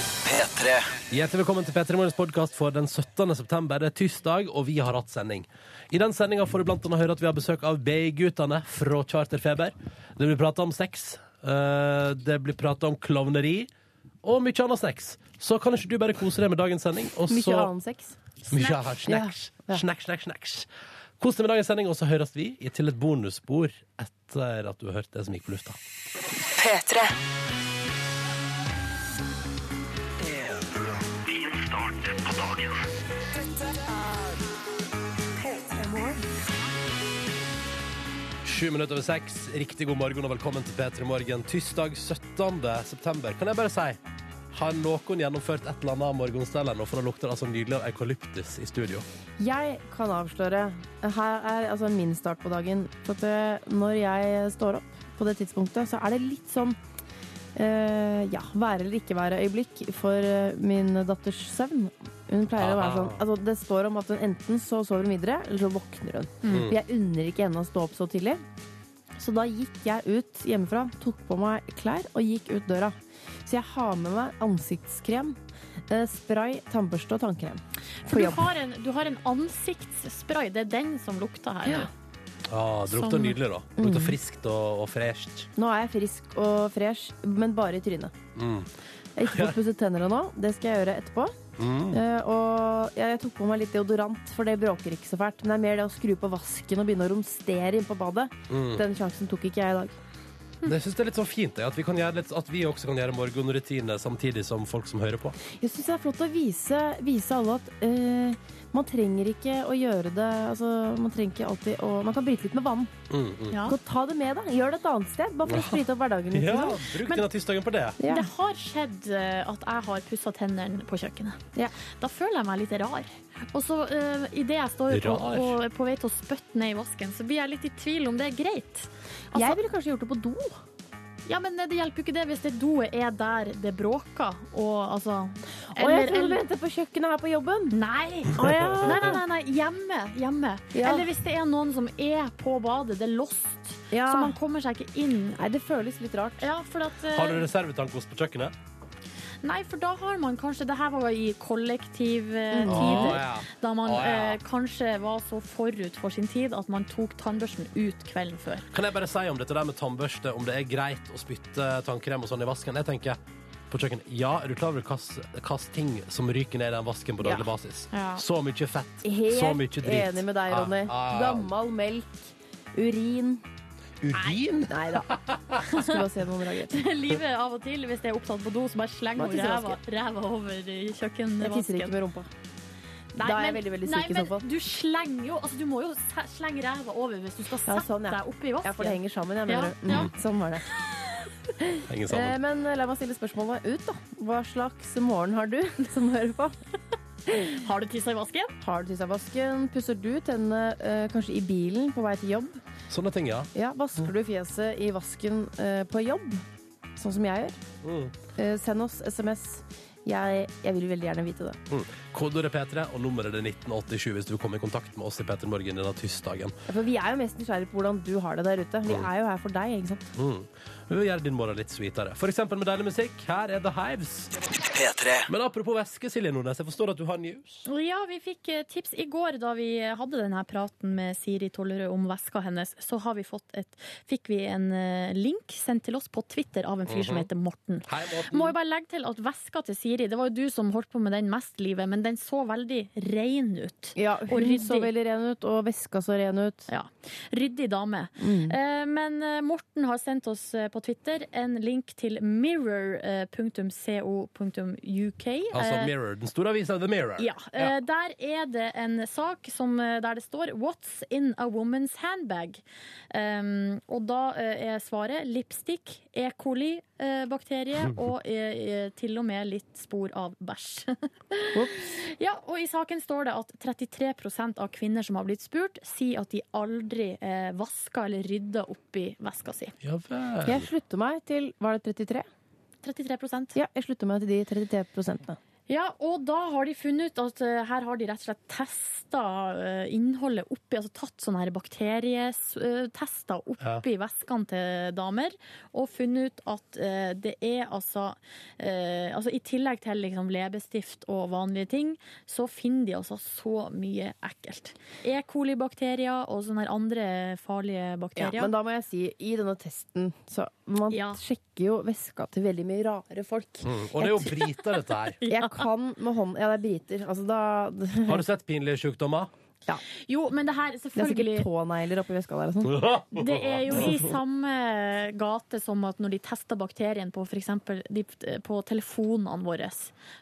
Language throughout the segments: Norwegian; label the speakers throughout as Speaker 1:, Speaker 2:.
Speaker 1: P3.
Speaker 2: Hjertelig velkommen til P3 Morgens podkast for den 17. september. Det er tirsdag, og vi har hatt sending. I den sendinga får du blant annet høre at vi har besøk av BI-guttene fra Charterfeber. Det blir prata om sex, eh, det blir prata om klovneri, og mye annet snacks. Så kan ikke du bare kose deg med dagens sending, og
Speaker 3: Mye
Speaker 2: så
Speaker 3: annen sex.
Speaker 2: Mye annet snacks.
Speaker 3: Ja, ja.
Speaker 2: Snacks, snacks, snacks. Kos deg med dagens sending, og så høres vi i- til et bonusspor etter at du har hørt det som gikk på lufta.
Speaker 4: P3.
Speaker 2: Sju minutter over seks. Riktig god morgen og velkommen til P3 Morgen. Tirsdag 17. september. Kan jeg bare si, har noen gjennomført et eller annet morgenstell ennå? For det lukter altså nydelig av eukalyptus i studio.
Speaker 3: Jeg kan avsløre. Her er altså min start på dagen. For at eh, når jeg står opp på det tidspunktet, så er det litt sånn eh, ja, være eller ikke være-øyeblikk for eh, min datters søvn. Hun pleier å være
Speaker 2: Aha.
Speaker 3: sånn altså, Det står om at hun enten så sover hun videre, eller så våkner hun. Jeg unner ikke henne å stå opp så tidlig. Så da gikk jeg ut hjemmefra, tok på meg klær og gikk ut døra. Så jeg har med meg ansiktskrem, eh, spray, tannbørste og tannkrem.
Speaker 5: For du har, en, du har en ansiktsspray. Det er den som lukter her.
Speaker 3: Ja.
Speaker 2: Ah, det lukter
Speaker 5: Sånn.
Speaker 2: nydelig, da. Det lukter friskt og, og fresht.
Speaker 3: Nå er jeg frisk og fresh, men bare i trynet.
Speaker 2: Mm.
Speaker 3: Jeg har ikke fått pusset tennene nå. Det skal jeg gjøre etterpå.
Speaker 2: Mm.
Speaker 3: Eh, og jeg, jeg tok på meg litt deodorant, for det bråker ikke så fælt. Men det er mer det å skru på vasken og begynne å romstere inn på badet.
Speaker 2: Mm.
Speaker 3: Den sjansen tok ikke jeg i dag.
Speaker 2: Det syns jeg er litt sånn fint, jeg, at, vi kan gjøre litt, at vi også kan gjøre morgenrutiner samtidig som folk som hører på.
Speaker 3: Jeg syns det er flott å vise, vise alle at eh, man trenger ikke å gjøre det altså, Man trenger ikke alltid å Man kan bryte litt med vanen.
Speaker 2: Mm, mm.
Speaker 5: Ja.
Speaker 3: Gå og Ta det med deg. Gjør det et annet sted. Bare for å sprite opp hverdagen. litt,
Speaker 2: Ja,
Speaker 3: liksom.
Speaker 2: bruk
Speaker 5: Men-
Speaker 2: denne tirsdagen på det.
Speaker 3: Ja.
Speaker 5: Det har skjedd eh, at jeg har pussa tennene på kjøkkenet.
Speaker 3: Ja.
Speaker 5: Da føler jeg meg litt rar. Og så uh, idet jeg står på,
Speaker 2: Rar?
Speaker 5: på, på vei til å spytte ned i vasken, så blir jeg litt i tvil om det er greit.
Speaker 3: Jeg
Speaker 5: Altså,
Speaker 3: ville kanskje gjort det på do.
Speaker 5: ja, men eh, det hjelper jo ikke det hvis det doet er der det bråker, og altså
Speaker 3: Og jeg trodde du mente på kjøkkenet her på jobben.
Speaker 5: Nei.
Speaker 3: Å, ja.
Speaker 5: nei, nei, nei, nei. Hjemme. hjemme.
Speaker 3: Ja.
Speaker 5: Eller hvis det er noen som er på badet, det er lost,
Speaker 3: Ja.
Speaker 5: så man kommer seg ikke inn.
Speaker 3: Nei, det føles litt rart.
Speaker 5: Ja, for at, eh,
Speaker 2: Har du reservetankost på kjøkkenet?
Speaker 5: Nei, for da har man kanskje Det her var jo i
Speaker 3: Mm.
Speaker 5: kollektivtider.
Speaker 2: Å, Ah, ja.
Speaker 5: Da man
Speaker 2: Å, ja.
Speaker 5: eh, kanskje var så forut for sin tid at man tok tannbørsten ut kvelden før.
Speaker 2: Kan jeg bare si om dette der med tannbørste, om det er greit å spytte tannkrem og sånn i vasken? Jeg tenker på kjøkkenet, ja, er du klar over hvilke ting som ryker ned i den vasken på daglig
Speaker 3: Ja.
Speaker 2: basis?
Speaker 5: Ja.
Speaker 2: Så mye fett, så mye dritt.
Speaker 3: Helt
Speaker 2: Ah,
Speaker 3: enig med deg,
Speaker 2: Ja,
Speaker 3: Ronny.
Speaker 2: ja, ja.
Speaker 3: Gammel melk, urin
Speaker 2: Urin?
Speaker 3: Nei da. Skulle bare se noen dager.
Speaker 5: Livet av og til, hvis jeg er opptatt på do, så bare slenger
Speaker 3: Bare
Speaker 5: hun
Speaker 3: tisser i
Speaker 5: ræva, ræva over i
Speaker 3: Jeg tisser
Speaker 5: kjøkkenvasken.
Speaker 3: ikke med rumpa. Da er
Speaker 5: Nei,
Speaker 3: jeg
Speaker 5: men-
Speaker 3: veldig, veldig syk
Speaker 5: nei,
Speaker 3: i så
Speaker 5: men
Speaker 3: fall.
Speaker 5: Du slenger jo altså, Du må jo se- slenge ræva over hvis du skal
Speaker 3: Ja,
Speaker 5: sette
Speaker 3: sånn, ja.
Speaker 5: deg oppi vasken.
Speaker 3: Ja, for det henger sammen, jeg
Speaker 5: Ja,
Speaker 3: mener det.
Speaker 5: ja.
Speaker 3: Mm, sånn var det.
Speaker 2: Henger
Speaker 3: Eh,
Speaker 2: sammen.
Speaker 3: Men la meg stille spørsmålet ut, da. Hva slags morgen har du som hører på?
Speaker 5: Har du tissa i vasken?
Speaker 3: Har du tissa i vasken? Pusser du tennene eh, kanskje i bilen på vei til jobb?
Speaker 5: Eh,
Speaker 2: Sånne ting, ja.
Speaker 3: Ja,
Speaker 2: Mm.
Speaker 3: Vasker du fjeset i vasken eh, på jobb? Sånn som jeg gjør?
Speaker 2: Mm.
Speaker 3: Eh, Send oss SMS. Jeg, jeg vil veldig gjerne vite det.
Speaker 2: Mm. Kodeordet P3 og nummeret er 1987 hvis du vil komme i kontakt med oss i P3 Morgen denne tirsdagen.
Speaker 3: Ja, For vi er jo mest nysgjerrige på hvordan du har det der ute. Vi er jo her for deg, ikke sant?
Speaker 2: Mm. Vi vil gjøre din morgen litt sweetere. For eksempel med deilig musikk. Her er The Hives.
Speaker 1: P3.
Speaker 2: Men apropos væske, Silje Nordnes, jeg forstår at du har news.
Speaker 5: Ja, vi fikk eh, tips i går da vi hadde denne praten med Siri Tollerød om veska hennes. Så har vi fått et, fikk vi en eh, link sendt til oss på Twitter av en fyr som heter Morten.
Speaker 2: Hei, Morten.
Speaker 5: Må jo bare legge til at veska til Siri, det var jo du som holdt på med den mest, livet, men den så veldig ren ut.
Speaker 3: Ja,
Speaker 5: Og
Speaker 3: hun
Speaker 5: ryddig.
Speaker 3: så veldig ren ut, og veska så ren ut.
Speaker 5: Ja. Ryddig dame.
Speaker 3: Mm.
Speaker 5: Eh, Men eh, Morten har sendt oss eh, på Twitter en link til eh, mirror.co.uk.
Speaker 2: Altså
Speaker 5: Eh,
Speaker 2: Mirror, den store avisen The Mirror.
Speaker 5: Ja. eh, Der er det en sak som, eh, der det står 'What's in a woman's handbag?' Um, og da eh, er svaret lipstick, E. coli-bakterie og eh, eh, til og med litt spor av bæsj. ja, og i saken står det at 33 av kvinner som har blitt spurt, sier at de aldri eh, vasker eller rydder oppi veska si.
Speaker 2: Ja vel.
Speaker 3: Jeg slutter meg til Var det 33?
Speaker 5: 33
Speaker 3: Ja, jeg slutter meg til de 33 prosentene.
Speaker 5: Ja, og da har de funnet ut at eh, her har de rett og slett testa eh, innholdet oppi, altså tatt sånne her bakterietester oppi væskene til damer, og funnet ut at eh, det er altså eh, Altså i tillegg til liksom leppestift og vanlige ting, så finner de altså så mye ekkelt. E. coli-bakterier og sånne her andre farlige
Speaker 6: Ja,
Speaker 5: bakterier.
Speaker 6: men da må jeg si, i denne testen så Man
Speaker 5: Ja.
Speaker 6: sjekker jo veska til veldig mye rare folk.
Speaker 2: Mm. Og det er jo briter, dette her.
Speaker 6: Jeg kan med hånd Ja, det er briter. Altså, da
Speaker 2: Har du sett pinlige sykdommer?
Speaker 5: Jo, men det her
Speaker 6: Det er
Speaker 5: selvfølgelig
Speaker 6: sikkert tånegler oppi veska der og sånn.
Speaker 5: Det er jo i samme gate som at når de tester bakterien på for eksempel de, på telefonene våre,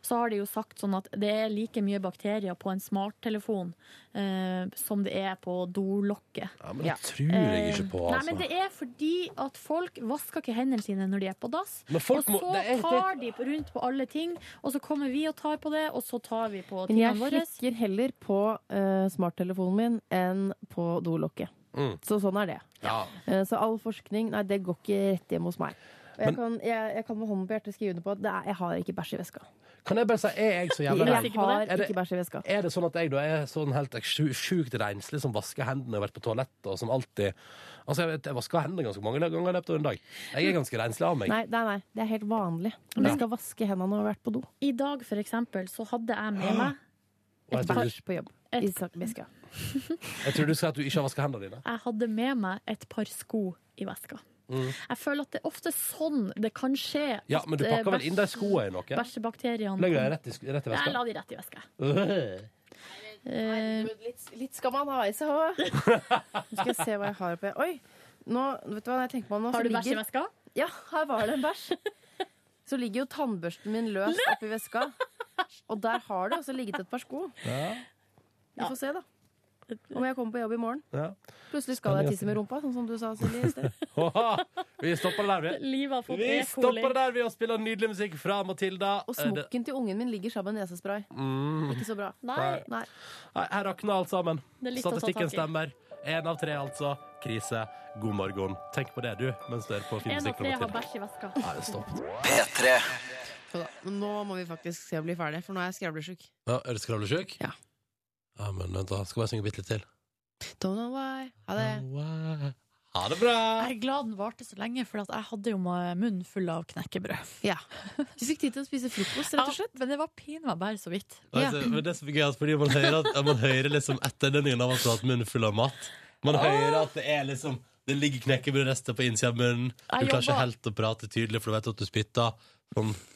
Speaker 5: så har de jo sagt sånn at det er like mye bakterier på en smarttelefon eh, som det er på dolokket.
Speaker 2: Ja, men det tror jeg ikke på,
Speaker 5: Eh, Nei,
Speaker 2: altså.
Speaker 5: men det er fordi at folk vasker ikke hendene sine når de er på dass.
Speaker 2: Men folk
Speaker 5: og
Speaker 2: må-
Speaker 5: så
Speaker 2: det er- det-
Speaker 5: tar de på- rundt på alle ting, og så kommer vi og tar på det, og så tar vi på
Speaker 6: Men
Speaker 5: tingene
Speaker 6: jeg
Speaker 5: våre.
Speaker 6: slikker heller på eh, smarttelefonen min enn på dolokket.
Speaker 2: Mm.
Speaker 6: Så sånn er det.
Speaker 2: Ja.
Speaker 6: Eh, så all forskning, nei, det går ikke rett hjem hos meg. Og jeg,
Speaker 2: Men-
Speaker 6: kan, jeg, jeg kan med hånden på hjertet skrive under på at det er, jeg har ikke bæsj i veska.
Speaker 2: Kan jeg bare si, er jeg så jævla
Speaker 6: Jeg har
Speaker 5: er
Speaker 2: rein?
Speaker 5: sikker på det?
Speaker 2: Er det-
Speaker 6: ikke bæsj i veska.
Speaker 2: Er det sånn at jeg da er sånn helt sju- sjukt renslig som liksom vasker hendene og har vært på toalettet og som alltid Altså, jeg, vet, jeg vasker hendene ganske mange ganger i løpet av en dag. Jeg er ganske renslig av meg.
Speaker 6: Nei, nei, nei, det er helt vanlig.
Speaker 5: Men-
Speaker 6: Du skal vaske hendene når du har vært på do.
Speaker 5: I dag, for eksempel, så hadde jeg med meg
Speaker 2: Og jeg
Speaker 6: Et
Speaker 2: tror,
Speaker 6: par
Speaker 2: du,
Speaker 6: på jobb.
Speaker 5: Et-
Speaker 6: I sak- veska.
Speaker 2: jeg tror du sa at du ikke har vasket hendene dine.
Speaker 5: jeg hadde med meg et par sko i veska. Jeg føler at det er ofte sånn det kan
Speaker 2: Mm.
Speaker 5: skje.
Speaker 2: Ja, men du
Speaker 5: at, eh,
Speaker 2: pakker vel inn de
Speaker 5: bæsj-
Speaker 2: skoene i noe?
Speaker 5: Bæsjebakteriene
Speaker 2: Legger deg rett i, sk- rett i
Speaker 5: Jeg
Speaker 2: veska?
Speaker 5: la de rett i veska.
Speaker 2: Øh.
Speaker 5: Eh,
Speaker 6: Litt, skal man ha i seg òg. Nå skal jeg se hva jeg har oppi. Oi! Nå, vet du hva jeg tenker på nå?
Speaker 5: har
Speaker 6: Så
Speaker 5: du bæsj i
Speaker 6: ligger-
Speaker 5: veska?
Speaker 6: Ja, her var det en bæsj. Så ligger jo tannbørsten min løs oppi veska. Og der har det også ligget et par sko.
Speaker 2: Ja.
Speaker 6: Vi får se, da. Om jeg kommer på jobb i morgen.
Speaker 2: Ja.
Speaker 6: Plutselig skal jeg tisse med rumpa, sånn som du sa, Silje. i sted.
Speaker 2: Haha, Vi stopper det der, vi.
Speaker 5: Livet har fått
Speaker 2: Vi
Speaker 5: E. coli.
Speaker 2: stopper det der ved å spille nydelig musikk fra Matilda.
Speaker 6: Og
Speaker 2: Eh, det-
Speaker 6: smokken til ungen min ligger sammen med nesespray. Ikke så bra.
Speaker 5: Nei,
Speaker 6: Nei.
Speaker 2: Nei, Her rakner alt sammen.
Speaker 5: Det er litt å ta
Speaker 2: Statistikken
Speaker 5: tak i.
Speaker 2: stemmer. Én av tre, altså. Krise. God morgen. Tenk på det, du, mens du er på fin
Speaker 5: en av
Speaker 2: musikk.
Speaker 5: tre
Speaker 2: fra
Speaker 5: har
Speaker 2: Matilda.
Speaker 5: bæsj i veska.
Speaker 2: Nei, stopp.
Speaker 1: P3
Speaker 3: Så da, men nå må vi faktisk se å bli ferdig, for nå er jeg skravlesjuk.
Speaker 2: Ja, er du skravlesjuk?
Speaker 3: Ja.
Speaker 2: Ja, men vent da, skal bare synge bitte litt til.
Speaker 3: Don't know why. Ha det.
Speaker 2: Wow. Ha det bra!
Speaker 5: Jeg er glad den varte så lenge, for at jeg hadde jo munnen full av knekkebrød.
Speaker 3: Ja. Vi fikk tid til å spise frokost, rett og slett.
Speaker 5: men det var pinadø bare så vidt.
Speaker 3: Ja.
Speaker 2: Altså, men det er så gøy, at fordi man hører, at, man hører liksom etter den ene av oss har hatt munnen full av mat. Man hører at det er liksom det ligger knekkebrødrester på innsida av munnen. Du
Speaker 5: Jeg
Speaker 2: klarer ikke
Speaker 5: jobber.
Speaker 2: helt å prate tydelig, for du vet at du spytter. Sånn.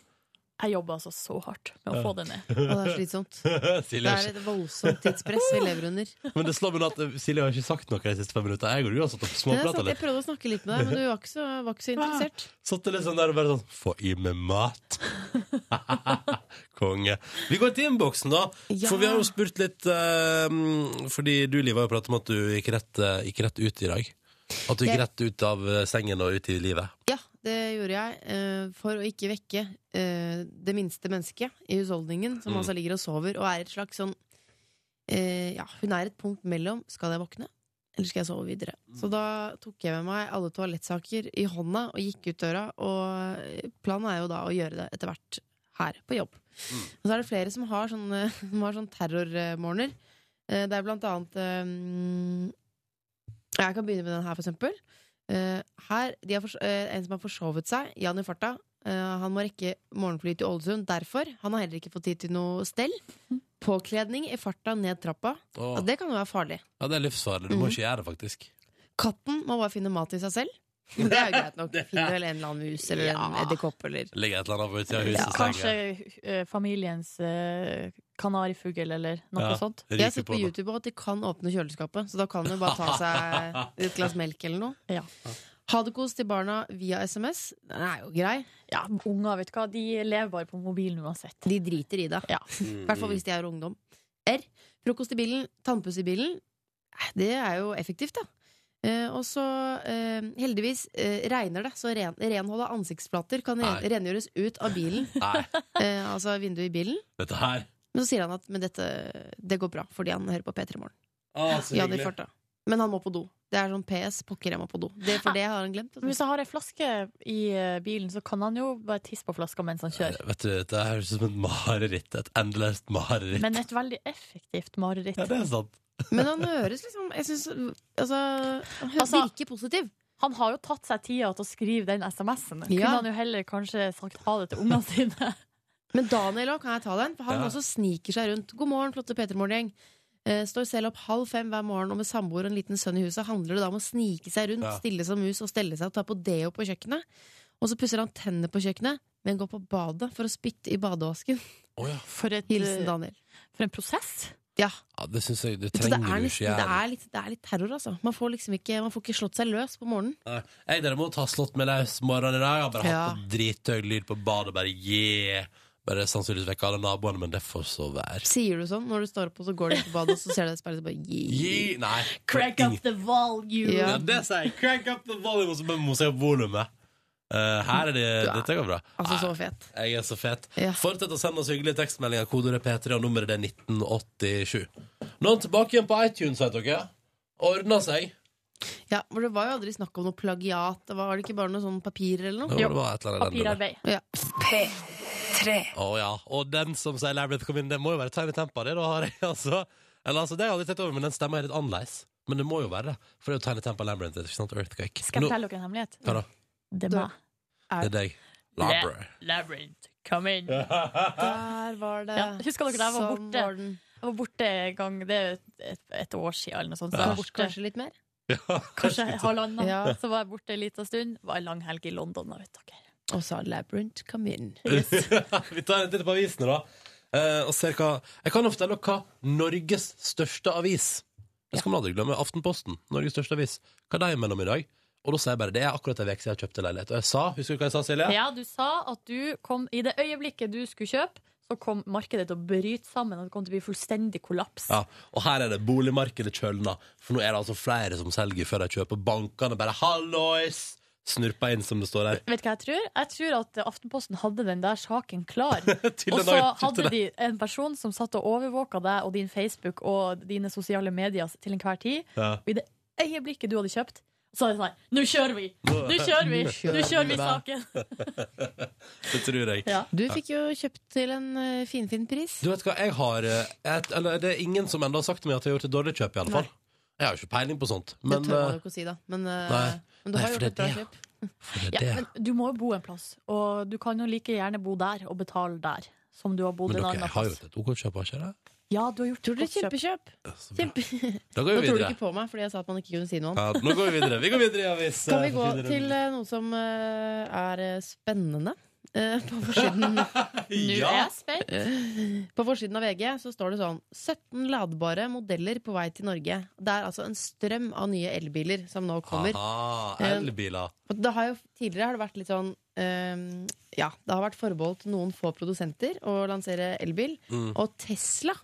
Speaker 5: Jeg jobba altså så hardt med å få det ned.
Speaker 3: Å, det er slitsomt. Det
Speaker 2: Silje,
Speaker 3: er et voldsomt tidspress vi lever under.
Speaker 2: men det slår meg nå at eh, Silje har ikke sagt noe de siste fem minutter. Jeg og du har satt opp
Speaker 3: Det er sant,
Speaker 2: småprater
Speaker 3: jeg
Speaker 2: litt.
Speaker 3: prøvde å snakke litt med deg, men du var ikke så, var ikke så interessert.
Speaker 2: Satt litt sånn der og bare sånn Få i meg mat. Konge. Vi går til innboksen, da.
Speaker 3: Ja.
Speaker 2: For vi har jo spurt litt eh, Fordi du, Liv, har jo pratet om at du gikk rett, eh, gikk rett ut i dag. At du gikk
Speaker 3: Jeg-
Speaker 2: rett ut av eh, sengen og ut i livet.
Speaker 3: Ja, det gjorde jeg eh, for å ikke vekke eh, det minste mennesket i husholdningen, som
Speaker 2: Mm.
Speaker 3: altså ligger og sover, og er et slags sånn eh, Ja, hun er et punkt mellom skal jeg våkne, eller skal jeg sove videre? Så da tok jeg med meg alle toalettsaker i hånda og gikk ut døra, og eh, planen er jo da å gjøre det etter hvert her på jobb. Og så er det flere som har sånne, som har sånne terrormorgener. Eh, Det er blant annet eh, mm, Jeg kan begynne med den her, for eksempel. Eh, her, de har fors- eh, en som har forsovet seg, Jan i farta. Eh, han må rekke morgenfly til Ålesund. Derfor. Han har heller ikke fått tid til noe stell. Påkledning i farta ned trappa.
Speaker 2: Åh.
Speaker 3: Ja, det Mm. kan jo være farlig.
Speaker 2: Ja, det er livsfarlig. Du må ikke gjøre det, faktisk.
Speaker 3: Katten må bare finne mat til seg selv. Det er jo greit nok. Finner vel en eller annen mus eller en
Speaker 5: Ja.
Speaker 3: edderkopp eller
Speaker 2: Det ligger et eller annet på utsida av
Speaker 3: Ja,
Speaker 2: huset.
Speaker 5: Kanskje
Speaker 2: slenger.
Speaker 5: eh, familiens eh, kanarifugl eller noe
Speaker 2: Ja.
Speaker 5: sånt.
Speaker 2: Ryker
Speaker 3: Jeg har sett på
Speaker 2: den.
Speaker 3: YouTube at de kan åpne kjøleskapet, så da kan du bare ta seg et glass melk eller noe.
Speaker 5: Ja.
Speaker 3: Hadekos til barna via SMS. Den er jo grei.
Speaker 5: Ja, unger, vet du hva. De lever bare på mobilen uansett.
Speaker 3: De driter i det.
Speaker 5: Ja.
Speaker 2: Mm-hmm.
Speaker 3: I hvert fall hvis de er ungdom. R. Frokost i bilen, tannpuss i bilen. Eh, Det er jo effektivt, da. Eh, og så, eh, heldigvis, eh, regner det, så ren, renhold av ansiktsflater kan ren,
Speaker 2: Nei.
Speaker 3: rengjøres ut av bilen.
Speaker 2: Mm. Nei,
Speaker 3: Eh, altså vinduet i bilen.
Speaker 2: dette her
Speaker 3: Men så sier han at men dette, det går bra, fordi han hører på P3 Morgen.
Speaker 2: Å, så
Speaker 3: Jan i
Speaker 2: hyggelig.
Speaker 3: farta. Men han må på do. Det er sånn PS. Pokker, jeg må på do. Det, for det har han glemt.
Speaker 5: Men hvis han har ei flaske i eh, bilen, så kan han jo bare tisse på flaska mens han kjører.
Speaker 2: Vet du, Det høres ut som et mareritt. Et endeløst mareritt.
Speaker 5: Men et veldig effektivt mareritt.
Speaker 2: Ja, det er sant.
Speaker 3: Men han høres liksom jeg synes, altså, Han hø-
Speaker 5: Altså-
Speaker 3: virker positiv.
Speaker 5: Han har jo tatt seg tida til å skrive den SMS-en. Kunne
Speaker 3: Ja.
Speaker 5: han jo heller kanskje sagt ha det til ungene sine.
Speaker 3: Men Daniel òg, kan jeg ta den? For han
Speaker 2: Ja.
Speaker 3: også sniker seg rundt. God morgen, flotte P3-morgengjeng. Eh, Står selv opp halv fem hver morgen, og med samboer og en liten sønn i huset handler det da om å snike seg rundt,
Speaker 2: Ja.
Speaker 3: stille som mus og stelle seg og ta på deo på kjøkkenet. Og så pusser han tennene på kjøkkenet, men går på badet for å spytte i badeåsken.
Speaker 2: Å ja.
Speaker 5: For, et,
Speaker 3: Hilsen
Speaker 5: eh,
Speaker 3: Daniel.
Speaker 5: for en prosess!
Speaker 3: Ja.
Speaker 2: ja, det syns jeg du
Speaker 3: Så det
Speaker 2: trenger
Speaker 3: er,
Speaker 2: du
Speaker 3: nesten,
Speaker 2: ikke
Speaker 3: det,
Speaker 2: gjøre.
Speaker 3: er litt, det er litt terror, altså. Man får liksom ikke Man får ikke slått seg løs på morgenen.
Speaker 2: Nei. Jeg derimot har slått meg løs morgenen i dag. Jeg har bare
Speaker 3: Ja.
Speaker 2: hatt på drithøy lyd på badet. Bare yeah! Bare sannsynligvis vekk alle naboene, men det får så være.
Speaker 3: Sier du sånn når du står opp og så går du ut på badet, og så ser du deg i speilet og bare
Speaker 2: Gi- Nei.
Speaker 5: Crack
Speaker 2: ingen-
Speaker 5: up the volume!
Speaker 3: Ja.
Speaker 2: Ja, det sier jeg. Crank up the volume, og så bare må jeg opp volumet. Eh, her er det Dette går bra.
Speaker 3: Altså, så
Speaker 2: Nei,
Speaker 3: fet.
Speaker 2: jeg er så fet.
Speaker 3: Ja.
Speaker 2: Fortsett å sende oss hyggelige tekstmeldinger. Kodeordet P3, og nummeret det er 1987. Nå er den tilbake igjen på iTunes, vet dere. Ordna seg.
Speaker 3: Ja, for det var jo aldri snakk om noe plagiat. Det var, var det ikke bare noe sånn papir eller noe?
Speaker 2: Det var et eller annet i den duren.
Speaker 5: Papirarbeid.
Speaker 2: Å ja. Og den som sier Labyrinth kom inn, det må jo være Tiny Tempa, det. Da har jeg altså Eller altså, det har jeg aldri tenkt over, men den stemmer er litt annerledes. Men det må jo være det. For det er jo Tiny Tempa Labyrinth, ikke sant? Earthquake.
Speaker 5: Skal jeg
Speaker 2: Nå-
Speaker 5: fortelle dere en hemmelighet?
Speaker 2: Hva da?
Speaker 5: Det er meg.
Speaker 2: Det er deg. Labyrinth.
Speaker 5: Labyrinth, come in.
Speaker 3: Der var det.
Speaker 5: Ja, husker dere da jeg var
Speaker 3: Sånn
Speaker 5: borte?
Speaker 3: var den.
Speaker 5: Jeg var borte en gang, det er jo et, et år siden eller noe sånt. Så jeg var
Speaker 3: Kanskje,
Speaker 5: borte,
Speaker 3: kanskje litt mer?
Speaker 5: kanskje halvannen.
Speaker 3: Ja.
Speaker 5: Så var jeg borte en liten stund. Var en lang helg i London, da, vet dere.
Speaker 3: Og sa Labyrinth, come in.
Speaker 2: Vi tar en titt på avisene, da. eh, og ser hva Jeg kan jo fortelle dere hva Norges største avis Det skal man aldri glemme. Aftenposten. Norges største avis. Hva er de mellom i dag? Og da sier jeg bare det er akkurat ei uke siden jeg kjøpte leilighet. Og jeg sa, husker du hva jeg sa, Silje?
Speaker 5: Ja, du sa at du kom I det øyeblikket du skulle kjøpe, så kom markedet til å bryte sammen, og det kom til å bli fullstendig kollaps.
Speaker 2: Ja, og her er det boligmarkedet kjølna. For nå er det altså flere som selger før de kjøper. Bankene bare 'hallois'! Snurpa inn, som det står her.
Speaker 5: Vet du hva jeg tror? Jeg tror at Aftenposten hadde den der saken klar.
Speaker 2: Til
Speaker 5: Og
Speaker 2: den
Speaker 5: så
Speaker 2: har jeg kjøpte
Speaker 5: hadde
Speaker 2: det.
Speaker 5: de en person som satt og overvåka deg og din Facebook og dine sosiale medier til enhver tid.
Speaker 2: Ja.
Speaker 5: Og i det øyeblikket du hadde kjøpt, så var det sånn Nå kjører vi! Nå kjører vi! Nå kjører vi saken!
Speaker 2: Det tror jeg.
Speaker 5: Ja.
Speaker 3: Du fikk jo kjøpt til en eh, finfin pris.
Speaker 2: Du vet hva, jeg har eh, et, eller, Det er ingen som enda har sagt til meg at jeg har gjort et dårlig kjøp, i alle fall. Jeg har jo ikke peiling på sånt. Men
Speaker 3: det tør man
Speaker 2: eh,
Speaker 3: jo ikke å si, da. Men, eh,
Speaker 2: nei.
Speaker 3: men du
Speaker 2: Nei,
Speaker 3: har
Speaker 2: for
Speaker 3: gjort
Speaker 2: det
Speaker 3: et bra
Speaker 2: er det.
Speaker 3: kjøp.
Speaker 2: for det
Speaker 5: Ja,
Speaker 2: er det.
Speaker 5: men du må jo bo en plass, og du kan jo like gjerne bo der og betale der. Som du har bodd
Speaker 2: Men
Speaker 5: en
Speaker 2: dere
Speaker 5: annen
Speaker 2: har
Speaker 5: plass.
Speaker 2: gjort et OK kjøp, har ikke det?
Speaker 5: Ja, du har gjort
Speaker 3: Tror du det
Speaker 5: godt
Speaker 3: er
Speaker 5: kjøp.
Speaker 3: kjempekjøp?
Speaker 2: Ja, så bra.
Speaker 3: Kjempe...
Speaker 2: Da går
Speaker 3: Nå
Speaker 2: vi
Speaker 3: tror du
Speaker 2: videre.
Speaker 3: ikke på meg fordi jeg sa at man ikke kunne si noe om
Speaker 2: Ja, nå går vi videre. Vi går videre i avis.
Speaker 3: Kan vi
Speaker 2: eh,
Speaker 3: gå
Speaker 2: videre.
Speaker 3: til eh, noe som eh, er eh, spennende? Eh, På forsiden,
Speaker 5: Nå
Speaker 2: Ja!
Speaker 5: er jeg spent.
Speaker 3: på forsiden av VG så står det sånn 17 ladbare modeller på vei til Norge. Det er altså en strøm av nye elbiler som nå kommer.
Speaker 2: Aha, elbiler.
Speaker 3: Og Det har jo, tidligere har det vært litt sånn eh, Ja, det har vært forbeholdt noen få produsenter å lansere elbil.
Speaker 2: Mm.
Speaker 3: Og Tesla,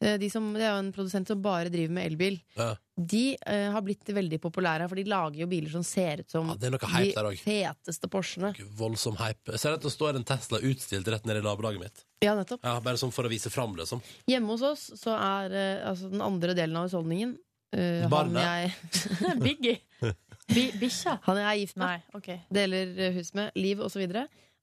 Speaker 3: eh, de som, det er jo en produsent som bare driver med elbil,
Speaker 2: Ja.
Speaker 3: de eh, har blitt veldig populære, for de lager jo biler som ser ut som
Speaker 2: Ja, det er noe hype der
Speaker 3: de
Speaker 2: også.
Speaker 3: feteste Porschene.
Speaker 2: Voldsom hype. Jeg ser at det står en Tesla utstilt rett nede i nabolaget mitt.
Speaker 3: Ja, nettopp.
Speaker 2: Ja, bare sånn for å vise fram, liksom.
Speaker 3: Hjemme hos oss så er eh, altså, den andre delen av husholdningen eh, han,
Speaker 2: Barnet.
Speaker 3: jeg,
Speaker 5: Biggie. Bi- Bikkja?
Speaker 3: han jeg er gift med,
Speaker 5: Nei, OK.
Speaker 3: deler eh, hus med, liv osv.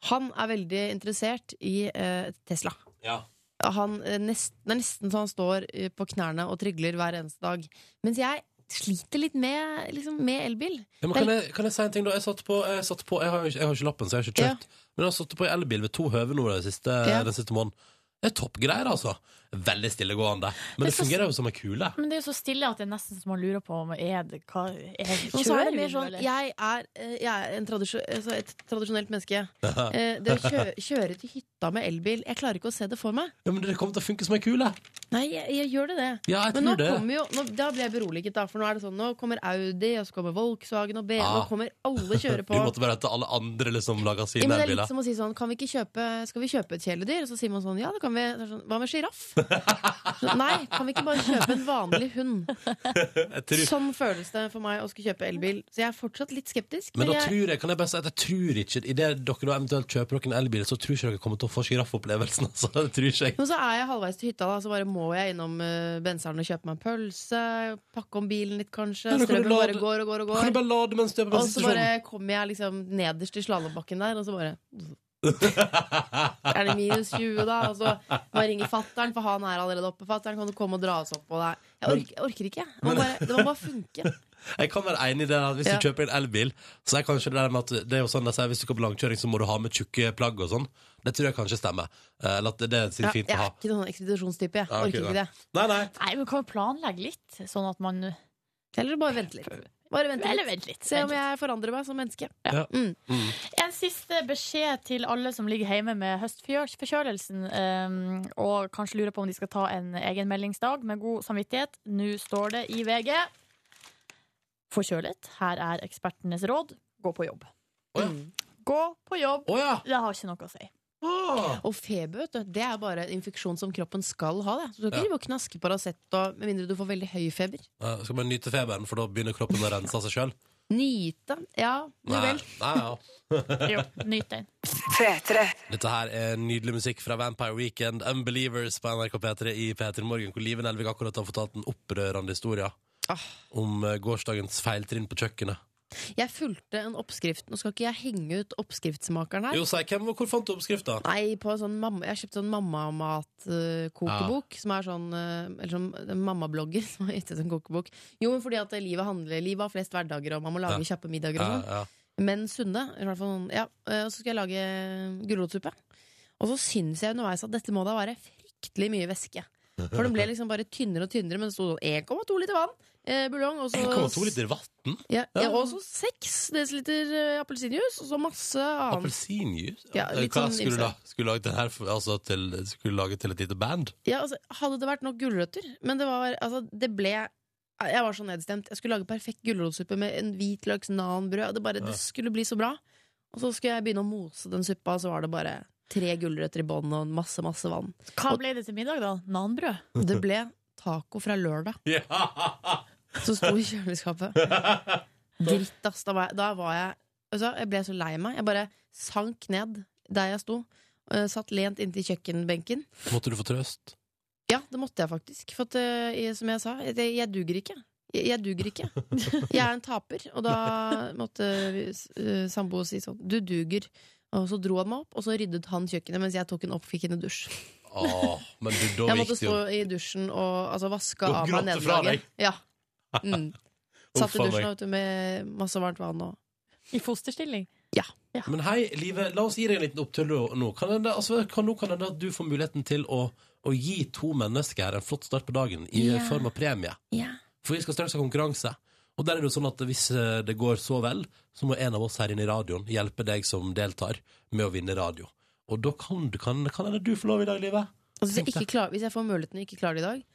Speaker 3: Han er veldig interessert i eh, Tesla.
Speaker 2: Ja.
Speaker 3: Han, eh, nest, det er nesten så han står eh, på knærne og trygler hver eneste dag. Mens jeg sliter litt med, liksom, med elbil.
Speaker 2: men kan, jeg, kan jeg si en ting, da? Jeg satt på Jeg, satt på, jeg, har, jo ikke, jeg har ikke lappen, så jeg har ikke kjøpt. Men jeg har satt på i elbil ved to høve nå den siste,
Speaker 3: Ja.
Speaker 2: den siste måneden. Det er toppgreier, altså. Veldig stillegående. Men
Speaker 5: Det er
Speaker 2: det,
Speaker 5: så-
Speaker 2: fungerer jo som ei kule.
Speaker 5: Men det er jo så stille at det er nesten så man lurer på om er det, hva, er,
Speaker 3: Og så er det mer
Speaker 5: hun,
Speaker 3: sånn
Speaker 5: eller?
Speaker 3: Jeg er, eh, jeg er en tradisjo, altså et tradisjonelt menneske. Eh, Det å kjøre, kjøre til hytta med elbil Jeg klarer ikke å se det for meg.
Speaker 2: Ja, men det kommer til å funke som ei kule.
Speaker 3: Nei, jeg, jeg gjør det det.
Speaker 2: Ja, jeg
Speaker 3: Men nå
Speaker 2: tror det.
Speaker 3: kommer jo, nå, da ble jeg beroliget, da. For nå er det sånn, nå kommer Audi, og så kommer Volkswagen og BMW.
Speaker 2: Ah.
Speaker 3: Nå kommer alle kjøre
Speaker 2: Vi
Speaker 3: på.
Speaker 2: måtte bare hente alle andre liksom laga
Speaker 3: Ja,
Speaker 2: sine
Speaker 3: men det er litt
Speaker 2: elbiler.
Speaker 3: som å si sånn, kan vi ikke kjøpe, Skal vi kjøpe et kjæledyr? Og så sier man sånn, ja det kan vi. Så er det Sånn, Hva med sjiraff? Så, Nei, kan vi ikke bare kjøpe en vanlig hund?
Speaker 2: Jeg tror,
Speaker 3: Sånn føles det for meg å skulle kjøpe elbil. Så jeg er fortsatt litt skeptisk.
Speaker 2: men da
Speaker 3: jeg,
Speaker 2: tror jeg, kan jeg bare si at jeg tror ikke Idet dere da eventuelt kjøper dere en elbil, så tror ikke dere kommer til å få sjiraffopplevelsen. Altså. Det tror ikke jeg.
Speaker 3: men så er jeg halvveis til hytta, da, så bare må jeg innom uh, benseren og kjøpe meg en pølse. Pakke om bilen litt, kanskje.
Speaker 2: Ja, da kan du
Speaker 3: Strømmen bare
Speaker 2: lade-
Speaker 3: går og går og
Speaker 2: Kan
Speaker 3: går.
Speaker 2: du bare lade sånn- mens du er på
Speaker 3: Og så
Speaker 2: bensinstasjonen?
Speaker 3: bare kommer jeg liksom nederst i slalåmbakken der, og så bare Er det minus 20, da? Og så må jeg ringe fattern, for han er allerede oppe. Fattern, kan du komme og dra oss opp? Og det er- jeg orker, jeg orker ikke. jeg. Det må bare, det må bare funke.
Speaker 2: Jeg kan være enig i det at hvis
Speaker 3: Ja.
Speaker 2: du kjøper en elbil, så er kanskje det der med at det er jo sånn de sier hvis du skal på langkjøring, så må du ha med tjukke plagg og sånn. Det tror jeg kanskje stemmer. Eh, Eller at det- det er
Speaker 3: Ja,
Speaker 2: sikkert
Speaker 3: jeg
Speaker 2: fint å
Speaker 3: er
Speaker 2: ha.
Speaker 3: ikke noen ekspedisjonstype. Jeg
Speaker 2: Ja, ok,
Speaker 3: orker ikke
Speaker 2: da.
Speaker 3: det.
Speaker 2: Nei, nei.
Speaker 5: Nei, men kan jo planlegge litt, sånn at man
Speaker 3: Eller bare vente litt. Bare vente
Speaker 5: Eller
Speaker 3: litt.
Speaker 5: vent litt.
Speaker 3: Se
Speaker 5: vent
Speaker 3: om jeg forandrer meg som menneske.
Speaker 2: Mm.
Speaker 5: En siste beskjed til alle som ligger hjemme med høstforkjølelsen ehm, og kanskje lurer på om de skal ta en egenmeldingsdag med god samvittighet. Nå står det i VG. Forkjølet. Her er ekspertenes råd. Gå på jobb. Mm.
Speaker 2: Å ja.
Speaker 5: Gå på jobb.
Speaker 2: Å ja. Ah.
Speaker 5: Det har ikke noe å si.
Speaker 2: Å.
Speaker 3: Og feber vet du, det er bare en infeksjon som kroppen skal ha. Det. Så du
Speaker 2: Ja.
Speaker 3: skal ikke drive og knaske Paracet og- med mindre du får veldig høy feber.
Speaker 2: Ja, Eh, Skal man nyte feberen, for da begynner kroppen å rense av seg sjøl?
Speaker 3: Nyte. Ja, du vel.
Speaker 2: nei, ja.
Speaker 5: Jo, nyt den.
Speaker 2: Dette her er nydelig musikk fra Vampire Weekend, Unbelievers på NRK P3 i P3 Morgen, hvor Live Nelvik akkurat har fortalt en opprørende historie
Speaker 3: Ah.
Speaker 2: om eh, gårsdagens feiltrinn på kjøkkenet.
Speaker 3: Jeg fulgte en oppskrift. Nå skal ikke jeg henge ut oppskriftsmakeren her.
Speaker 2: Jo, si, hvem, hvor fant du oppskrifta?
Speaker 3: Nei, på sånn mamma, Jeg kjøpte sånn mammamat-kokebok. Som er sånn eh, Eller sånn det er en mammablogger som har gitt ut en kokebok. Jo, men fordi at livet handler Livet har flest hverdager, og man må lage kjappe middager. Og
Speaker 2: Ja,
Speaker 3: sånn.
Speaker 2: ja.
Speaker 3: men sunne. I hvert fall, noen- ja. Eh, Og så skal jeg lage eh, gulrotsuppe. Og så syns jeg underveis at dette må da være fryktelig mye væske. For den ble liksom bare tynnere og tynnere, men det sto sånn 1,2 liter vann, eh, buljong, og så
Speaker 2: 1,2 liter vann?
Speaker 3: Ja, ja, og så 6 dl appelsinjuice, og så masse annet.
Speaker 2: Appelsinjuice? Eh,
Speaker 3: Ja, litt
Speaker 2: Hva
Speaker 3: sånn
Speaker 2: skulle du
Speaker 3: ymse.
Speaker 2: da? Skulle du lage det her for, altså, til, skulle du lage til et lite band?
Speaker 3: Ja, altså, hadde det vært nok gulrøtter, men det var Altså, det ble Jeg var så nedstemt. Jeg skulle lage perfekt gulrotsuppe med en hvitløks nanbrød. Det, bare,
Speaker 2: Ja.
Speaker 3: det skulle bli så bra. Og så skulle jeg begynne å mose den suppa, og så var det bare tre gulrøtter i bånn og masse, masse vann.
Speaker 5: Hva ble det til middag, da? Nanbrød?
Speaker 3: Det ble taco fra lørdag
Speaker 2: Ja!
Speaker 3: som sto i kjøleskapet. Dritt, ass. Da var jeg, da var jeg altså, Jeg ble så lei meg. Jeg bare sank ned der jeg sto. eh, Satt lent inntil kjøkkenbenken.
Speaker 2: Måtte du få trøst?
Speaker 3: Ja, det måtte jeg faktisk. For at, eh, jeg- som jeg sa, jeg, jeg duger ikke. Jeg, jeg duger ikke. Jeg er en taper. Og da måtte vi s- eh, samboer si sånn Du duger. Og så dro han meg opp, og så ryddet han kjøkkenet mens jeg tok en oppfikkende dusj.
Speaker 2: Åh, men du, da gikk
Speaker 3: Jeg måtte
Speaker 2: det jo
Speaker 3: stå i dusjen og altså, vaske
Speaker 2: Og
Speaker 3: av meg
Speaker 2: gråte fra
Speaker 3: nederlaget.
Speaker 2: deg.
Speaker 3: Ja. Mm.
Speaker 2: Uff,
Speaker 3: Satt i
Speaker 2: faen
Speaker 3: dusjen
Speaker 2: meg.
Speaker 3: vet du, med masse varmt vann og
Speaker 5: I fosterstilling?
Speaker 2: Men hei, Live, la oss gi deg en liten opptur nå. Kan det, altså, kan, nå kan det at du får muligheten til å, å gi to mennesker en flott start på dagen i
Speaker 3: Ja.
Speaker 2: form av premie. For vi skal straks ha konkurranse. Og der er det jo sånn at hvis eh, det går så vel, så må en av oss her inne i radioen hjelpe deg som deltar, med å vinne radio. Og da kan du, kan, kan hende du får lov i dag, Live.
Speaker 3: Altså, hvis, jeg
Speaker 2: Tenkte.
Speaker 3: ikke klar, hvis jeg får muligheten og ikke klarer det i dag,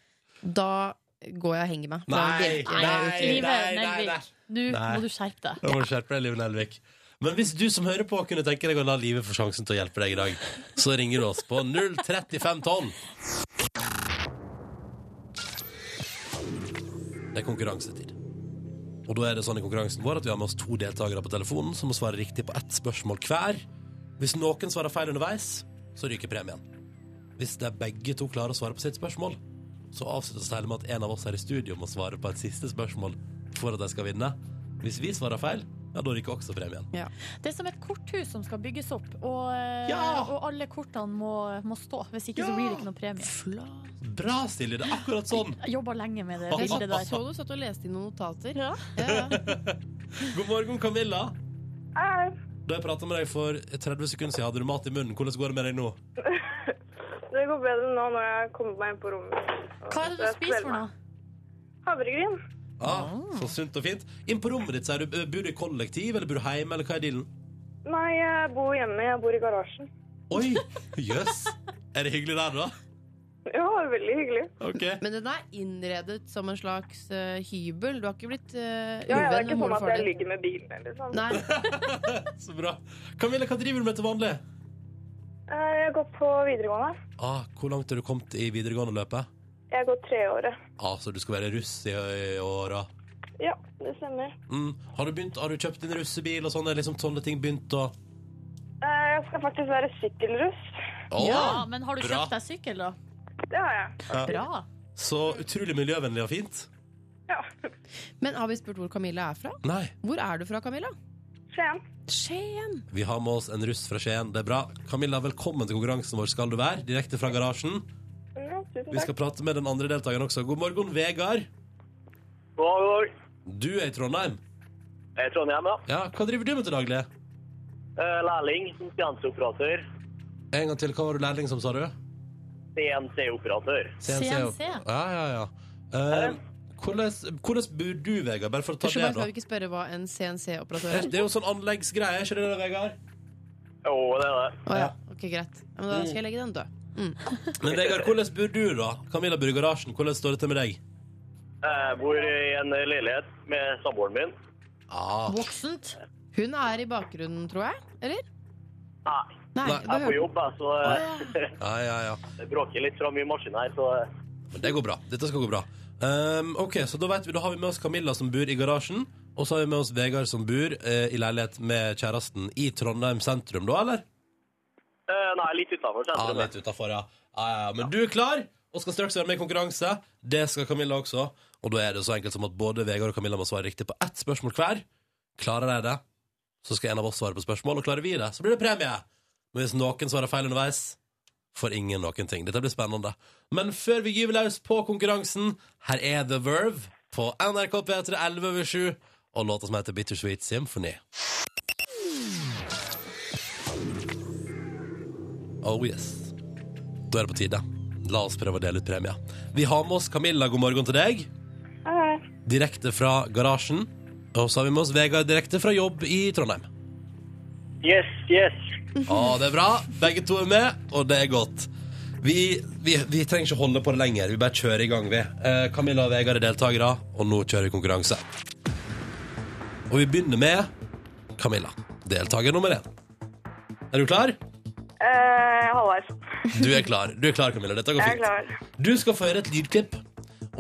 Speaker 3: da går jeg og henger meg.
Speaker 2: Nei,
Speaker 3: Da-
Speaker 2: nei.
Speaker 5: Live
Speaker 2: nei, nei,
Speaker 5: Nelvik, nå
Speaker 2: Nei.
Speaker 5: må du skjerpe deg.
Speaker 2: Jeg må skjerpe deg, Live Nelvik. Men hvis du som hører på kunne tenke deg å la livet få sjansen til å hjelpe deg i dag, så ringer du oss på 035 tonn. Det er konkurransetid. Og da er det sånn i konkurransen vår at vi har med oss to deltakere på telefonen som må svare riktig på ett spørsmål hver. Hvis noen svarer feil underveis, så ryker premien. Hvis de begge to klarer å svare på sitt spørsmål, så avsluttes det hele med at en av oss her i studio må svare på et siste spørsmål for at de skal vinne. Hvis vi svarer feil, ja, da ryker også premien.
Speaker 5: Det er som et korthus som skal bygges opp, og, eh,
Speaker 2: Ja!
Speaker 5: og alle kortene må, må stå. Hvis ikke så blir det ikke noe premie.
Speaker 2: Bra, Silje! Det er akkurat sånn!
Speaker 5: Jeg jobba lenge med det
Speaker 2: Jeg
Speaker 3: Jeg
Speaker 5: bildet der.
Speaker 3: så du satt og leste inn noen notater.
Speaker 5: Ja.
Speaker 3: Ja, ja.
Speaker 2: God morgen, Camilla. Da jeg prata med deg for 30 sekunder siden, hadde du mat i munnen. Hvordan går det med deg nå?
Speaker 7: Det går bedre nå når jeg har kommet meg inn på rommet.
Speaker 5: Hva er det du spiser for noe?
Speaker 7: Havregryn.
Speaker 2: Ah, så sunt og fint. Inn på rommet ditt, sier du. Eh, Bor du i kollektiv, eller bor du hjemme, eller hva er dealen?
Speaker 7: Nei, jeg bor hjemme. Jeg bor i garasjen.
Speaker 2: Oi! Jøss. Er det hyggelig der, da?
Speaker 7: Ja, det var veldig hyggelig.
Speaker 2: Ok.
Speaker 3: Men den er innredet som en slags eh, hybel. Du har ikke blitt uh,
Speaker 7: Ja, ja, det
Speaker 3: uvenn
Speaker 7: er ikke
Speaker 3: med
Speaker 7: sånn
Speaker 3: mor og
Speaker 7: at
Speaker 3: far
Speaker 7: jeg
Speaker 3: din.
Speaker 7: ligger med bilen eller sånn.
Speaker 3: Nei,
Speaker 2: Så bra. Camilla, hva driver du med til vanlig?
Speaker 7: Eh, Jeg har gått på videregående.
Speaker 2: Ah, hvor langt har du kommet i videregående løpet?
Speaker 7: Jeg går treåret.
Speaker 2: Ah, så du skal være russ i, i åra?
Speaker 7: Ja, det stemmer.
Speaker 2: Mm. Har, du begynt, har du kjøpt din russebil og sånn? Er liksom sånne ting begynt å
Speaker 7: Eh, Jeg skal faktisk være sykkelruss.
Speaker 2: Å,
Speaker 5: Ja, men har du
Speaker 2: bra.
Speaker 5: kjøpt deg sykkel, da?
Speaker 7: Det har jeg.
Speaker 5: Bra.
Speaker 2: Så utrolig miljøvennlig og fint.
Speaker 7: Ja.
Speaker 3: Men har vi spurt hvor Camilla er fra?
Speaker 2: Nei,
Speaker 3: Hvor er du fra, Camilla?
Speaker 7: Skien.
Speaker 3: Skien!
Speaker 2: vi har med oss en russ fra Skien. Det er bra. Camilla, velkommen til konkurransen vår Skal du være, direkte fra garasjen.
Speaker 7: Ja, tusen
Speaker 2: Vi
Speaker 7: takk.
Speaker 2: skal prate med den andre deltakeren også. God morgen, Vegard.
Speaker 8: God dag.
Speaker 2: Du er i Trondheim.
Speaker 8: Jeg er i Trondheim, ja.
Speaker 2: Ja, Hva driver du med til daglig?
Speaker 8: Eh, Lærling som CNC-operatør.
Speaker 2: En gang til, Hva var du lærling som, sa du?
Speaker 8: CNC-operatør.
Speaker 5: CNC.
Speaker 2: Ja, ja, ja. Eh, hvordan, hvordan bor du, Vegard? Bare for å ta
Speaker 3: Unnskyld
Speaker 2: det,
Speaker 3: meg,
Speaker 2: da.
Speaker 3: skal vi ikke spørre hva en CNC-operatør er?
Speaker 2: Det er jo sånn anleggsgreie, ikke det, da, Vegard?
Speaker 8: Jo, det er det.
Speaker 3: Å ja. Ok, greit. Ja, Men da skal jeg legge den død.
Speaker 2: Men Vegard, hvordan bor du, da? Camilla bor i garasjen. Hvordan står det til med deg?
Speaker 8: Jeg bor i en leilighet med samboeren min.
Speaker 2: Ah,
Speaker 5: Voksent.
Speaker 3: Hun er i bakgrunnen, tror jeg? Eller?
Speaker 8: Nei,
Speaker 3: Nei.
Speaker 2: Nei.
Speaker 8: jeg er på
Speaker 3: behøver-
Speaker 8: jobb, jeg, så eh,
Speaker 2: ja, ja, ja.
Speaker 8: det bråker litt fra mye maskin her, så eh,
Speaker 2: Men det går bra. Dette skal gå bra. Ehm, ok, så da, vet vi, da har vi med oss Camilla som bor i garasjen. Og så har vi med oss Vegard som bor eh, i leilighet med kjæresten i Trondheim sentrum, da, eller?
Speaker 8: eh, Nei, litt utafor
Speaker 2: Ja,
Speaker 8: sentrum.
Speaker 2: litt utenfor, ja. Ja, ja, ja. Men du er klar og skal straks være med i konkurranse. Det skal Camilla også. Og da er det så enkelt som at både Vegard og Camilla må svare riktig på ett spørsmål hver. Klarer de det, så skal en av oss svare på spørsmål, og klarer vi det, så blir det premie. Men hvis noen svarer feil underveis, får ingen noen ting. Dette blir spennende. Men før vi gyver løs på konkurransen, her er The Verve på NRK P3 11 over 7 og låta som heter Bittersweet Symphony. Oh yes. Da er det på tide. La oss prøve å dele ut premie. Vi har med oss Camilla, god morgen til deg.
Speaker 7: Hei.
Speaker 2: Direkte fra garasjen. Og så har vi med oss Vegard direkte fra jobb i Trondheim.
Speaker 8: Yes, yes.
Speaker 7: Mhm.
Speaker 2: Å, det er bra. Begge to er med, og det er godt. Vi, vi, vi trenger ikke holde på det lenger. Vi bare kjører i gang, vi. Eh, Camilla og Vegard er deltakere, og nå kjører vi konkurranse. Og vi begynner med Camilla. Deltaker nummer én. Er du klar?
Speaker 7: Eh, Halvveis.
Speaker 2: Du er klar, Du er klar, Camilla. Dette går
Speaker 7: Jeg er
Speaker 2: fint.
Speaker 7: klar.
Speaker 2: Du skal få høre et lydklipp,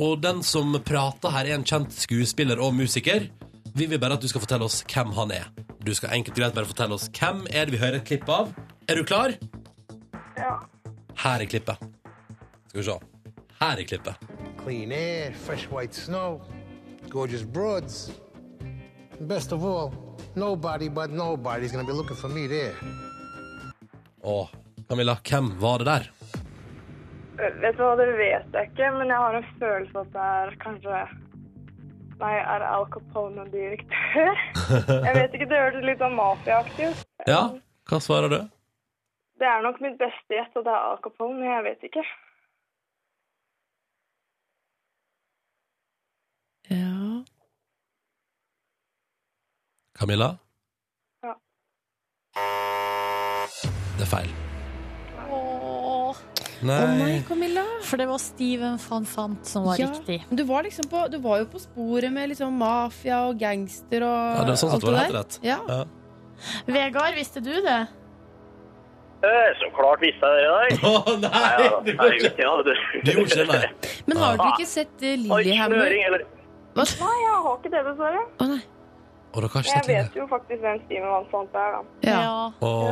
Speaker 2: og den som prater her er en kjent skuespiller og musiker. Vi vil bare at du skal fortelle oss hvem han er. Du skal enkelt og greit bare fortelle oss hvem er det vi hører et klipp av. Er du klar?
Speaker 7: Ja.
Speaker 2: Her er klippet. Skal vi se. Her er klippet.
Speaker 9: Clean air, fresh white snow, gorgeous broads. And best of all, nobody but nobody's gonna be looking for me there.
Speaker 2: Å, Camilla, hvem var det der?
Speaker 7: Vet du hva, det vet jeg ikke, men jeg har en følelse at det er kanskje Nei, er Al Capone en direktør? Jeg vet ikke, det hørtes litt sånn mafiaaktig ut.
Speaker 2: Ja, hva svarer du?
Speaker 7: Det er nok mitt beste gjett at det er Al Capone, men jeg vet ikke.
Speaker 3: Ja.
Speaker 2: Camilla?
Speaker 7: Ja.
Speaker 2: Det er feil.
Speaker 5: Åh,
Speaker 2: Nei.
Speaker 3: Å nei, Camilla!
Speaker 5: for det var Steven van Sant som var riktig.
Speaker 3: Men du var, liksom på, du var jo på sporet med liksom mafia og gangster og
Speaker 2: Ja, det var sånn sett
Speaker 3: alt
Speaker 2: var det
Speaker 3: der.
Speaker 2: helt rett.
Speaker 3: Ja.
Speaker 2: Ja.
Speaker 5: Vegard, visste du det?
Speaker 8: Eh, Så klart visste jeg det i dag.
Speaker 2: Å
Speaker 8: Nei,
Speaker 2: nei!
Speaker 8: ja,
Speaker 2: Du
Speaker 8: nei,
Speaker 2: gjorde
Speaker 8: jeg
Speaker 2: ikke
Speaker 8: visste, ja, du.
Speaker 2: du gjorde ikke det, nei.
Speaker 3: Men har du
Speaker 8: Ah.
Speaker 3: ikke sett eh,
Speaker 8: Oi,
Speaker 3: Lillehammer?
Speaker 8: snøring, eller?
Speaker 3: Hva?
Speaker 7: Nei, jeg har ikke det, dessverre.
Speaker 3: Å, nei.
Speaker 2: Og dere har ikke
Speaker 7: Jeg
Speaker 2: sett det?
Speaker 7: vet jo faktisk hvem Steven Van Sant er, da.
Speaker 3: Ja.
Speaker 2: Og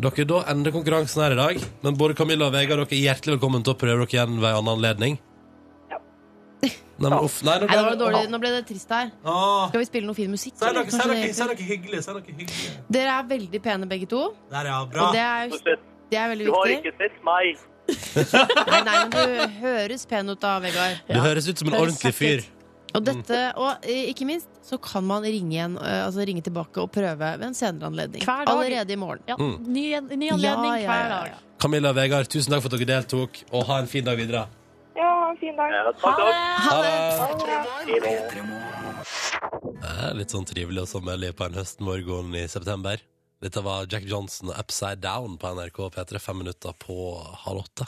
Speaker 7: Ja.
Speaker 2: dere, da ender konkurransen her i dag. Men både Camilla og Vegard, dere er hjertelig velkommen til å prøve dere igjen ved en annen anledning.
Speaker 7: Ja.
Speaker 2: Nei, men uff. Nei, nå ble
Speaker 3: Nei, det var
Speaker 2: det-
Speaker 3: dårlig. Nå ble det trist her.
Speaker 2: Åh.
Speaker 3: Skal vi spille noe fin musikk?
Speaker 2: Si
Speaker 3: eller?
Speaker 2: noe, si
Speaker 3: Kanskje
Speaker 2: noe,
Speaker 3: det-
Speaker 2: si noe hyggelig. Si noe hyggelig.
Speaker 3: Dere er veldig pene begge to,
Speaker 2: Der, ja.
Speaker 3: og
Speaker 2: Bra.
Speaker 3: det er,
Speaker 8: Du sett-
Speaker 3: det er veldig
Speaker 8: Du har
Speaker 3: viktig.
Speaker 8: ikke sett meg.
Speaker 3: Nei, nei, men du høres pen ut da, Vegard.
Speaker 2: Du høres ut som en
Speaker 3: Høres
Speaker 2: ordentlig
Speaker 3: kjekt
Speaker 2: fyr.
Speaker 3: ut. Og, dette, og eh, ikke minst så kan man ringe, igjen, eh, altså ringe tilbake og prøve ved en senere anledning.
Speaker 5: Hver dag.
Speaker 3: Allerede i morgen. Mm.
Speaker 5: Ja, ny, ny anledning
Speaker 3: Ja, ja, ja,
Speaker 5: hver dag.
Speaker 3: ja.
Speaker 2: Camilla og Vegard, tusen takk for at dere deltok, og ha en fin dag videre.
Speaker 7: Ja, ha en fin dag.
Speaker 8: Ja, Takk, takk.
Speaker 2: Ha det!
Speaker 8: I morgen.
Speaker 2: Det er Litt sånn trivelig og sommerlig på en høstmorgen i september. Dette var Jack Johnson og Upside Down på NRK P3, fem minutter på halv åtte.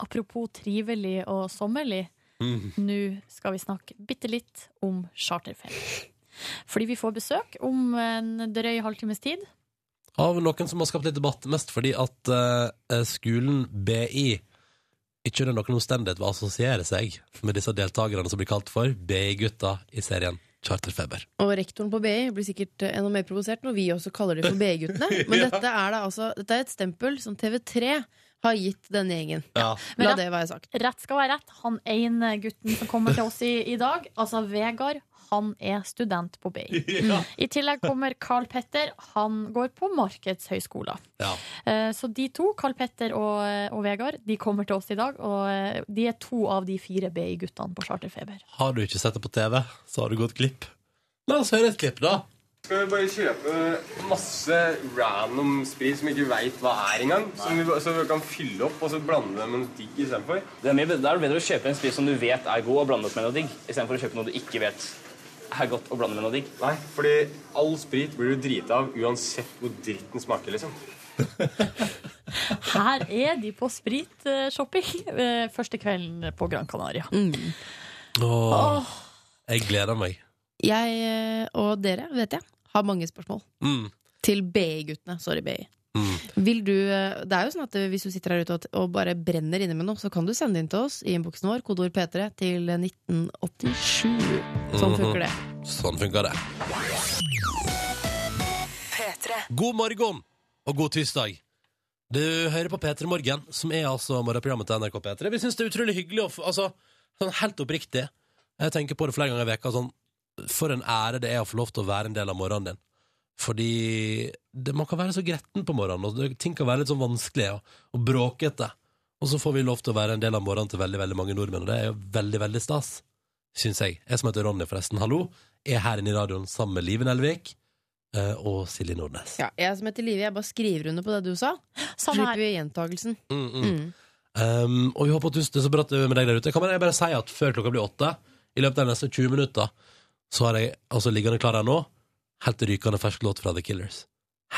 Speaker 5: Apropos trivelig og sommerlig,
Speaker 3: Mm.
Speaker 5: nå skal vi snakke bitte litt om charterferie. Fordi vi får besøk om en drøy halvtimes tid
Speaker 2: av noen som har skapt litt debatt, mest fordi at eh, skolen BI ikke under noen omstendighet vil assosiere seg med disse deltakerne som blir kalt for BI-gutta i serien Charterfeber.
Speaker 3: Og rektoren på BI blir sikkert eh, enda mer provosert når vi også kaller dem for BI-guttene. Men dette, er da altså, dette er et stempel som TV3 har gitt denne gjengen.
Speaker 2: Ja.
Speaker 3: La
Speaker 5: Men da-
Speaker 3: det være sagt.
Speaker 5: Rett skal være rett. Han ene gutten som kommer til oss i, i dag, altså Vegard, han er student på BI. I tillegg kommer Carl Petter. Han går på Markedshøgskolen.
Speaker 2: Ja.
Speaker 5: Eh, Så de to, Carl Petter og, eh, og Vegard, de kommer til oss i dag. Og eh, de er to av de fire BI-guttene på Charterfeber.
Speaker 2: Har du ikke sett det på TV, så har du gått glipp. La oss høre et klipp, da.
Speaker 10: Skal vi bare kjøpe masse random sprit som vi ikke veit hva er engang? Som vi, så vi kan fylle opp og så blande det med noe digg istedenfor?
Speaker 11: Det er, mye, bedre- da er det bedre å kjøpe en sprit som du vet er god, og blande opp med noe digg, istedenfor å kjøpe noe du ikke vet er godt, og blande med noe digg.
Speaker 10: Nei, fordi all sprit blir du drita av uansett hvor dritten smaker, liksom.
Speaker 5: Her er de på spritshopping eh, første kvelden på Gran Canaria.
Speaker 2: Åh, Jeg gleder meg.
Speaker 3: Jeg eh, og dere, vet jeg, har mange spørsmål.
Speaker 2: Mm.
Speaker 3: Til BI-guttene. Sorry, BI.
Speaker 2: Mm.
Speaker 3: Vil du, eh, det er jo sånn at eh, Hvis du sitter her ute og- og bare brenner inne med noe, så kan du sende inn til oss i innboksen vår, kodeord P3, til 1987.
Speaker 2: Mm.
Speaker 3: Sånn funker det.
Speaker 2: Sånn funker det. God morgen og god tirsdag. Du hører på P3 Morgen, som er altså morgenprogrammet til NRK P3. Vi syns det er utrolig hyggelig å få altså, sånn helt oppriktig. Jeg tenker på det flere ganger i veka sånn For en ære det er å få lov til å være en del av morgenen din. Fordi det, man kan være så gretten på morgenen, og det, ting kan være litt sånn vanskelig og, og bråkete. Og så får vi lov til å være en del av morgenen til veldig veldig mange nordmenn, og det er jo veldig, veldig stas syns jeg. Jeg som heter Ronny, forresten. Hallo. Er her inne i radioen sammen med Live Nelvik eh, og Silje Nordnes.
Speaker 3: Ja, jeg som heter Live, jeg bare skriver under på det du sa. Så
Speaker 5: Samme
Speaker 3: slipper
Speaker 5: her.
Speaker 3: vi gjentagelsen.
Speaker 2: Mm, mm.
Speaker 3: Mm.
Speaker 2: Um, og vi håper at du det er så bra at det er med deg der ute. Kan jeg bare si at før klokka blir åtte, i løpet av de neste 20 minutter, så har jeg altså liggende klar her nå, helt rykende fersk låt fra The Killers.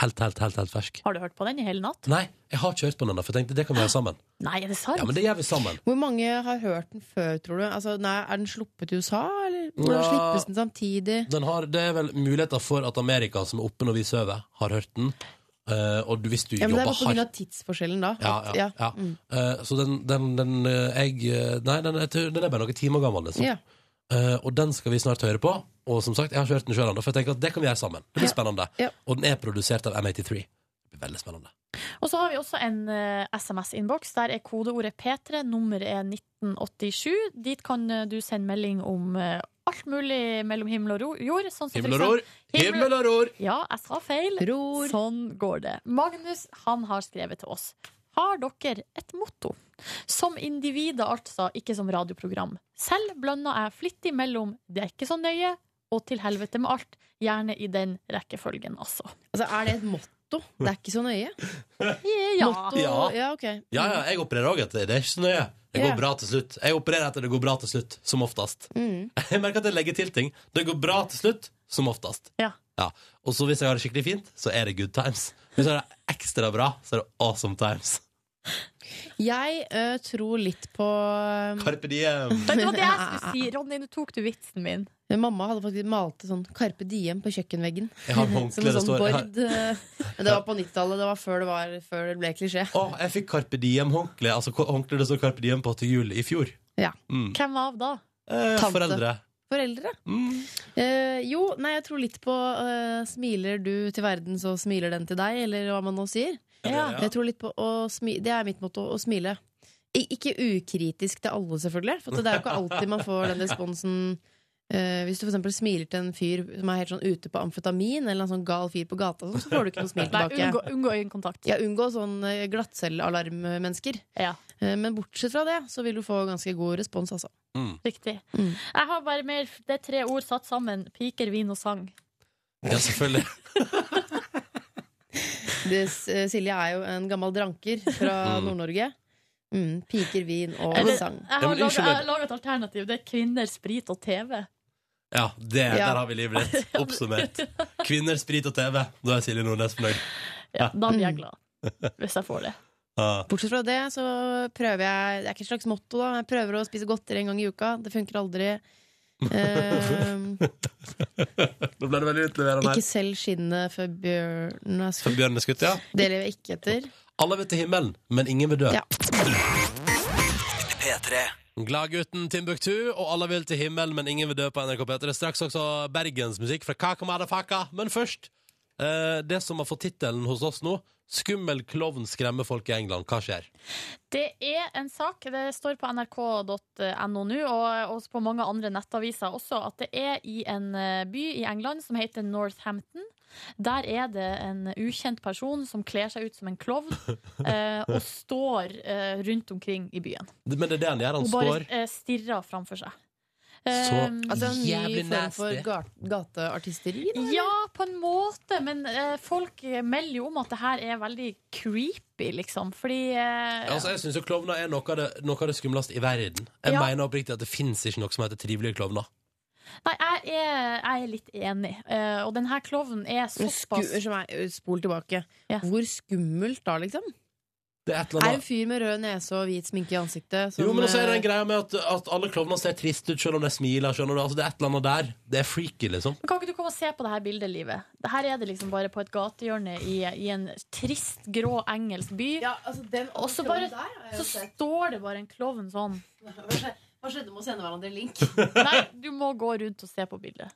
Speaker 2: Helt, helt, helt, helt fersk.
Speaker 5: Har du hørt på den i hele natt?
Speaker 2: Nei, jeg har ikke hørt på den ennå, for jeg tenkte det kan vi gjøre sammen.
Speaker 5: Nei, er det sant?
Speaker 2: Ja, men det gjør vi sammen.
Speaker 3: Hvor mange har hørt den før, tror du? Altså, nei, er den sluppet i USA, eller? Hvordan
Speaker 2: Ja.
Speaker 3: slippes den samtidig?
Speaker 2: Den har, det er vel muligheter for at Amerika, som er oppe når vi sover, har hørt den. Eh, og du, hvis du
Speaker 3: Ja, men
Speaker 2: jobber
Speaker 3: Det er bare pga.
Speaker 2: hardt
Speaker 3: tidsforskjellen, da.
Speaker 2: Ja,
Speaker 3: At-
Speaker 2: ja, ja.
Speaker 3: Mm.
Speaker 2: Eh, så den, den, den eh, jeg eh, Nei, den, er- den er bare noen timer gammel, liksom.
Speaker 3: Ja.
Speaker 2: Eh, og den skal vi snart høre på. Og som sagt, jeg har ikke hørt den sjøl ennå, for jeg tenker at det kan vi gjøre sammen. Det blir spennende.
Speaker 3: Ja.
Speaker 2: Og den er produsert av M83. Det blir veldig spennende.
Speaker 5: Og så har vi også en eh, SMS-innboks. Der er kodeordet P3, nummeret er 1987. Dit kan eh, du sende melding om eh, alt mulig mellom himmel og ro- jord. Sånn som for
Speaker 2: Himmel og ror!
Speaker 5: Himmel-
Speaker 2: Himmel og ror!
Speaker 5: eksempel- Ja, jeg sa feil.
Speaker 3: Ror.
Speaker 5: Sånn går det. Magnus, han har skrevet til oss. Har dere et motto? Som individer, altså, ikke som radioprogram. Selv blander jeg flittig mellom 'det er ikke så nøye' og 'til helvete med alt'. Gjerne i den rekkefølgen, altså.
Speaker 3: Altså, er det et motto? Det er ikke så nøye.
Speaker 5: Ja.
Speaker 3: Motto,
Speaker 2: Ja.
Speaker 3: ja, ok.
Speaker 2: Ja, ja, jeg opererer òg etter det. er ikke så nøye. Det går
Speaker 3: Ja.
Speaker 2: bra til slutt. Jeg opererer etter det går bra til slutt, som oftest.
Speaker 3: Mm.
Speaker 2: Jeg merker at jeg legger til ting. Det går bra til slutt, som oftest.
Speaker 5: Ja.
Speaker 2: Og så hvis jeg har det skikkelig fint, så er det good times. Hvis jeg har det ekstra bra, så er det awesome times.
Speaker 3: Jeg eh, tror litt på
Speaker 2: Carpe diem.
Speaker 5: Men Det var det jeg skulle si. Ronny, nå tok du vitsen min.
Speaker 3: eh, Mamma hadde faktisk malt sånn Carpe Diem på kjøkkenveggen.
Speaker 2: Jeg har
Speaker 3: Som
Speaker 2: håndkle
Speaker 3: en
Speaker 2: det
Speaker 3: sånn
Speaker 2: står jeg har-
Speaker 3: bord. eh, Men det var på 90-tallet. Det var før det, var, før det ble klisjé.
Speaker 2: Å, jeg fikk Carpe Diem-håndkle. Altså ko- håndkle det står Carpe Diem på til jul i fjor.
Speaker 3: Ja.
Speaker 2: Mm.
Speaker 5: Hvem av da?
Speaker 2: Eh,
Speaker 3: Tante.
Speaker 2: foreldre.
Speaker 3: Foreldre?
Speaker 2: Mm.
Speaker 3: Eh, jo, nei, jeg tror litt på eh, smiler du til verden, så smiler den til deg, eller hva man nå sier.
Speaker 2: Ja.
Speaker 3: Jeg tror litt på å smi Det er mitt motto, å smile. I ikke ukritisk til alle, selvfølgelig. For at det er jo ikke alltid man får den responsen eh, Hvis du for eksempel smiler til en fyr som er helt sånn ute på amfetamin, eller en sånn gal fyr på gata, og sånn, så får du ikke noe smil
Speaker 5: Nei,
Speaker 3: tilbake.
Speaker 5: unngå, unngå øyekontakt.
Speaker 3: Ja, unngå sånn eh, glattcellealarmmennesker.
Speaker 5: Ja.
Speaker 3: Eh, Men bortsett fra det, så vil du få ganske god respons, altså.
Speaker 5: Riktig.
Speaker 3: Mm.
Speaker 5: Jeg har bare mer Det er tre ord satt sammen. Piker, vin og sang.
Speaker 2: Ja, selvfølgelig.
Speaker 3: Det, eh, Silje er jo en gammel dranker fra
Speaker 2: Mm.
Speaker 3: Nord-Norge. Mm, piker, vin og
Speaker 5: Eller-
Speaker 3: sang.
Speaker 5: Jeg
Speaker 2: Ja,
Speaker 5: har
Speaker 2: men unnskyld meg.
Speaker 5: laga et alternativ. Det er kvinner, sprit og TV.
Speaker 2: Ja, det,
Speaker 3: Ja.
Speaker 2: Der har vi livet ditt oppsummert. Kvinner, sprit og TV. Da er Silje Nordnes fornøyd.
Speaker 5: Ja, da blir jeg glad. Hvis jeg får det.
Speaker 2: Ah.
Speaker 3: Bortsett fra det så prøver jeg Det er ikke et slags motto, da. Jeg prøver å spise godteri en gang i uka. Det funker aldri. Eh,
Speaker 2: Nå ble det veldig utleverende
Speaker 3: ikke
Speaker 2: her.
Speaker 3: selv skinnet før bjørnen er
Speaker 2: For
Speaker 3: skutt.
Speaker 2: bjørnen er skutt, ja.
Speaker 3: Det lever jeg ikke etter.
Speaker 2: Alle vil til himmelen, men ingen vil dø.
Speaker 3: Ja.
Speaker 2: Gladgutten Timbuktu og Alle vil til himmelen, men ingen vil dø på NRK P3. Straks også bergensmusikk fra Kaka Madafaka. Men først, eh, det som har fått tittelen hos oss nå, 'Skummel klovn skremmer folk i England'. Hva skjer?
Speaker 5: Det er en sak, det står på nrk.no nå, og også på mange andre nettaviser også, at det er i en eh, by i England som heter Northampton. Der er det en ukjent person som kler seg ut som en klovn eh, og står eh, rundt omkring i byen.
Speaker 2: Det- Men det er det han gjør. Han
Speaker 5: Hun bare
Speaker 2: står
Speaker 5: eh, stirrer framfor seg.
Speaker 2: Så-
Speaker 5: Eh,
Speaker 3: Altså en ny
Speaker 2: Jævlig
Speaker 3: form for
Speaker 2: nasty.
Speaker 3: ga- gateartisteri. da.
Speaker 5: Ja, på en måte, men eh, folk melder jo om at det her er veldig creepy, liksom. Fordi eh,
Speaker 2: altså, Jeg syns klovner er noe av det, noe av det skumleste i verden. Jeg
Speaker 5: Ja.
Speaker 2: mener oppriktig at det fins ikke noe som heter trivelige klovner.
Speaker 5: Nei, jeg er, jeg er litt enig. Eh, og den her klovnen
Speaker 3: Men
Speaker 5: er
Speaker 3: sku-
Speaker 2: eh,
Speaker 5: såpass
Speaker 3: som er- Spol tilbake.
Speaker 5: Ja.
Speaker 3: Hvor skummelt da, liksom?
Speaker 2: Det er et eller
Speaker 3: Er en
Speaker 2: annet
Speaker 3: fyr med rød nese og hvit sminke i ansiktet som
Speaker 2: Jo, men også er det
Speaker 3: eh,
Speaker 2: en greie med at, at alle klovner ser triste ut selv om de smiler. Skjønner du? Altså, det er et eller annet der. Det er freaky, liksom.
Speaker 5: Men Kan ikke du komme og se på det her bildet, Livet? Det her er det liksom bare på et gatehjørne i, i en trist, grå engelsk by.
Speaker 3: Ja, altså den
Speaker 5: Og så bare- Så står det bare en klovn sånn.
Speaker 3: Hva skjedde med å sende hverandre link?
Speaker 5: Nei, du må gå rundt og se på bildet.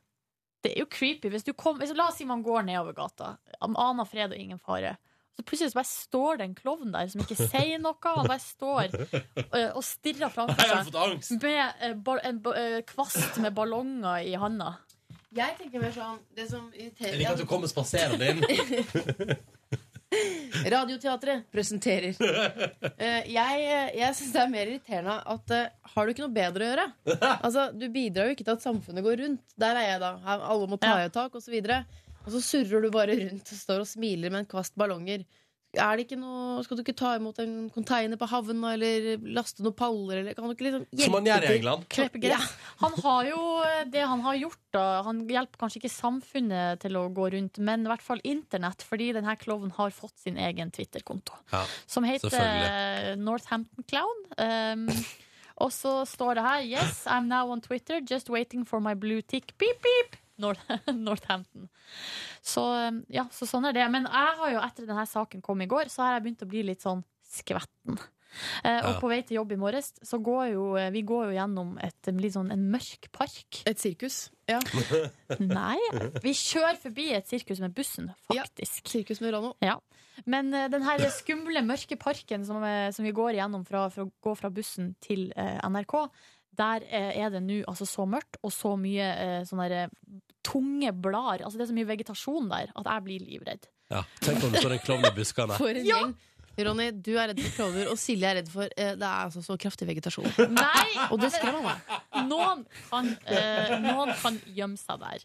Speaker 5: Det er jo creepy. Hvis du kom, hvis, la oss si man går nedover gata. Am- Aner fred og ingen fare. Så plutselig så bare står det en klovn der som ikke sier noe. Han bare står eh, og stirrer framfor
Speaker 2: Jeg har
Speaker 5: seg.
Speaker 2: fått angst!
Speaker 5: Med eh, ball- en ba- eh, kvast med ballonger i handa.
Speaker 3: Jeg tenker mer sånn Det som irriterer
Speaker 2: Jeg liker at du kommer spaserende inn.
Speaker 3: Radioteatret presenterer. Eh, jeg jeg syns det er mer irriterende at eh, har du ikke noe bedre å gjøre? Altså, Du bidrar jo ikke til at samfunnet går rundt. Der er jeg, da. Her- Alle må ta i et tak, osv. Og så surrer du bare rundt og står og smiler med en kvast ballonger. Er det ikke noe, Skal du ikke ta imot en container på havna, eller laste noen paller, eller kan du ikke liksom
Speaker 2: Som man gjør i
Speaker 3: til?
Speaker 2: England.
Speaker 5: Klippe gress. Han har jo eh, det han har gjort, da. Han hjelper kanskje ikke samfunnet til å gå rundt, men i hvert fall internett, fordi denne klovnen har fått sin egen Twitter-konto.
Speaker 2: Ja,
Speaker 5: som heter
Speaker 2: selvfølgelig.
Speaker 5: eh, Northampton Clown. Um, og så står det her Yes, I'm now on Twitter, just waiting for my blue tick. Beep, beep! North Northampton. Så um, ja, så sånn er det. Men jeg har jo etter denne saken kom i går, så har jeg begynt å bli litt sånn skvetten. Eh, og
Speaker 2: Ja.
Speaker 5: på vei til jobb i morges så går jo eh, vi går jo gjennom et, eh, litt sånn en mørk park.
Speaker 3: Et sirkus. Ja.
Speaker 5: Nei, vi kjører forbi et sirkus med bussen,
Speaker 3: Ja.
Speaker 5: faktisk.
Speaker 3: Sirkus Murano.
Speaker 5: Men eh, den her skumle, mørke parken som, eh, som vi går igjennom fra, for å gå fra bussen til eh, NRK, der eh, er det nå altså så mørkt og så mye eh, sånne der, eh, tunge blader. Altså det er så mye vegetasjon der at jeg blir livredd.
Speaker 2: Ja. Tenk om det står en klovn i buskene.
Speaker 3: For en gjeng. Ronny, du er redd for klovner, og Silje er redd for eh, Det er altså så kraftig vegetasjon.
Speaker 5: Nei!
Speaker 3: Og det skremmer meg.
Speaker 5: Noen kan, eh, noen kan gjemme seg der.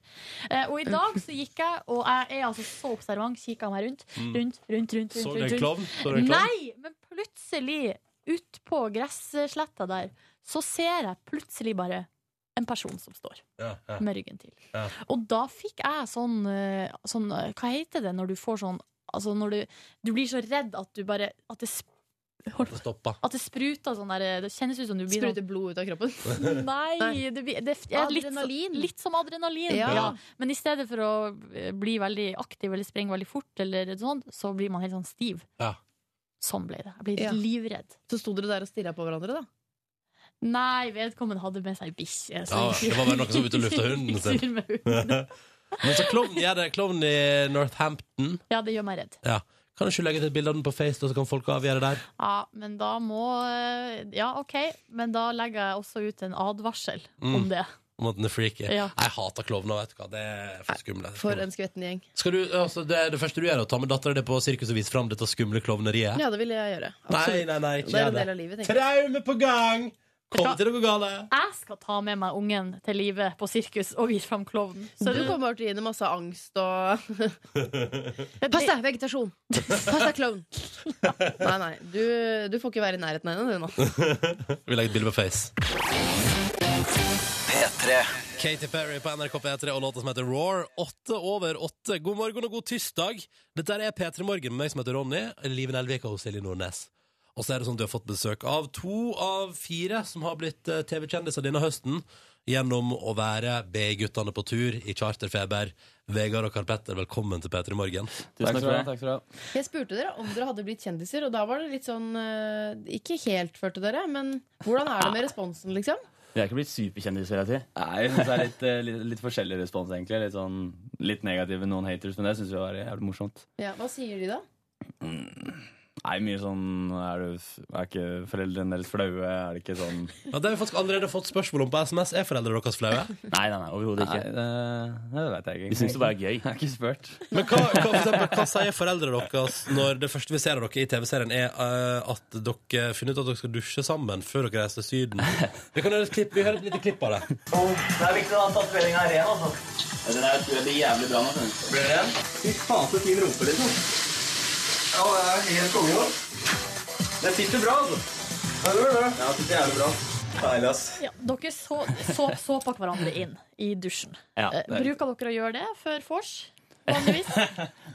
Speaker 5: Eh, og i dag så gikk jeg, og jeg er altså så observant, kikka meg rundt, rundt, rundt, rundt. rundt,
Speaker 2: Mm. Så det
Speaker 5: rundt,
Speaker 2: en
Speaker 5: rundt.
Speaker 2: klovn? Så det en klovn?
Speaker 5: Nei, men plutselig ut på gressletta der, så ser jeg plutselig bare en person som står
Speaker 2: Ja, ja.
Speaker 5: med ryggen til.
Speaker 2: Ja.
Speaker 5: Og da fikk jeg sånn, eh, sånn eh, Hva heter det når du får sånn Altså når du, du blir så redd at du bare At det, sp-
Speaker 2: Det stoppa.
Speaker 5: at det spruter sånn der eh, Det kjennes ut som du blir sånn
Speaker 3: Sprute blod ut av kroppen.
Speaker 5: Nei! Det, blir- det er litt,
Speaker 3: Adrenalin.
Speaker 5: litt som adrenalin. Ja.
Speaker 3: Ja.
Speaker 5: Men i stedet for å eh, bli veldig aktiv eller springe veldig fort, eller sånn, så blir man helt sånn stiv.
Speaker 2: Ja.
Speaker 5: Sånn ble det. Jeg ble
Speaker 3: Ja.
Speaker 5: livredd.
Speaker 3: Så sto dere der og stirra på hverandre, da.
Speaker 5: Nei, vedkommende hadde med seg bikkje. så-
Speaker 2: Ja, det var vel noen som var ute og lufta hunden sin.
Speaker 5: Gikk tur med hunden.
Speaker 2: Men så klovn gjør det. Klovn i Northampton.
Speaker 5: Ja, det gjør meg redd.
Speaker 2: Ja. Kan du ikke legge til et bilde av den på Face, da, så kan folk avgjøre der?
Speaker 5: Ja, men da må eh, Ja, OK, men da legger jeg også ut en advarsel om
Speaker 2: Mm.
Speaker 5: det.
Speaker 2: Om at den er freaky.
Speaker 5: Ja.
Speaker 2: Jeg hater klovner, vet du hva. Det er for skummelt.
Speaker 3: For en skvetten gjeng.
Speaker 2: Skal du, altså, det, det første du gjør, er å ta med dattera di på sirkus og vise fram dette skumle klovneriet?
Speaker 3: Ja, det ville jeg gjøre.
Speaker 2: Nei,
Speaker 3: Absolutt.
Speaker 2: nei, nei,
Speaker 3: Det
Speaker 2: ikke
Speaker 3: er
Speaker 2: gjør
Speaker 3: en del
Speaker 2: det.
Speaker 3: av livet, tenker jeg.
Speaker 2: Traume på gang! Kom
Speaker 5: Vet
Speaker 2: til å gå galt.
Speaker 5: Jeg skal ta med meg ungen til live på sirkus og vise fram klovnen. Så
Speaker 3: Du
Speaker 5: det-
Speaker 3: kommer til å gi henne masse angst og
Speaker 5: det-
Speaker 3: Pass deg, vegetasjon! Pass deg, klovn! Nei, nei. Du, du får ikke være i nærheten av henne, du nå.
Speaker 2: Vi legger et bilde på Face. Katy Perry på NRK P3 og låta som heter Roar. Åtte over åtte. God morgen og god tirsdag. Dette er P3 Morgen med meg som heter Ronny, Liven Elvik og Silje Nordnes. Og så er det sånn at du har fått besøk av to av fire som har blitt eh, TV-kjendiser denne høsten.
Speaker 12: gjennom å være B-guttene på tur i charterfeber. Vegard og Karl Petter, velkommen til P3 Morgen.
Speaker 11: Tusen takk skal du ha, takk skal du ha.
Speaker 3: Jeg spurte dere om dere hadde blitt kjendiser, og da var det litt sånn eh, Ikke helt førte dere, men hvordan er det med responsen, liksom?
Speaker 11: Vi er ikke blitt superkjendiser hele tiden. Nei, jeg synes det er litt, eh, litt, litt forskjellig respons, egentlig. Litt, sånn, litt negative, noen haters, men det syns vi var jævlig morsomt.
Speaker 3: Ja, hva sier de da?
Speaker 11: Nei, mye sånn Er, du, er ikke foreldrene deres flaue? Er det ikke sånn
Speaker 12: Ja, det har vi faktisk allerede fått spørsmål om på SMS. Er foreldrene deres flaue?
Speaker 11: Nei, nei, nei overhodet ikke. Nei, det, det vet jeg ikke. De syns det bare er gøy. Jeg har ikke spurt.
Speaker 12: Men hva, hva, for eksempel, hva sier foreldrene deres når det første vi ser av dere i TV-serien, er eh, at dere finner ut at dere skal dusje sammen før dere reiser til Syden? Vi kan høre et klipp, vi hører et lite klipp av det.
Speaker 13: Det er viktig å ha tatovering av ren, altså. Ja, den er, tror jeg blir jævlig bra nå. Blir det ren? Fy faen, så fin rumpe, liksom. Ja, det er helt konge nå. Den sitter bra, altså. Ja, det gjør det. Ja, det sitter jævlig bra. Deilig, ass.
Speaker 5: Ja, dere så, så, såpa hverandre inn i dusjen.
Speaker 11: Ja,
Speaker 5: Eh,
Speaker 11: det er
Speaker 5: Bruker dere å gjøre det før vors? Vanligvis?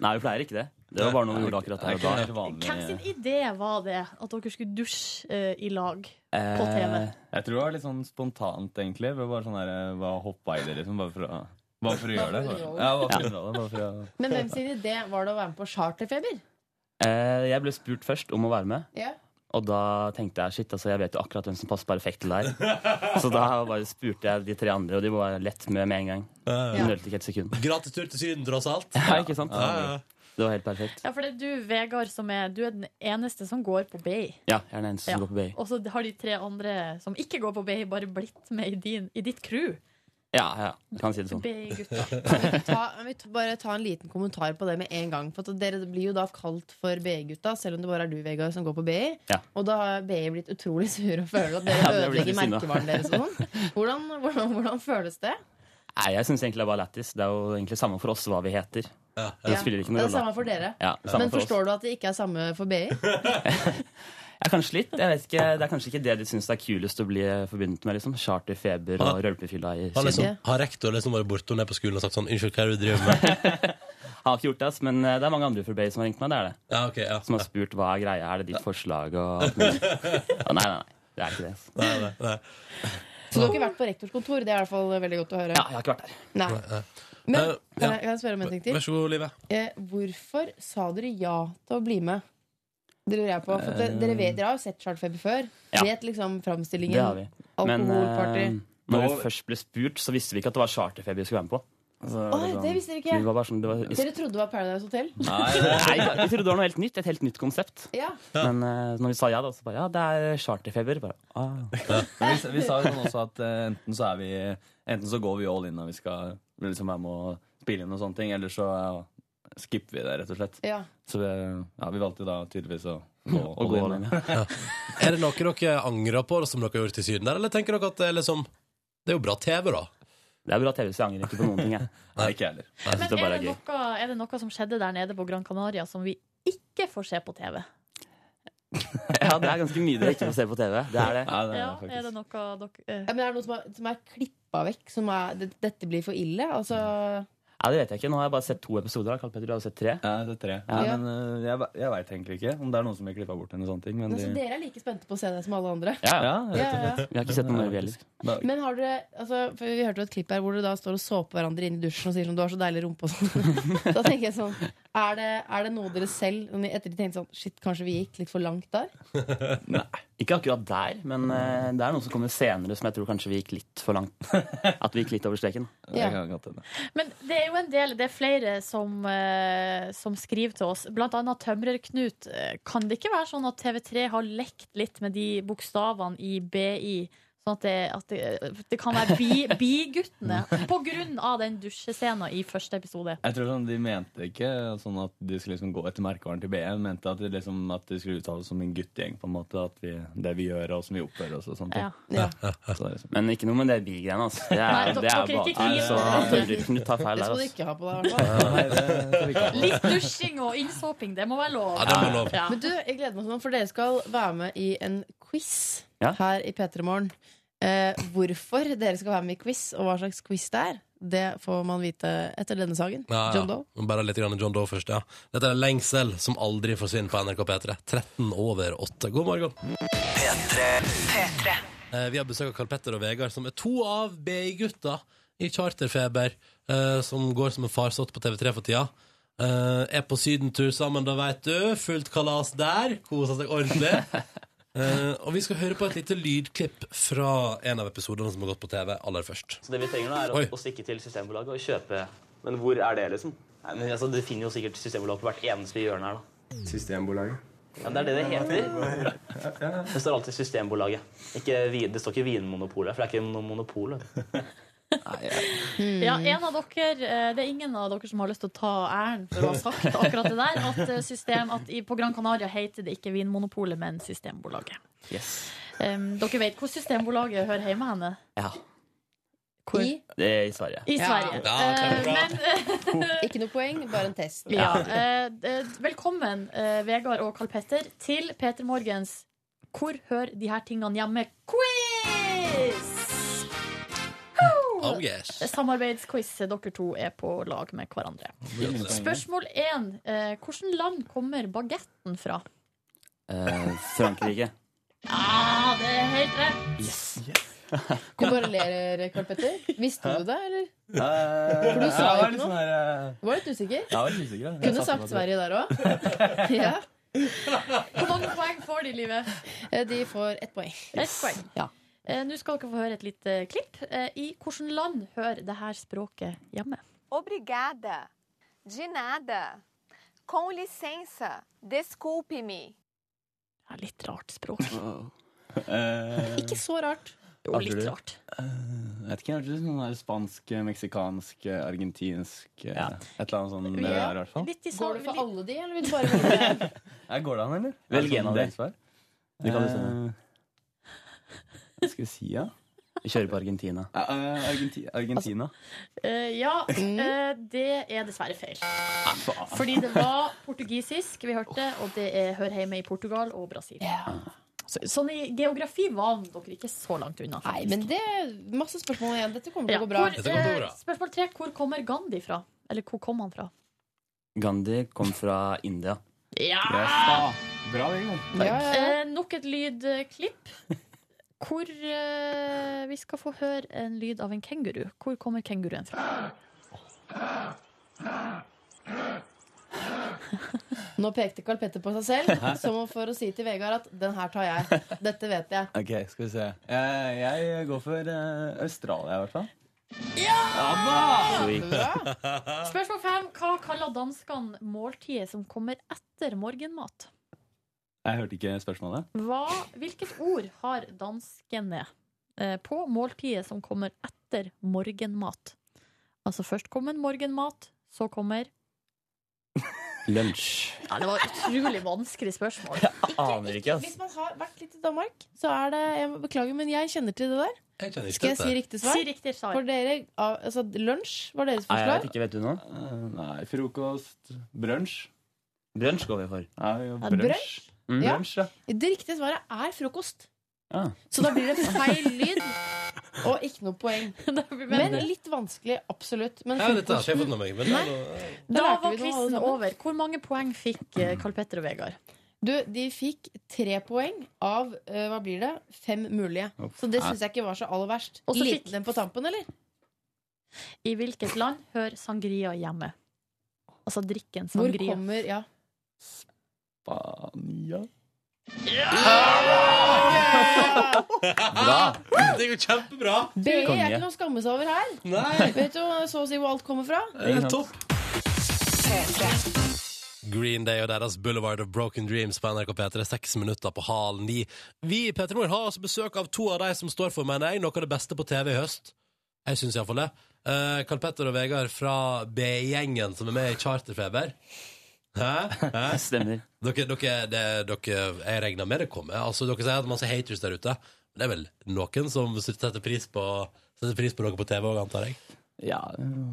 Speaker 11: Nei, vi pleier ikke det. Det var bare noe vi gjorde akkurat der og da.
Speaker 5: Hvem sin
Speaker 11: eh,
Speaker 5: idé var det at dere skulle dusje eh, i lag på TV?
Speaker 11: Eh, Jeg tror det var litt sånn spontant, egentlig. Vi var bare sånn der, eh, bare hoppa i det, liksom. Bare for å, bare for å gjøre det.
Speaker 3: Bare for å gjøre det.
Speaker 11: Ja, bare for å gjøre det. Bare for å...
Speaker 3: Men hvem sin idé var det å være med på charterfeber?
Speaker 11: Eh, Jeg ble spurt først om å være med.
Speaker 3: Ja.
Speaker 11: Og da tenkte jeg shit, altså jeg vet jo akkurat hvem som passer perfekt til det her. Så da bare spurte jeg de tre andre, og de var lett med med en gang. Hun nølte ikke et sekund.
Speaker 12: Gratis tur til Syden, tross alt.
Speaker 11: Ja, ikke sant?
Speaker 12: Ja, ja, ja.
Speaker 11: Det var helt perfekt.
Speaker 5: Ja, for det er du, Vegard, som er, du er den eneste som går på BI.
Speaker 11: Ja, jeg er den eneste som går på BI.
Speaker 5: Og så har de tre andre som ikke går på BI, bare blitt med i, din, i ditt crew.
Speaker 11: Ja, ja, jeg kan si det sånn.
Speaker 5: BI-gutta.
Speaker 3: Ta, vi t- bare ta en liten kommentar på det med en gang. For at Dere blir jo da kalt for BI-gutta, selv om det bare er du Vegard, som går på BI.
Speaker 11: Ja.
Speaker 3: Og da har BI blitt utrolig sur og føler at dere
Speaker 11: Ja, det blir
Speaker 3: ødelegger
Speaker 11: litt sinna.
Speaker 3: merkevaren deres. og sånn. Hvordan, hvordan, hvordan føles det?
Speaker 11: Nei, jeg syns egentlig det er bare lættis. Det er jo egentlig samme for oss hva vi heter. Det
Speaker 3: Ja.
Speaker 11: spiller ikke
Speaker 3: det
Speaker 11: noen
Speaker 3: er samme
Speaker 11: rolle.
Speaker 3: for dere.
Speaker 11: Ja, samme
Speaker 3: Men
Speaker 11: for oss.
Speaker 3: forstår du at det ikke er samme for BI?
Speaker 11: Ja, kanskje litt. Jeg vet ikke, det er kanskje ikke det de syns er kulest å bli forbundet med. liksom. Charter, feber og rølpefylla i
Speaker 12: Har, liksom,
Speaker 11: Syden.
Speaker 12: har rektor liksom vært borte og ned på skolen og sagt sånn Unnskyld, hva er det du driver med?
Speaker 11: Han har ikke gjort det, ass, men eh, det er mange andre fra Bay som har ringt meg. det er det. Som har spurt hva er greia, er det ditt forslag og alt mulig. Ja, Nei, nei, nei. Det er ikke det. ass.
Speaker 3: Så du har ikke vært på rektors kontor? Det er i hvert fall veldig godt å høre.
Speaker 11: Jeg har ikke vært der.
Speaker 3: Nei. Men
Speaker 12: Men,
Speaker 3: kan jeg, kan jeg spørre om en ting til?
Speaker 12: Eh, Vær så god, Live.
Speaker 3: Eh, hvorfor sa dere ja til å bli med? Det lurer jeg på. For dere,
Speaker 11: Eh.
Speaker 3: dere, vet, dere har jo sett Chartfeber før.
Speaker 11: Ja.
Speaker 3: Vet liksom framstillingen.
Speaker 11: Det har vi. Men
Speaker 3: Alkoholparty.
Speaker 11: eh, når vi først ble spurt, så visste vi ikke at det var charterfeber vi skulle være med på. Altså,
Speaker 3: Oi,
Speaker 11: liksom,
Speaker 3: det visste dere ikke.
Speaker 11: Vi var bare sånn, det var, vi,
Speaker 3: Dere trodde det var Paradise Hotel?
Speaker 11: nei, nei, vi trodde det var noe helt nytt. Et helt nytt konsept.
Speaker 3: Ja.
Speaker 11: Men eh, når vi sa ja, da, så bare ja, det er charterfeber. Bare, ah.
Speaker 14: Men vi, vi sa jo sånn også at eh, enten så, er vi, enten så går vi all in når vi skal liksom være med og spille inn og sånne ting, eller så eh, skipper vi det, rett og slett.
Speaker 3: Ja.
Speaker 14: Så vi, ja, vi valgte jo da tydeligvis å gå
Speaker 12: Å gå all in,
Speaker 14: ja.
Speaker 12: Er det noe dere angrer på som dere har gjort i Syden der, eller tenker dere at det er liksom Det er jo bra TV, da?
Speaker 11: Det er bra TV, så jeg angrer ikke på noen ting. Jeg.
Speaker 12: Nei,
Speaker 14: ikke heller.
Speaker 5: Men er det, noe, er det noe som skjedde der nede på Gran Canaria som vi ikke får se på TV?
Speaker 11: Ja, det er ganske mye dere ikke får se på TV. Det er det.
Speaker 5: Ja, er det noe dere eh,
Speaker 3: Ja, men er det noe som er, som er klippa vekk? Som er, det, dette blir for ille? Altså,
Speaker 11: Ja, det vet jeg ikke. Nå har jeg bare sett to episoder. da. Karl Petter, du har jo sett tre.
Speaker 14: Ja, jeg har sett tre.
Speaker 11: Ja.
Speaker 14: men eh, jeg, ve- jeg veit egentlig ikke om det er noen som blir klippa bort eller sånne ting. Men
Speaker 3: altså,
Speaker 14: de,
Speaker 3: dere er like spente på å se det som alle andre.
Speaker 14: ja, ja, rett
Speaker 3: Ja,
Speaker 14: og
Speaker 3: ja,
Speaker 14: slett.
Speaker 3: ja.
Speaker 11: Vi har ikke sett noe mer, vi heller.
Speaker 3: Men har dere, altså, for Vi hørte jo et klipp her hvor dere da står og såper hverandre inn i dusjen og sier sånn, du har så deilig rumpe. og sånn. da tenker jeg sånn, er det, er det noe dere selv som dere etter de tenkte sånn, shit, kanskje vi gikk litt for langt der?
Speaker 11: Nei, ikke akkurat der, men eh, det er noe som kommer senere som jeg tror kanskje vi gikk litt for langt. At vi gikk litt over streken.
Speaker 5: Ja.
Speaker 14: Ja.
Speaker 5: Men det er jo en del, det er flere som, eh, som skriver til oss, blant annet Tømrer-Knut. Eh, Kan det ikke være sånn at TV3 har lekt litt med de bokstavene i BI? Sånn at det, at det, det kan være bi- biguttene på grunn av den dusjescenen i første episode.
Speaker 14: Jeg tror sånn, De mente ikke sånn at de skulle liksom gå etter merkevaren til BM. Mente at de, liksom, at de skulle uttale oss som en guttegjeng. på en måte At vi, Det vi gjør, og som vi oppfører oss og sånt.
Speaker 5: Ja.
Speaker 14: liksom.
Speaker 11: Men ikke noe med det bi-greiene. Altså. Det
Speaker 5: Nei,
Speaker 11: er,
Speaker 5: dere
Speaker 11: det
Speaker 5: kan
Speaker 11: er
Speaker 5: ikke
Speaker 11: bare
Speaker 5: knive.
Speaker 11: så Tømrer Knut tar feil
Speaker 3: Det skal du
Speaker 11: der. Altså.
Speaker 3: ikke ha på deg, i hvert fall.
Speaker 5: Litt dusjing og innsåping, det må være lov.
Speaker 11: Ja, det må være lov.
Speaker 5: Ja.
Speaker 3: Men du, jeg gleder meg sånn, for dere skal være med i en quiz her i P3 Morgen. Eh, hvorfor dere skal være med i quiz, og hva slags quiz det er, det får man vite etter denne saken.
Speaker 12: Ja, ja.
Speaker 3: John Doe.
Speaker 12: Bare litt grann John Doe først, ja. Dette er Lengsel, som aldri forsvinner på NRK P3. 13 over 8. God morgen.
Speaker 15: P3. P3.
Speaker 2: Eh, Vi har besøk av Karl Petter og Vegard, som er to av BI-gutta i Charterfeber, eh, som går som en farsott på TV3 for tida. Eh, Er på sydentur sammen, da veit du. Fullt kalas der. Kosa seg ordentlig. Eh, Og vi skal høre på et lite lydklipp fra en av episodene som har gått på TV aller først.
Speaker 16: Så det vi trenger nå er å, å stikke til Systembolaget og kjøpe Men hvor er det, liksom? Nei, men altså, Du finner jo sikkert Systembolag på hvert eneste hjørne her, da. Systembolaget? Ja, Det er det det heter. Det står alltid Systembolaget. Ikke, vi- det står ikke Vinmonopolet, for det er ikke noe monopol. vet du.
Speaker 5: Ja, en av dere, eh, det er ingen av dere som har lyst til å ta æren for å ha sagt akkurat det der. At, eh, system, at i- på Gran Canaria heter det ikke Vinmonopolet, men Systembolaget. Em, dere vet hvor Systembolaget hører hjemme henne?
Speaker 17: Ja.
Speaker 5: Hvor?
Speaker 17: Det er i Sverige.
Speaker 5: I Sverige. Eh, men
Speaker 3: Ikke noe poeng, bare en test.
Speaker 5: ja, eh, eh, Velkommen, eh, Vegard og Karl Petter, til Peter Morgens Hvor hører de her tingene hjemme? Quiz!
Speaker 2: Oh, yes.
Speaker 5: Samarbeidsquiz. Dere to er på lag med hverandre. Spørsmål én. Eh, Hvilket land kommer bagetten fra?
Speaker 17: Eh, Frankrike.
Speaker 5: Ah, det er helt rett.
Speaker 17: Yes.
Speaker 3: Du bare ler, eh, Karl Petter. Visste du det, eller?
Speaker 11: For
Speaker 3: du sa jo ikke noe.
Speaker 11: Sånn her, eh,
Speaker 3: Du var litt usikker.
Speaker 11: jeg var litt usikker. Jeg
Speaker 3: Kunne
Speaker 11: satte
Speaker 3: sagt
Speaker 11: meg til-
Speaker 3: Sverige der òg. Ja.
Speaker 5: Hvor mange poeng får de i livet?
Speaker 3: Eh, De får ett poeng.
Speaker 5: Ett poeng. Eh, Nå skal dere få høre et lite klipp. Eh, I hvilket land hører det her språket hjemme?
Speaker 18: Obrigada. De nada. Com licença. Desculpe-me.
Speaker 5: Det er litt rart språk.
Speaker 11: Eh,
Speaker 3: Ikke så rart.
Speaker 5: Jo,
Speaker 11: Hva
Speaker 5: litt
Speaker 11: tror du?
Speaker 5: rart.
Speaker 11: Jeg vet ikke, hørtes sånn her spansk, eh, meksikansk, eh, argentinsk eh, Et eller annet sånn
Speaker 3: Ja.
Speaker 11: det der, i hvert fall.
Speaker 3: Går du for alle de, eller vil du bare velge deg?
Speaker 11: Ja, går det an, eller?
Speaker 17: Velg en av de.
Speaker 11: Du
Speaker 17: kan
Speaker 11: kan
Speaker 17: bestemme.
Speaker 11: Hva skal vi si, da?
Speaker 17: Vi kjører på Argentina.
Speaker 11: Argentina. Argentina.
Speaker 5: Eh, ja,
Speaker 11: Mm.
Speaker 5: eh, det er dessverre feil.
Speaker 11: Ah,
Speaker 5: Fordi det var portugisisk vi hørte, og det er, hører hjemme i Portugal og Brasil. Så- Sånn i geografi var dere ikke så langt unna.
Speaker 3: Nei, men det er masse spørsmål igjen. Dette kommer
Speaker 5: Ja,
Speaker 3: til å gå bra.
Speaker 5: hvor, eh, spørsmål tre. Hvor kommer Gandhi fra? Eller hvor kom han fra?
Speaker 17: Gandhi kom fra India.
Speaker 5: Ja!
Speaker 11: Bra, det,
Speaker 5: Eh, nok et lydklipp. Hvor eh, Vi skal få høre en lyd av en kenguru. Hvor kommer kenguruen fra?
Speaker 3: Nå pekte Carl Petter på seg selv, som for å si til Vegard at 'den her tar jeg'. Dette vet jeg.
Speaker 11: Ok, skal vi se. Eh, jeg går for eh, Australia, i hvert fall.
Speaker 5: Spørsmål fem. Hva kaller danskene måltidet som kommer etter morgenmat?
Speaker 11: Jeg hørte ikke spørsmålet.
Speaker 5: Hva, hvilket ord har danskene eh, på måltidet som kommer etter morgenmat? Altså først kommer morgenmat, så kommer
Speaker 17: Lunsj.
Speaker 5: ja, Det var et utrolig vanskelig spørsmål.
Speaker 17: Aner ikke,
Speaker 3: Hvis man har vært litt i Danmark, så er det jeg må- Beklager, men jeg kjenner til det der.
Speaker 2: kjenner ikke
Speaker 3: Skal jeg
Speaker 11: til
Speaker 3: si
Speaker 11: det.
Speaker 3: riktig svar?
Speaker 5: Si riktig svar.
Speaker 3: For dere, av- altså, lunsj var
Speaker 2: Ah,
Speaker 3: deres
Speaker 11: Nei, jeg
Speaker 3: forslag.
Speaker 11: vet ikke. Vet du noe? Eh, nei, frokost. Brunsj.
Speaker 17: Brunsj går vi for. Mm.
Speaker 11: Ja,
Speaker 3: Ja,
Speaker 11: brunsj.
Speaker 3: brunsj? Ja.
Speaker 11: Brunsj, ja.
Speaker 3: Det riktige svaret er frokost.
Speaker 2: Ah.
Speaker 11: Ja.
Speaker 3: Så da blir det feil lyd og ikke noe poeng. Men litt vanskelig, absolutt. Men
Speaker 2: Ja, dette har ikke jeg fått
Speaker 3: frokosten
Speaker 2: med meg. Men det er noe-
Speaker 5: Da
Speaker 3: lærte
Speaker 5: var
Speaker 3: vi noe alle
Speaker 5: quizen
Speaker 3: sammen.
Speaker 5: over. Hvor mange poeng fikk eh, Karl Petter og Vegard?
Speaker 3: Du, de fikk tre poeng av eh, hva blir det? fem mulige. Så det syns jeg ikke var så aller verst.
Speaker 5: Og så
Speaker 3: Liten
Speaker 5: fikk-
Speaker 3: den på tampen, eller?
Speaker 5: I hvilket land hører sangria hjemme? Altså drikken
Speaker 3: Hvor
Speaker 5: sangria.
Speaker 3: kommer Ja.
Speaker 11: Spania.
Speaker 2: Bra! Det går kjempebra.
Speaker 3: Det er ikke noe å skamme seg over her. Vet du så å si hvor alt kommer fra?
Speaker 2: Det er topp. Green Day og deres Boulevard of Broken Dreams på NRK P3, seks minutter på hal ni. Vi i P3 Morgen har altså besøk av to av de som står for, mener jeg, noe av det beste på TV i høst. Jeg syns iallfall det. Uh, Karl Petter og Vegard fra B-gjengen som er med i Charterfeber. Hæ? Hæ?
Speaker 17: Stemmer.
Speaker 2: Dere, dere, det, dere, jeg regner med det kommer. Altså, dere sier at det er masse haters der ute. Men Det er vel noen som setter pris på, setter pris på dere på TV òg, antar jeg?
Speaker 11: Ja,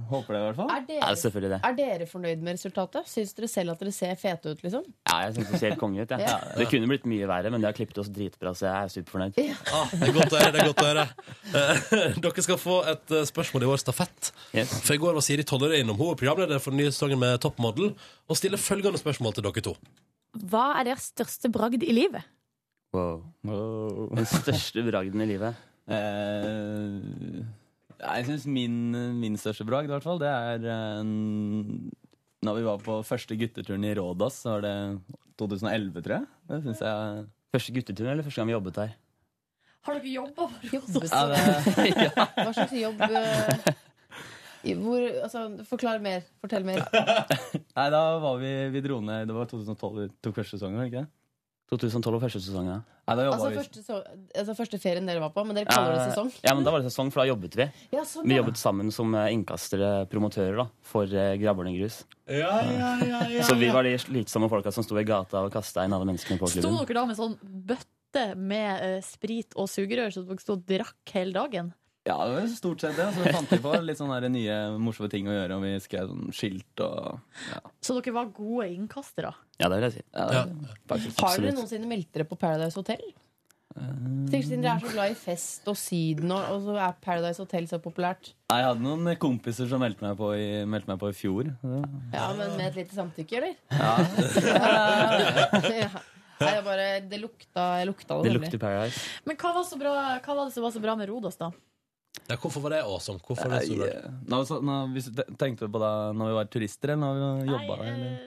Speaker 11: håper det i hvert fall.
Speaker 3: Er dere,
Speaker 17: Ja, selvfølgelig det.
Speaker 3: er dere fornøyd med resultatet? Syns dere selv at dere ser fete ut, liksom?
Speaker 17: Ja, jeg syns det ser helt konge ut. jeg.
Speaker 3: Ja.
Speaker 17: Det kunne blitt mye verre, men de har klippet oss dritbra, så jeg er superfornøyd.
Speaker 2: Ah, det er godt å høre. det er godt å høre Eh, Dere skal få et eh, spørsmål i vår stafett. For I går var Siri Tollere innom. Hun er programleder for den nye sesongen med Toppmodell. Og stiller følgende spørsmål til dere to.
Speaker 19: Hva er deres største bragd i livet?
Speaker 11: Den største bragden i livet?
Speaker 8: Eh, nei, jeg syns min, min største bragd, i hvert fall, det er eh, Når vi var på første gutteturen i Rådås, så var det 2011, tror jeg. Det synes jeg
Speaker 11: Første gutteturen, eller første gang vi jobbet der?
Speaker 20: Har dere jobba for oss også?
Speaker 8: Ja, det-
Speaker 3: Hva slags jobb eh, i- hvor, altså, Forklar mer. Fortell mer.
Speaker 8: Nei, da var vi Vi dro ned Det var 2012 vi tok første sesongen, var det ikke det?
Speaker 11: 2012 var første sesongen, ja.
Speaker 8: Nei, da
Speaker 3: Altså
Speaker 8: jobbet vi
Speaker 3: første, so altså første ferien dere var på, men dere kaller det
Speaker 11: Eh,
Speaker 3: sesong.
Speaker 11: Ja, men da var det sesong, for da jobbet vi.
Speaker 3: Ja, sånn,
Speaker 11: Vi
Speaker 3: ja.
Speaker 11: jobbet sammen som eh, innkastere, promotører, da, for eh, Grabberne grus.
Speaker 2: Ja, ja, ja, ja,
Speaker 11: Så vi
Speaker 2: ja.
Speaker 11: var de slitsomme folka som sto i gata og kasta inn alle menneskene på
Speaker 5: Sto
Speaker 11: klubben.
Speaker 5: dere da med sånn bøtte med eh, sprit og sugerør, så dere sto og drakk hele dagen?
Speaker 8: Ja, det var stort sett det. Så vi fant vi på litt sånne her nye morsomme ting å gjøre, og vi skrev sånn skilt og
Speaker 5: Så dere var gode innkastere?
Speaker 11: Ja, det vil jeg si.
Speaker 3: Har dere noensinne meldt dere på Paradise Hotel? Tenk siden dere er så glad i fest og Syden, og, og så er Paradise Hotel så populært.
Speaker 8: Nei, jeg hadde noen kompiser som meldte meg på i, meldte meg på i fjor. Ja.
Speaker 3: Ja, men med et lite samtykke, eller?
Speaker 8: Ja.
Speaker 3: ja. Nei, det bare Det lukta, jeg lukta det,
Speaker 8: Det
Speaker 3: nemlig.
Speaker 8: lukter
Speaker 11: Paradise.
Speaker 5: Men hva var, så bra, hva var det som var så bra med Rodos, da?
Speaker 2: Ja, hvorfor var det awesome? Hvorfor var det så
Speaker 8: Nei,
Speaker 2: bra?
Speaker 8: eh, nå, så, nå, hvis, du te- tenkte du på da når vi var turister, eller når vi jobba? Eller?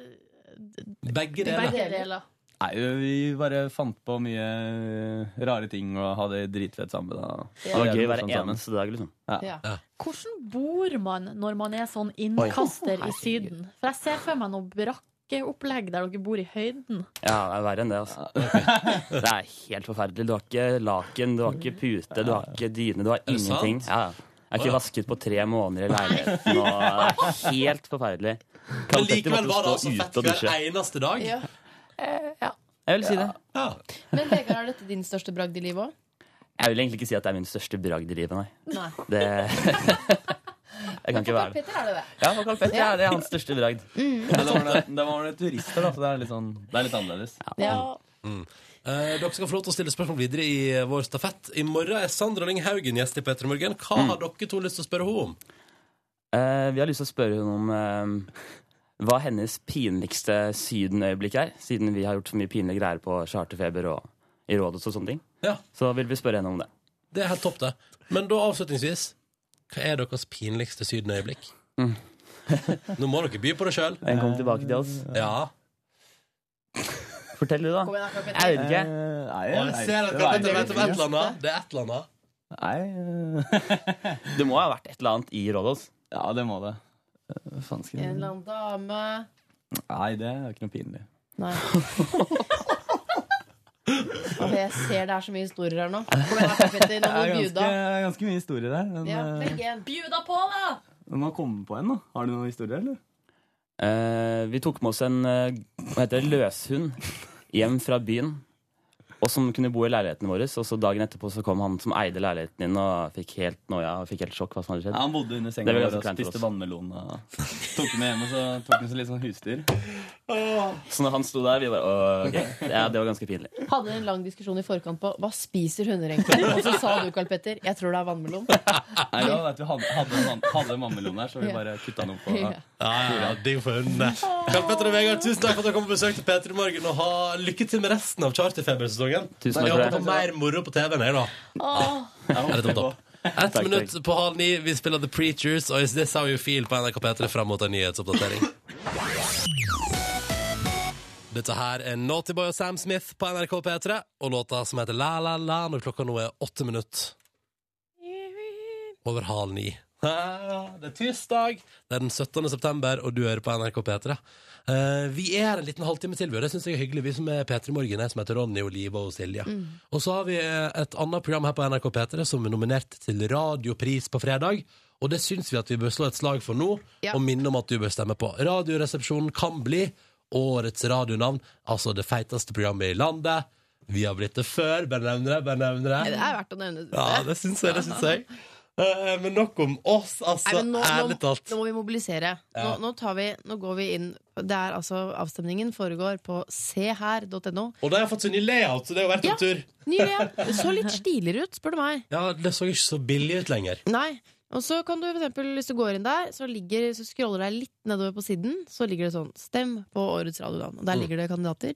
Speaker 2: Begge
Speaker 5: eh, Begge deler.
Speaker 8: Nei, vi bare fant på mye eh, rare ting og hadde dritfett sammen. Da.
Speaker 5: Ja. Det var
Speaker 11: gøy
Speaker 8: morsomt
Speaker 11: hver
Speaker 8: sånn sammen.
Speaker 11: eneste dag, liksom.
Speaker 5: Ja. Hvordan bor man når man er sånn innkaster
Speaker 11: Oi.
Speaker 5: i Syden? For jeg ser for meg noe brakkeopplegg der dere bor i høyden.
Speaker 11: Ja, det er verre enn det, altså. Det er helt forferdelig. Du har ikke laken, du har ikke pute, du har ikke dyne, du har
Speaker 2: det sant?
Speaker 11: ingenting. Ja, ja. Jeg har ikke vasket på tre måneder i leiligheten, og det er helt forferdelig.
Speaker 2: Men likevel var det altså fett hver
Speaker 11: Jeg
Speaker 2: eneste dag.
Speaker 3: Ja.
Speaker 11: vil si det.
Speaker 3: Men Vegard, er dette din største bragd i livet òg?
Speaker 11: Jeg vil egentlig ikke si at det er min største bragd i livet, nei.
Speaker 3: Nei.
Speaker 11: Det Jeg kan ikke være det.
Speaker 3: Petter er det det.
Speaker 11: Ja, for Carl Petter er det hans største bragd.
Speaker 2: Mm.
Speaker 8: Men da var det, da var det turister, da, så det er litt, sånn, det er litt annerledes.
Speaker 2: Mm. Eh, dere skal få lov til å stille spørsmål videre i eh, vår stafett. I morgen er Sandra Lyng Haugen gjest i P3 Morgen. Hva
Speaker 8: Mm.
Speaker 2: har dere to lyst til å spørre henne om?
Speaker 11: Eh, vi har lyst til å spørre henne om eh, hva hennes pinligste sydenøyeblikk er, siden vi har gjort så mye pinlige greier på charterfeber og i rådet og sånne ting. Så vil vi spørre henne om det.
Speaker 2: Det er helt topp, det. Men da avslutningsvis, hva er deres pinligste sydenøyeblikk?
Speaker 8: Mm.
Speaker 2: Nå må dere by på det sjøl.
Speaker 11: Den kom tilbake til oss.
Speaker 2: Ja.
Speaker 11: Eh, Fortell du, da.
Speaker 3: Kom igjen, da, Carl Petter.
Speaker 11: Jeg vet ikke.
Speaker 8: Eh, nei,
Speaker 2: Og jeg
Speaker 8: vet-
Speaker 2: ser at
Speaker 8: det
Speaker 2: dere
Speaker 8: var
Speaker 2: vet om et
Speaker 8: egentlig-
Speaker 2: eller annet. Det er et eller annet.
Speaker 8: Nei eh.
Speaker 11: Det må ha vært et eller annet i Rådås?
Speaker 8: Ja, det må det. Eh, Faen skal
Speaker 3: En
Speaker 8: jeg...
Speaker 3: eller annen dame
Speaker 8: Nei, det er ikke noe pinlig.
Speaker 3: Nei. Ok, jeg ser det er så mye historier her nå. Kom igjen, da, Carl
Speaker 8: Det
Speaker 3: Petter,
Speaker 8: er
Speaker 3: nå må du
Speaker 8: ganske,
Speaker 3: bjuda.
Speaker 8: ganske mye historie der. Men,
Speaker 3: Ja,
Speaker 8: eh,
Speaker 3: velg en. Bjuda på, da!
Speaker 8: men man kommer på en, da. Har du noen historier, eller?
Speaker 11: Eh, vi tok med oss en eh, hva heter det, løshund hjem fra byen. Og som kunne bo i leiligheten vår. Og så dagen etterpå så kom han som eide leiligheten din og fikk helt noia og fikk helt sjokk. hva som hadde skjedd.
Speaker 8: Ja, han bodde under senga
Speaker 11: Det ble
Speaker 8: vår
Speaker 11: ganske
Speaker 8: og
Speaker 11: kleint for
Speaker 8: spiste
Speaker 11: oss.
Speaker 8: vannmelon. Og tok den med hjem, og så tok den som litt sånn husdyr.
Speaker 11: Så når han sto der, vi bare «Åh, ok. Ja, det var ganske pinlig.
Speaker 3: Hadde en lang diskusjon i forkant på hva spiser hunder egentlig? Og så sa du, Carl Petter, jeg tror det er vannmelon.
Speaker 8: Nei, ja, vet du, hadde, hadde, en vann- hadde en vannmelon der, så vi bare kutta den opp. Og,
Speaker 3: Ja.
Speaker 2: Ja, ja, ja, digg for hundene. Karl Petter og Vegard, tusen takk for at dere kom på besøk til P3 Morgen. Og ha lykke til med resten av charterfebersesongen.
Speaker 11: Tusen takk
Speaker 2: Jeg
Speaker 11: for
Speaker 2: håper
Speaker 11: det.
Speaker 2: på mer moro på TV-en, jeg, da. Ja, det er topp. Ett
Speaker 11: takk.
Speaker 2: minutt på halv ni. Vi spiller The Preachers og Is This How You Feel på NRK P3 fram mot en nyhetsoppdatering. Dette her er Naughty Boy og Sam Smith på NRK P3 og låta som heter La La La når klokka nå er åtte minutt over halv ni. Det er tirsdag, det er den 17. september, og du hører på NRK P3. Eh, vi er her en liten halvtime til, vi, og det syns jeg er hyggelig. Vi som er P3 Morgen, jeg som heter Ronny og Live og Silja. Og så har vi eh, et annet program her på NRK P3 som er nominert til Radiopris på fredag. Og det syns vi at vi bør slå et slag for nå,
Speaker 3: Ja.
Speaker 2: og minne om at du bør stemme på. Radioresepsjonen kan bli årets radionavn, altså det feiteste programmet i landet. Vi har blitt det før, bare nevner det, bare nevner
Speaker 3: Det
Speaker 2: det.
Speaker 3: er verdt å nevne.
Speaker 2: Ja, det syns jeg. det synes jeg Eh, Men nok om oss, altså.
Speaker 3: Nei, men nå, nå,
Speaker 2: ærlig talt.
Speaker 3: nå må vi mobilisere. Nå,
Speaker 2: Ja.
Speaker 3: nå, tar vi, nå går vi inn Det er altså Avstemningen foregår på seher.no.
Speaker 2: Og da har jeg fått sånn ny layout, så det har vært en tur.
Speaker 3: Ny idé. Så litt stiligere ut, spør du meg.
Speaker 2: Ja, Det så ikke så billig ut lenger.
Speaker 3: Nei, Og så kan du for eksempel, hvis du går inn der, så, ligger, så scroller du litt nedover på siden, så ligger det sånn 'Stem på årets radionavn'. Og der
Speaker 21: Mm.
Speaker 3: ligger det kandidater.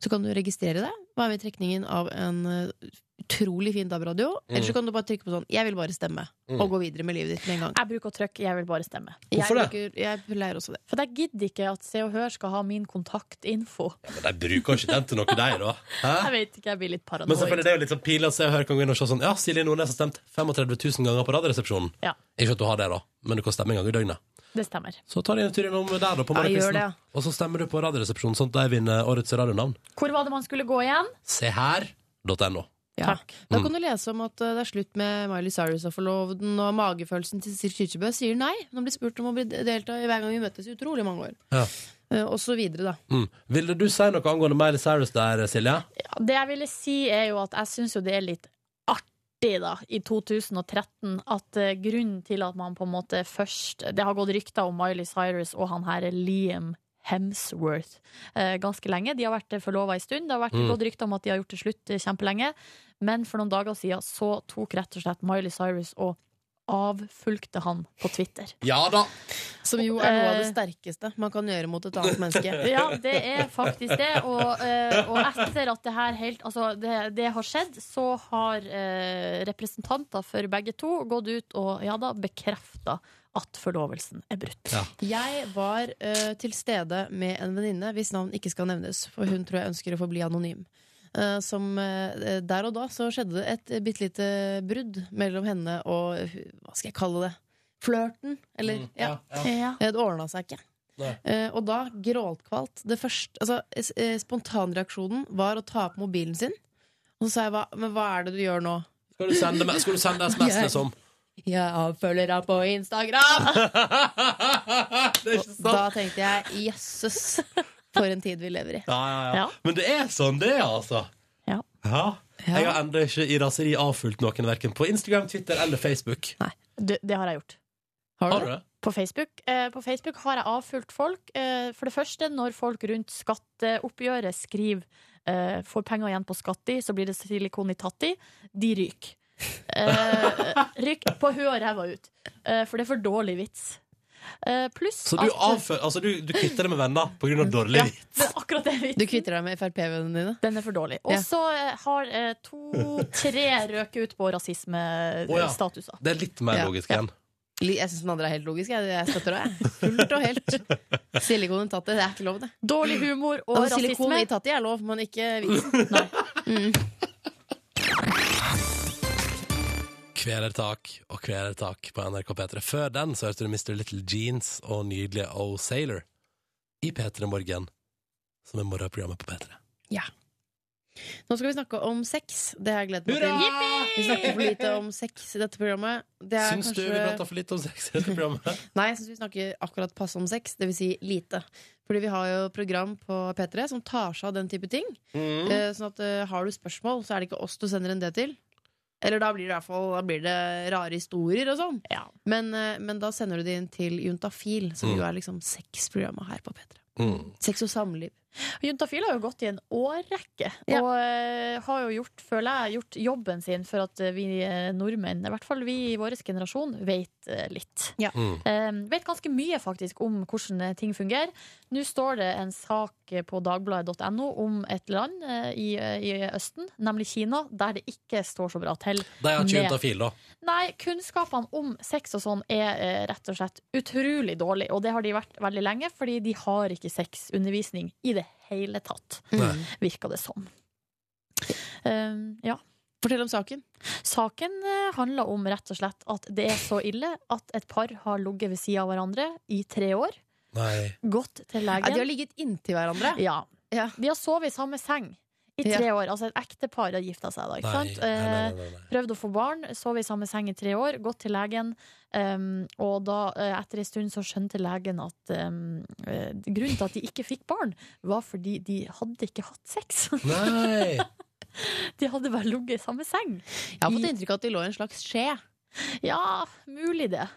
Speaker 3: Så kan du registrere det. Være med i trekningen av en eh, utrolig fin DAB-radio.
Speaker 22: Mm.
Speaker 3: Eller så kan du bare trykke på sånn 'Jeg vil bare stemme',
Speaker 22: Mm.
Speaker 3: og gå videre med livet ditt med en gang.
Speaker 5: Jeg bruker å trykke 'jeg vil bare stemme'.
Speaker 3: Hvorfor Jeg det? jeg pleier også det.
Speaker 5: For jeg gidder ikke at Se og Hør skal ha min kontaktinfo.
Speaker 2: Men de bruker ikke den til noe, de, da. Hæ?
Speaker 5: Jeg vet ikke, jeg blir litt
Speaker 2: Men selvfølgelig det
Speaker 5: paranoid.
Speaker 2: er jo litt sånn pinlig å se og høre kan gå inn og se sånn Ja, Silje Nordnes har stemt 35 000 ganger på Radioresepsjonen.
Speaker 5: Ja.
Speaker 2: Ikke at du har det, da, men du kan stemme en gang i døgnet.
Speaker 5: Det stemmer.
Speaker 2: Så tar de en tur innom der, da, på
Speaker 5: Ja, gjør
Speaker 2: morgenkvisten.
Speaker 5: det, ja.
Speaker 2: Og så stemmer du på Radioresepsjonen, sånn at de vinner årets radionavn.
Speaker 5: Hvor var det man skulle gå igjen?
Speaker 2: Se her.no.
Speaker 3: Da kan du lese om at eh, det er slutt med Miley Cyrus og forloveden, og magefølelsen til Sir Kyrkjebø sier nei. Hun har blitt spurt om å bli delta i hver gang vi møtes i utrolig mange år.
Speaker 2: Ja.
Speaker 3: Eh, Og så videre, da.
Speaker 2: Mm. Ville du si noe angående Miley Cyrus der, Silje?
Speaker 5: Ja, Det jeg ville si er jo at jeg syns jo det er litt artig da, i 2013 at eh, grunnen til at man på en måte først Det har gått rykter om Miley Cyrus og han her Liam Hemsworth eh, ganske lenge. De har vært forlova en stund. Det har vært
Speaker 23: Mm.
Speaker 5: gått rykter om at de har gjort det slutt eh, kjempelenge. Men for noen dager siden så tok rett og slett Miley Cyrus og avfulgte han på Twitter.
Speaker 2: Ja da!
Speaker 3: Som jo er noe av det
Speaker 5: Eh,
Speaker 3: sterkeste man kan gjøre mot et annet menneske.
Speaker 5: Ja, det er faktisk det. Og, eh, og etter at det her helt Altså, det, det har skjedd, så har eh, representanter for begge to gått ut og ja da, bekrefta at forlovelsen er brutt.
Speaker 3: Jeg var eh, til stede med en venninne hvis navn ikke skal nevnes, for hun tror jeg ønsker å forbli anonym. Eh, som, eh, der og da så skjedde det et bitte lite brudd mellom henne og eh, hva skal jeg kalle det? Flørten, eller?
Speaker 21: Mm,
Speaker 3: ja.
Speaker 21: ja, ja.
Speaker 3: Eh, Det ordna seg ikke.
Speaker 21: Nei.
Speaker 3: Eh, og da gråtkvalt. Det første, altså, s- eh, spontanreaksjonen var å ta opp mobilen sin. Og så sa jeg hva, men hva er det du gjør nå?
Speaker 2: Skal du sende, me- skal du sende SMS, liksom?
Speaker 3: Jeg avfølger deg på Instagram! Og Da tenkte jeg jøsses, for en tid vi lever i.
Speaker 2: Ja, ja, ja. Men det er sånn det er, altså.
Speaker 5: Ja.
Speaker 2: Jeg har ennå ikke i raseri avfulgt noen, verken på Instagram, Twitter eller Facebook.
Speaker 5: Det, det har jeg gjort.
Speaker 2: Har du Har du det? det?
Speaker 5: På Facebook, eh, på Facebook har jeg avfulgt folk. Eh, for det første, når folk rundt skatteoppgjøret skriver eh, 'får penger igjen på skatt i', så blir det silikon i tatt i. De ryker. Eh, ryker på huet og ræva ut. Eh, for det er for dårlig vits. Eh, pluss
Speaker 2: Så du,
Speaker 5: at
Speaker 2: avfø- altså, du, du kvitter deg med venner på grunn av dårlig vits?
Speaker 5: det er akkurat det vitsen.
Speaker 3: Du kvitter deg med Frp-vennene dine?
Speaker 5: Den er for dårlig. Og så eh, har eh, to-tre røket ut på
Speaker 2: Å, ja.
Speaker 5: rasismestatuser.
Speaker 2: Det er litt mer logisk igjen.
Speaker 3: Jeg syns den andre er helt logisk. Jeg, jeg støtter deg. jeg. Fullt og helt. Silikon i tattet, det er ikke lov, det.
Speaker 5: Dårlig humor og
Speaker 3: altså, Silikon
Speaker 5: rasisme.
Speaker 3: i tattet er lov, men ikke vitsen.
Speaker 2: Kvelertak og kvelertak på NRK P3. Før den så hørte du Mr. Little Jeans og nydelige O Sailor i P3 Morgen, som er morgenprogrammet på P3.
Speaker 3: Ja. Nå skal vi snakke om sex. Det har jeg gledet meg til.
Speaker 2: Hurra!
Speaker 3: Vi snakker for lite om sex i dette programmet. Det er
Speaker 2: Syns du
Speaker 3: kanskje-
Speaker 2: vi prata for litt om sex i dette programmet?
Speaker 3: Nei, jeg syns vi snakker akkurat passe om sex, dvs. Si lite. Fordi vi har jo program på P3 som tar seg av den type ting.
Speaker 2: Mhm.
Speaker 3: Eh, Sånn at eh, har du spørsmål, så er det ikke oss du sender en det til. Eller da blir det i hvert fall da blir det rare historier og sånn. Men, eh, men da sender du det inn til Juntafil, som
Speaker 5: Mhm.
Speaker 3: jo er liksom sexprogrammet her på P3.
Speaker 2: Mm.
Speaker 3: Sex og samliv.
Speaker 5: Juntafil har jo gått i en årrekke, og eh, har jo gjort, føler jeg, gjort jobben sin for at eh, vi eh, nordmenn, i hvert fall vi i vår generasjon, vet eh, litt.
Speaker 2: Mm.
Speaker 5: Eh, vet ganske mye faktisk om hvordan eh, ting fungerer. Nå står det en sak eh, på dagbladet.no om et land eh, i, eh, i Østen, nemlig Kina, der det ikke står så bra til.
Speaker 2: De har ikke
Speaker 5: med-
Speaker 2: juntafil, da.
Speaker 5: Nei, kunnskapene om sex og sånn er eh, rett og slett utrolig dårlig, og det har de vært veldig lenge, fordi de har ikke sexundervisning i det hele tatt,
Speaker 2: Nei.
Speaker 3: Mm.
Speaker 5: virker det som. Um, ja.
Speaker 3: Fortell om saken.
Speaker 5: Saken eh, handler om rett og slett at det er så ille at et par har ligget ved sida av hverandre i tre år,
Speaker 2: Nei.
Speaker 5: gått til legen
Speaker 3: Ja, de har ligget inntil hverandre.
Speaker 5: Ja. De har sovet i samme seng. I tre
Speaker 3: Ja.
Speaker 5: år, altså Et ektepar har gifta seg. da ikke
Speaker 3: Nei,
Speaker 5: sant?
Speaker 3: nei, nei, nei,
Speaker 5: Eh, Prøvd å få barn, sov i samme seng i tre år, gått til legen. em, og da, eh, etter en stund, så skjønte legen at em, eh, grunnen til at de ikke fikk barn, var fordi de hadde ikke hatt sex.
Speaker 2: Nei.
Speaker 5: de hadde bare ligget i samme seng.
Speaker 3: Jeg har fått inntrykk av at de lå i en slags skje.
Speaker 5: Ja, mulig det.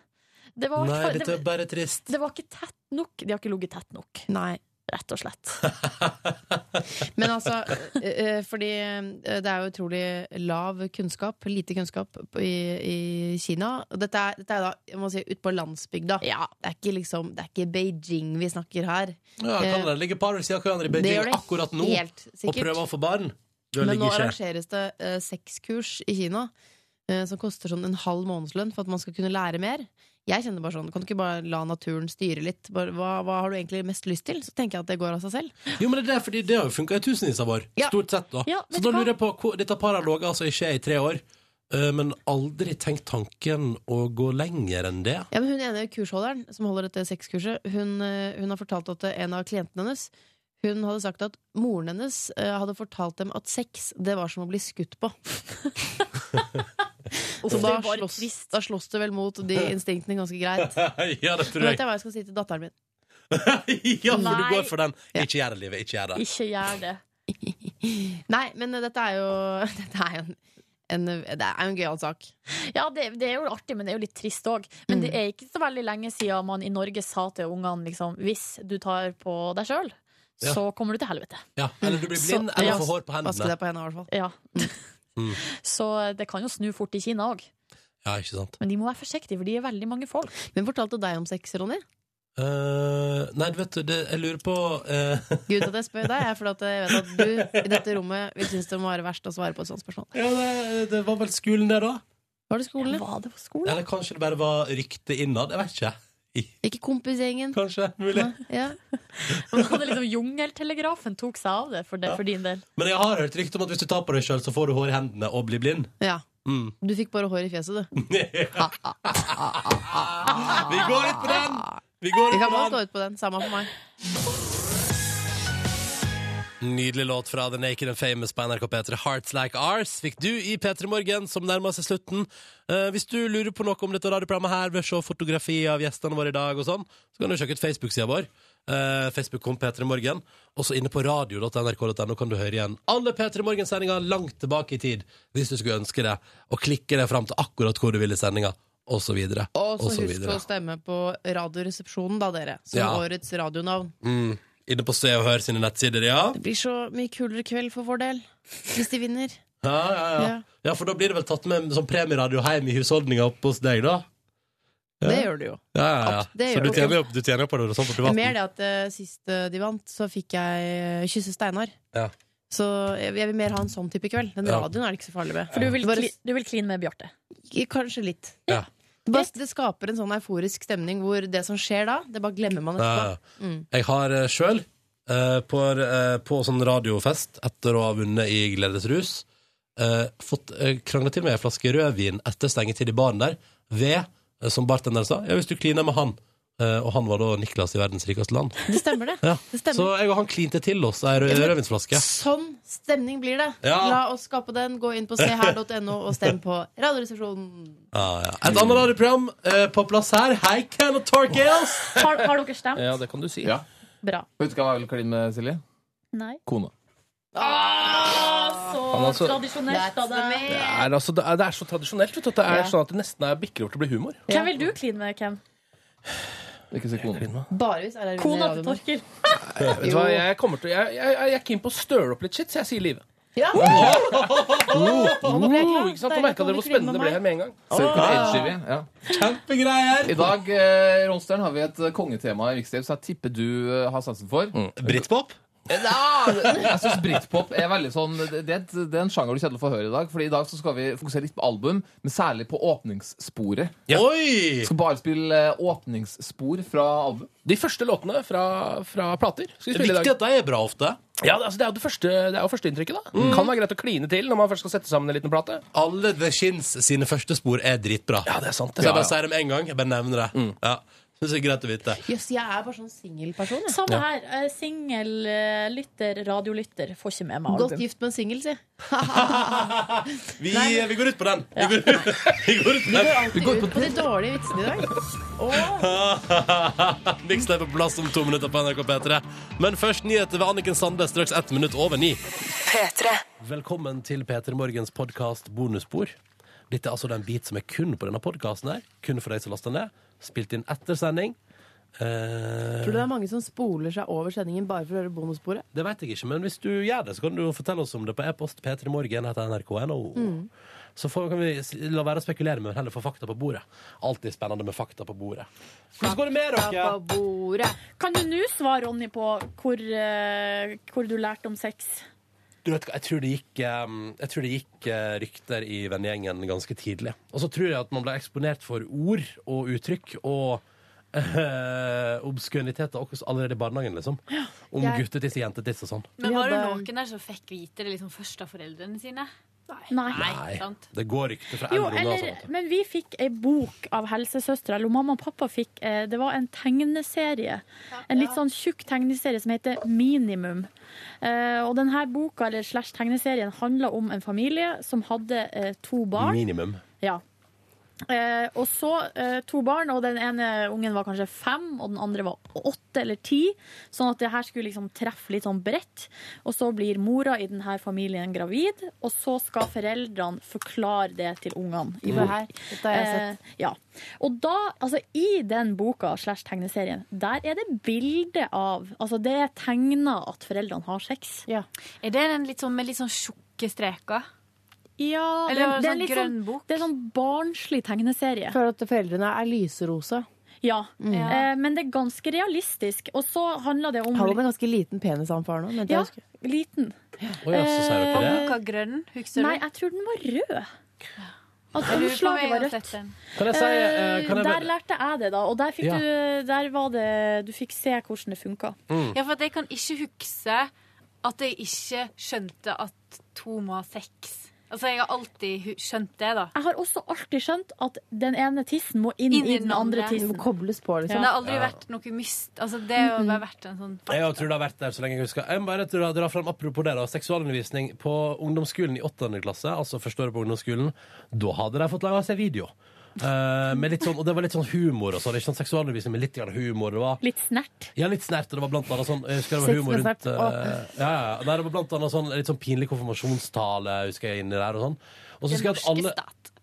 Speaker 5: det var,
Speaker 2: Nei,
Speaker 5: det,
Speaker 2: dette er bare trist.
Speaker 5: det var ikke tett nok. De har ikke ligget tett nok.
Speaker 3: Nei.
Speaker 5: rett og slett.
Speaker 3: Men altså, eh, eh, fordi eh, det er jo utrolig lav kunnskap, lite kunnskap på- i, i Kina. Og dette er, dette er da, jeg må si, ut på landsbygda. Det er ikke liksom, det er ikke Beijing vi snakker her.
Speaker 2: Ja,
Speaker 3: Eh,
Speaker 2: kan det ligge par ved siden av hverandre i
Speaker 3: det gjør
Speaker 2: Beijing
Speaker 3: det
Speaker 2: akkurat nå
Speaker 3: helt
Speaker 2: og
Speaker 3: sikkert.
Speaker 2: prøve å få barn? Da
Speaker 3: Men nå
Speaker 2: ligger ikke
Speaker 3: arrangeres det eh, sexkurs i Kina eh, som koster sånn en halv månedslønn for at man skal kunne lære mer. Jeg kjenner bare sånn, Kan du ikke bare la naturen styre litt? Bare, hva, hva har du egentlig mest lyst til? Så tenker jeg at det går av seg selv.
Speaker 2: Jo, men det er fordi det har jo funka i tusenvis av år. Stort sett, da.
Speaker 3: Ja,
Speaker 2: så
Speaker 3: vet
Speaker 2: da
Speaker 3: du hva?
Speaker 2: lurer jeg på hvor, Dette paret har ligget altså ikke i tre år, eh, men aldri tenkt tanken å gå lenger enn det.
Speaker 3: Ja, men hun ene kursholderen som holder dette sexkurset, hun, eh, hun har fortalt at en av klientene hennes hun hadde sagt at moren hennes eh, hadde fortalt dem at sex, det var som å bli skutt på.
Speaker 5: Uff,
Speaker 3: Så da
Speaker 5: det var
Speaker 3: slåss, da slåss det vel mot de instinktene ganske greit.
Speaker 2: ja, det
Speaker 3: Nå
Speaker 2: tror
Speaker 3: vet
Speaker 2: jeg.
Speaker 3: jeg hva jeg skal si til datteren min.
Speaker 2: ja, for du
Speaker 3: Nei.
Speaker 2: går for den. Ikke gjør det, livet. Ikke gjør det.
Speaker 3: gjør det. Nei, men eh, dette er jo, dette er jo en, en, det er jo en gøyal sak.
Speaker 5: Ja, det, det er jo artig, men det er jo litt trist òg. Men
Speaker 2: Mm.
Speaker 5: det er ikke så veldig lenge siden man i Norge sa til ungene liksom Hvis du tar på deg sjøl,
Speaker 2: Ja.
Speaker 5: så kommer du til helvete.
Speaker 2: Ja, eller du blir blind, eller får hår på hendene.
Speaker 5: Vaske deg
Speaker 3: på hendene, i hvert fall.
Speaker 5: Ja.
Speaker 2: Mm.
Speaker 5: Så det kan jo snu fort i Kina òg.
Speaker 2: Ja, ikke sant.
Speaker 5: Men de må være forsiktige, for de er veldig mange folk.
Speaker 3: Hvem fortalte deg om sex, Ronny?
Speaker 2: Eh, nei, vet du, det, jeg lurer på eh,
Speaker 3: Grunnen til at jeg spør deg, er fordi at jeg vet at du i dette rommet vil synes det må være verst å svare på et sånt spørsmål.
Speaker 2: Ja, det, det var vel skolen det, da?
Speaker 3: Var det skolen?
Speaker 5: var det på
Speaker 2: Eller kanskje det bare var rykte innad? Jeg vet ikke.
Speaker 3: Ikke kompisgjengen?
Speaker 2: Kanskje. Mulig.
Speaker 3: Ja.
Speaker 5: Man hadde liksom Jungeltelegrafen tok seg av det for, det, for din del.
Speaker 2: Men jeg har hørt rykte om at hvis du tar på deg sjøl, så får du hår i hendene og blir blind.
Speaker 3: Ja.
Speaker 2: Mm.
Speaker 3: Du fikk bare hår i fjeset, du.
Speaker 2: Vi går ut på den! Vi går
Speaker 3: Vi
Speaker 2: ut
Speaker 3: kan
Speaker 2: på
Speaker 3: godt
Speaker 2: den.
Speaker 3: gå ut på den. Samme for meg.
Speaker 2: Nydelig låt fra The Naked and Famous på NRK P3. Hearts Like Ours fikk du i P3 Morgen, som nærmer seg slutten. Eh, hvis du lurer på noe om dette radioprogrammet her, vil se fotografi av gjestene våre i dag og sånn, så kan du sjekke ut Facebook-sida vår. Eh, Facebook kom P3 Morgen. Og så inne på radio.nrk.no kan du høre igjen alle P3 Morgen-sendinger langt tilbake i tid, hvis du skulle ønske det, og klikke deg fram til akkurat hvor du vil i sendinga, og så videre.
Speaker 3: Og
Speaker 2: og
Speaker 3: så
Speaker 2: så
Speaker 3: husk
Speaker 2: videre.
Speaker 3: å stemme på Radioresepsjonen, da, dere. Som
Speaker 2: Ja.
Speaker 3: årets radionavn.
Speaker 2: Mm. Inne på Se og Hør sine nettsider, ja.
Speaker 3: Det blir så mye kulere kveld for vår del. Hvis de vinner.
Speaker 2: Ja, ja, ja.
Speaker 3: Ja.
Speaker 2: ja, for da blir det vel tatt med som premieradio hjem i husholdninga oppe hos deg, da? Ja.
Speaker 3: Det gjør det jo.
Speaker 2: Ja, ja, ja.
Speaker 3: Abs- det
Speaker 2: Så
Speaker 3: gjør
Speaker 2: du
Speaker 3: det.
Speaker 2: tjener jo opp, du tjener jo på det og sånn på
Speaker 3: Mer
Speaker 2: privaten?
Speaker 3: det at eh, sist eh, de vant, så fikk jeg eh, kysse Steinar.
Speaker 2: Ja.
Speaker 3: Så jeg, jeg vil mer ha en sånn type kveld. Den
Speaker 2: Ja.
Speaker 3: radioen er det ikke så farlig med.
Speaker 5: For du vil,
Speaker 3: Bare
Speaker 5: kli, du vil kline med Bjarte.
Speaker 3: Kanskje litt.
Speaker 2: Ja.
Speaker 3: Det, bare, det skaper en sånn euforisk stemning hvor det som skjer da, det bare glemmer man
Speaker 2: Ja,
Speaker 3: etterpå.
Speaker 2: ja.
Speaker 3: Mm.
Speaker 2: Jeg har eh, sjøl, eh, på, eh, på sånn radiofest etter å ha vunnet i Gledesrus, eh, fått eh, krangla til meg ei flaske rødvin etter stengetid i baren der, ved, eh, som bartenderen sa, ja, hvis du kliner med han. Eh, og han var da Niklas i verdens rikeste land.
Speaker 3: Det stemmer, det.
Speaker 2: Ja.
Speaker 3: det
Speaker 2: Så
Speaker 3: stemmer.
Speaker 2: jeg og han klinte til oss ei rød-
Speaker 3: Ja, men-
Speaker 2: rødvinsflaske.
Speaker 3: Sånn stemning blir det.
Speaker 2: Ja.
Speaker 3: La oss skape den. Gå inn på seher.no og stem på Radioresepsjonen.
Speaker 2: Ja, ja. Et annet radioprogram eh, på plass her. Hei, Ken og Torgales!
Speaker 5: Har, har dere stemt?
Speaker 9: Ja, det kan du si.
Speaker 5: Bra.
Speaker 9: Vet du hva jeg vil kline med, Silje?
Speaker 5: Nei.
Speaker 9: Kona.
Speaker 5: Så
Speaker 9: Han er altså- så-
Speaker 5: tradisjonelt av deg.
Speaker 9: Det er, altså, det er, det er så tradisjonelt vet du, at det er
Speaker 5: Ja.
Speaker 9: sånn at det nesten er bikker over til å bli humor.
Speaker 5: Hvem vil du kline med, Ken?
Speaker 9: Ikke si kona.
Speaker 3: Bare hvis RR vinner
Speaker 5: Kona
Speaker 3: radioen.
Speaker 5: til Torkil.
Speaker 9: Vet du hva, jeg, kommer til, jeg, jeg, jeg er keen på å støle opp litt shit, så jeg sier Live.
Speaker 3: Ja.
Speaker 9: Nå ble jeg klar. Ikke sant? Da merka dere hvor spennende det ble her med en gang.
Speaker 1: Circle Edge-ivy. Ja.
Speaker 2: Kjempegreier!
Speaker 1: I dag eh, Ronstern, har vi et eh, kongetema i Vikstrev, så jeg tipper du eh, har sansen for.
Speaker 2: Mm. Britpop?
Speaker 1: Ja, jeg syns britpop er veldig sånn det, det, det er en sjanger du kjedelig får høre i dag. Fordi i dag så skal vi fokusere litt på album, men særlig på åpningssporet.
Speaker 2: Oi!
Speaker 1: Skal bare spille eh, åpningsspor fra album.
Speaker 9: De første låtene fra, fra plater. Skal vi spille i dag.
Speaker 2: Viktig at de er bra ofte. Mm.
Speaker 9: Ja, det- altså, det er jo det første, det er jo førsteinntrykket, da. Kan være greit å kline til når man først skal sette sammen en liten plate.
Speaker 2: Alle The Shins sine første spor er dritbra. Ja, det er sant. Så jeg
Speaker 9: Ja,
Speaker 2: bare
Speaker 9: ja.
Speaker 2: sier det med en gang. Jeg bare nevner det.
Speaker 9: Mm.
Speaker 2: Ja. Synes det er greit å vite.
Speaker 3: Jøss, jeg er bare sånn singelperson. jeg.
Speaker 5: Samme her. eh, Singel eh, lytter, radiolytter, får ikke med meg
Speaker 3: Godt
Speaker 5: album.
Speaker 3: gift med en singel, si.
Speaker 2: Vi, vi går ut på den. Vi går, vi går ut på
Speaker 3: Vi går
Speaker 2: den.
Speaker 3: alltid ut på de dårlige vitsene i dag.
Speaker 2: Niks er på plass om to minutter på NRK P3. Men først nyheter ved Anniken Sande straks ett minutt over ni. Velkommen til P3 Morgens podkast Bonusspor. Dette er altså den bit som er kun på denne podkasten her. Kun for deg som laster den ned. Spilt inn etter sending. Eh,
Speaker 3: Tror du det er mange som spoler seg over sendingen bare for å høre bonussporet?
Speaker 2: det vet jeg ikke, men hvis du gjør det, så kan du jo fortelle oss om det på e-post p3morgen etter nrk.no.
Speaker 3: Mm.
Speaker 2: Så får, kan vi s- la være å spekulere, men heller få fakta på bordet. Alltid spennende med fakta på bordet. Hvordan går det med dere?
Speaker 5: Kan du nå svare, Ronny, på hvor, eh, hvor du lærte om sex?
Speaker 2: Du vet, hva, jeg tror det gikk, eh, jeg tror det gikk eh, rykter i vennegjengen ganske tidlig. Og så tror jeg at man ble eksponert for ord og uttrykk og eh, obskøniteter også allerede i barnehagen, liksom. Om
Speaker 11: Jeg-
Speaker 2: guttetiss og jentetiss og sånn.
Speaker 11: Men var det noen der som fikk vite det liksom først av foreldrene sine? Nei. sant?
Speaker 2: Det går rykter fra
Speaker 5: Jo,
Speaker 2: eldre unger og
Speaker 5: eller,
Speaker 2: sånt.
Speaker 5: men vi fikk ei bok av helsesøstre, eller mamma og pappa fikk eh, Det var en tegneserie. En litt sånn tjukk tegneserie som heter Minimum. Eh, og denne boka eller slash tegneserien handla om en familie som hadde eh, to barn.
Speaker 2: Minimum.
Speaker 5: Ja. Eh, og så eh, to barn, og den ene ungen var kanskje fem, og den andre var åtte eller ti. Sånn at det her skulle liksom treffe litt sånn bredt. Og så blir mora i denne familien gravid, og så skal foreldrene forklare det til ungene.
Speaker 3: Se her, dette Mm. har jeg sett.
Speaker 5: Eh, ja. Og da, altså i den boka slash tegneserien, der er det bilde av Altså det er tegna at foreldrene har sex.
Speaker 11: Er det den litt sånn, med litt sånn tjukke streker?
Speaker 5: Ja,
Speaker 11: Eller var det sånn
Speaker 5: litt
Speaker 11: grønn bok?
Speaker 5: Det er sånn barnslig tegneserie.
Speaker 3: For at foreldrene er lyserosa.
Speaker 5: Ja,
Speaker 3: Mm.
Speaker 5: eh, men det er ganske realistisk. Og så handler det om
Speaker 3: Han var med en ganske liten penis han faren òg, mente
Speaker 5: Ja,
Speaker 3: jeg.
Speaker 5: liten.
Speaker 3: Å ja, så sier dere det.
Speaker 11: Boka grønn, Eh, husker du?
Speaker 5: Nei, jeg tror den var rød. At
Speaker 11: Jeg lurer på om
Speaker 5: omslaget
Speaker 11: jeg
Speaker 5: var
Speaker 11: har
Speaker 5: rødt.
Speaker 11: sett den.
Speaker 2: Kan jeg si, eh, kan jeg
Speaker 5: der
Speaker 2: bare-
Speaker 5: lærte jeg det, da. Og der, fikk
Speaker 2: Ja.
Speaker 5: du, der var det Du fikk se hvordan det funka.
Speaker 2: Mm.
Speaker 11: Ja, for at jeg kan ikke huske at jeg ikke skjønte at to må ha sex. Altså, jeg har alltid hu- skjønt det, da.
Speaker 5: Jeg har også alltid skjønt at den ene tissen må inn,
Speaker 11: Inn
Speaker 5: i den andre tissen.
Speaker 3: Du må kobles på,
Speaker 11: Men
Speaker 3: liksom.
Speaker 11: det har aldri
Speaker 2: Ja.
Speaker 11: vært noe myst... Altså, det har bare vært en sånn
Speaker 2: Jeg også tror det har vært der så lenge jeg husker. Jeg må bare tror jeg drar frem, apropos det, da. Seksualundervisning på ungdomsskolen i 8. klasse, altså første året på ungdomsskolen, da hadde de fått laga seg video. Eh, med litt sånn, og det var litt sånn humor og sånn. Ikke sånn seksualundervisning, men litt grann humor. Det var
Speaker 5: Litt snert.
Speaker 2: Ja, litt snert. Og det var blant annet sånn jeg husker det
Speaker 24: Sex
Speaker 2: var humor
Speaker 24: med
Speaker 2: rundt
Speaker 24: snert.
Speaker 2: eh, ja, ja. Nei, det var blant annet sånn litt sånn pinlig konfirmasjonstale husker jeg inni der og sånn. Og så
Speaker 11: Den
Speaker 2: husker jeg at
Speaker 11: norske
Speaker 2: alle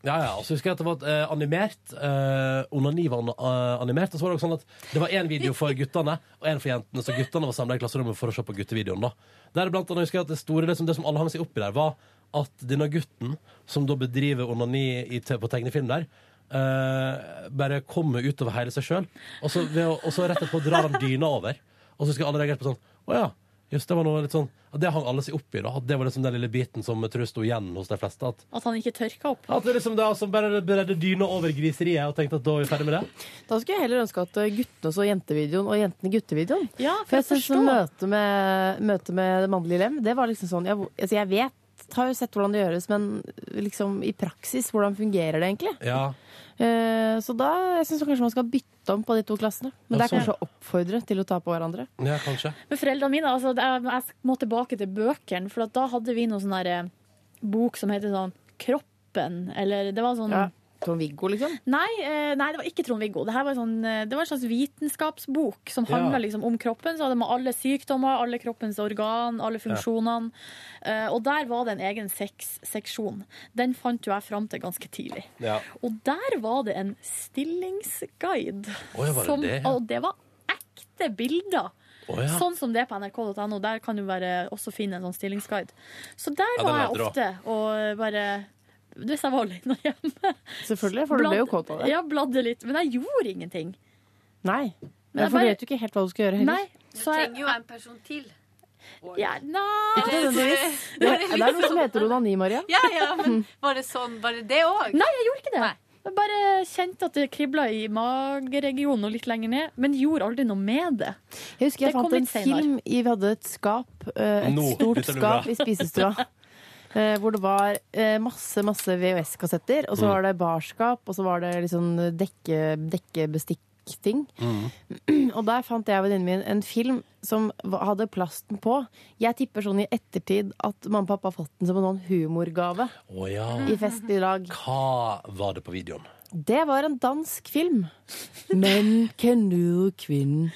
Speaker 2: ja, ja, og så husker jeg at det var eh, animert. eh, Onani var an- eh, animert. Og så var det også sånn at det var én video for guttene og én for jentene. Så guttene var samla i klasserommet for å se på guttevideoen. da. Der blant annet husker jeg at Det store, det som, det som alle hang seg opp i der, var at denne gutten, som da bedriver onani i, te- på tegnefilm der, eh, bare kommer utover hele seg sjøl. Og, så ved å- og så rett etterpå drar han dyna over. Og så husker jeg alle reagerte på sånn Å ja. Just, det var noe litt sånn, at det hang alle seg opp i. da, at Det var liksom den lille biten som jeg tror sto igjen hos de fleste. at
Speaker 5: At han ikke tørka opp.
Speaker 2: at det liksom da som bare bredde dyna over griseriet og tenkte at da er vi ferdig med det?
Speaker 3: Da skulle jeg heller ønske at eh, guttene så jentevideoen og jentene guttevideoen.
Speaker 5: Ja,
Speaker 3: for jeg synes sånn møte med, møte med det mannlige lem, det var liksom sånn Jeg, altså jeg vet, har jo sett hvordan det gjøres, men liksom i praksis, hvordan fungerer det egentlig?
Speaker 2: Ja.
Speaker 3: Eh, så da jeg synes kanskje man skal bytte om på de to klassene. Men det er
Speaker 5: Ja,
Speaker 3: kanskje
Speaker 5: sånn.
Speaker 3: å oppfordre til å ta på hverandre.
Speaker 2: Ja, kanskje.
Speaker 5: Men foreldrene mine, altså, det- jeg, jeg må tilbake til bøkene, for at da hadde vi noen sånn der, eh, bok som heter sånn Kroppen, eller det var sånn
Speaker 3: Ja. Trond-Viggo, liksom?
Speaker 5: Nei, eh, nei, det var ikke Trond-Viggo. Det, her var en sånn, eh, det var en slags vitenskapsbok som
Speaker 11: Ja.
Speaker 5: handla liksom om kroppen. Så hadde man alle sykdommer, alle kroppens organ, alle funksjonene. Eh, Og der var det en egen sexseksjon. Den fant jo jeg fram til ganske tidlig.
Speaker 2: Ja.
Speaker 5: Og der var det en stillingsguide.
Speaker 2: Oi, var det
Speaker 5: som,
Speaker 2: det, ja?
Speaker 5: Og det var ekte bilder.
Speaker 2: Å, ja.
Speaker 5: Sånn som det er på nrk.no. Der kan du bare også finne en sånn stillingsguide. Så der
Speaker 2: Ja, den
Speaker 5: var jeg
Speaker 2: er
Speaker 5: ofte og bare Hvis jeg var alene hjemme.
Speaker 3: Selvfølgelig, for du ble jo kåt av det.
Speaker 5: Ja, bladde litt. Men jeg gjorde ingenting.
Speaker 3: Nei.
Speaker 5: Men jeg
Speaker 3: for du
Speaker 5: bare-
Speaker 3: vet jo ikke helt hva du skal gjøre
Speaker 5: Nei,
Speaker 3: heller.
Speaker 5: så jeg,
Speaker 11: trenger jo en person til.
Speaker 5: ja, nei.
Speaker 3: Ikke nødvendigvis. Det
Speaker 11: Det
Speaker 3: er, liksom- det er noe som heter onani, Maria.
Speaker 11: Ja, ja, men var det sånn? Var det det òg?
Speaker 5: Nei, jeg gjorde ikke det. Jeg bare kjente at det kribla i mageregionen og litt lenger ned, men gjorde aldri noe med det.
Speaker 3: Jeg husker jeg
Speaker 5: Det kom
Speaker 3: fant en
Speaker 5: litt senere.
Speaker 3: film i Vi hadde et skap, eh, et
Speaker 5: Nå,
Speaker 3: stort
Speaker 5: dette blir bra.
Speaker 3: skap i spisestua. eh, Hvor det var eh, masse masse VHS-kassetter, og så
Speaker 11: Mm.
Speaker 3: var det barskap, og så var det liksom dekke, dekkebestikkting. Og der fant jeg og venninnen min en film som va- hadde plasten på. Jeg tipper sånn i ettertid at mamma og pappa har fått den som en sånn humorgave
Speaker 2: Å ja.
Speaker 3: i fest i dag.
Speaker 2: Hva var det på videoen?
Speaker 3: Det var en dansk film. Men kjenner du kvinnen?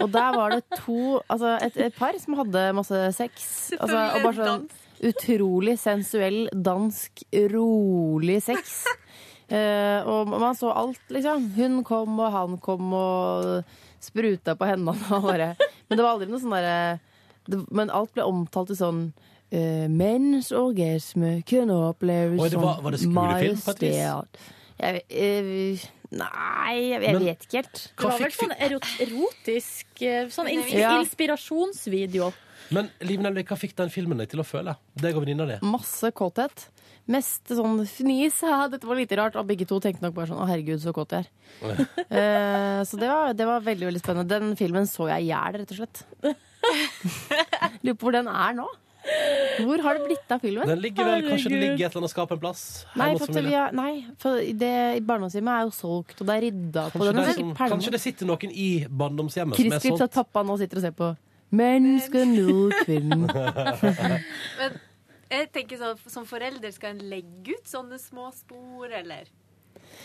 Speaker 3: Og der var det to Altså et, et par som hadde masse sex. Altså, og bare sånn utrolig sensuell dansk, rolig sex. Eh, og man så alt, liksom. Hun kom, og han kom, og spruta på hendene og bare Men det var aldri noe sånn derre det- Men alt ble omtalt i sånn eh, Menns orgasme kunne oppleves
Speaker 2: Oi, det var-
Speaker 3: som
Speaker 2: var det skolefilm på et vis?
Speaker 3: majestet». Jeg, eh, nei, jeg, jeg
Speaker 2: Men-
Speaker 3: vet ikke helt.
Speaker 5: Det var vel sånn erot- erotisk eh, Sånn ins
Speaker 3: Ja.
Speaker 5: inspirasjonsvideo.
Speaker 2: Men Liv Nelvik, hva fikk den filmen deg til å føle? Deg og venninna di?
Speaker 3: Masse kåthet. Mest sånn fnis. «Haha, Dette var lite rart. Og begge to tenkte nok bare sånn å herregud, så kåt jeg er. Eh, så det var, det var veldig veldig spennende. Den filmen så jeg i hjel, rett og slett. Lurer på hvor den er nå. Hvor har det blitt av filmen?
Speaker 2: Den ligger vel, kanskje den ligger et eller annet skap en plass?
Speaker 3: Nei,
Speaker 2: hjemme hos
Speaker 3: for, at
Speaker 2: familien.
Speaker 3: vi har, nei, for det i barndomshjemmet er jo solgt, og det er rydda på.
Speaker 2: Kanskje
Speaker 3: Den
Speaker 2: det, er sånn
Speaker 3: er
Speaker 2: som,
Speaker 3: sikkert pælma.
Speaker 2: kanskje det sitter noen i barndomshjemmet som er sånn
Speaker 3: Krisklipp til at
Speaker 2: solgt?
Speaker 3: pappa nå sitter og ser på. Mennesker nå kvinnen.
Speaker 25: Men jeg tenker sånn, som forelder skal en legge ut sånne små spor, eller?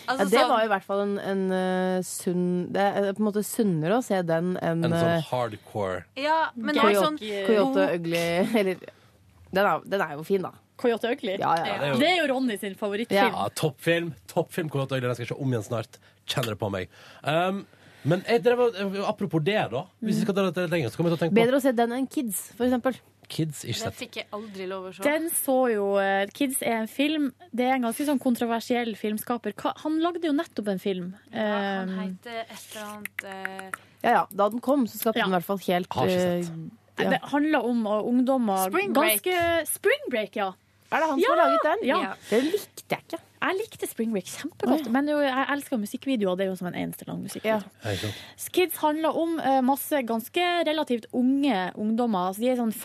Speaker 3: ja, det var jo i hvert fall en, en eh, sunn Det er eh, på en måte sunnere å se den enn
Speaker 2: En
Speaker 3: eh,
Speaker 2: sånn hardcore
Speaker 25: Ja, men det er
Speaker 3: Coyote,
Speaker 25: sånn
Speaker 3: Coyote Ugly Eller den er, den er jo fin, da.
Speaker 5: Coyote Ugly?
Speaker 3: Ja, ja,
Speaker 2: Ja,
Speaker 3: ja.
Speaker 2: det er jo-
Speaker 5: Det er jo Ronny sin favorittfilm.
Speaker 2: Ja, toppfilm. Toppfilm kommer til å øyne. Den skal jeg se om igjen snart. Kjenner det på meg. Um, men jeg drev, og- apropos det, da. Hvis vi skal dra dette litt lenger, så kommer jeg til å tenke
Speaker 3: Bedre å se den enn Kids, for eksempel.
Speaker 2: på Kids. Ikke sett.
Speaker 25: fikk jeg aldri lov å
Speaker 5: Den så jo eh, Kids er en film. Det er en ganske sånn kontroversiell filmskaper. Hva- Han lagde jo nettopp en film.
Speaker 25: Han
Speaker 5: Eh,
Speaker 25: heter et eller annet eh,
Speaker 3: Ja ja, da den kom, så skapte den i hvert fall helt
Speaker 5: Har ikke
Speaker 3: eh,
Speaker 5: Nei,
Speaker 3: ja.
Speaker 5: Det handler om uh, ungdommer
Speaker 3: Spring Break.
Speaker 5: Ganske, spring Break, ja.
Speaker 3: Er det han som har laget den?
Speaker 5: Ja.
Speaker 3: Ja. Det likte jeg ikke.
Speaker 5: Jeg likte Spring Break kjempegodt. Men jo, jeg elsker jo musikkvideoer. Det er jo som en eneste lang musikkvideo. Skids handler om eh, masse ganske relativt unge ungdommer. Altså, de er i sånn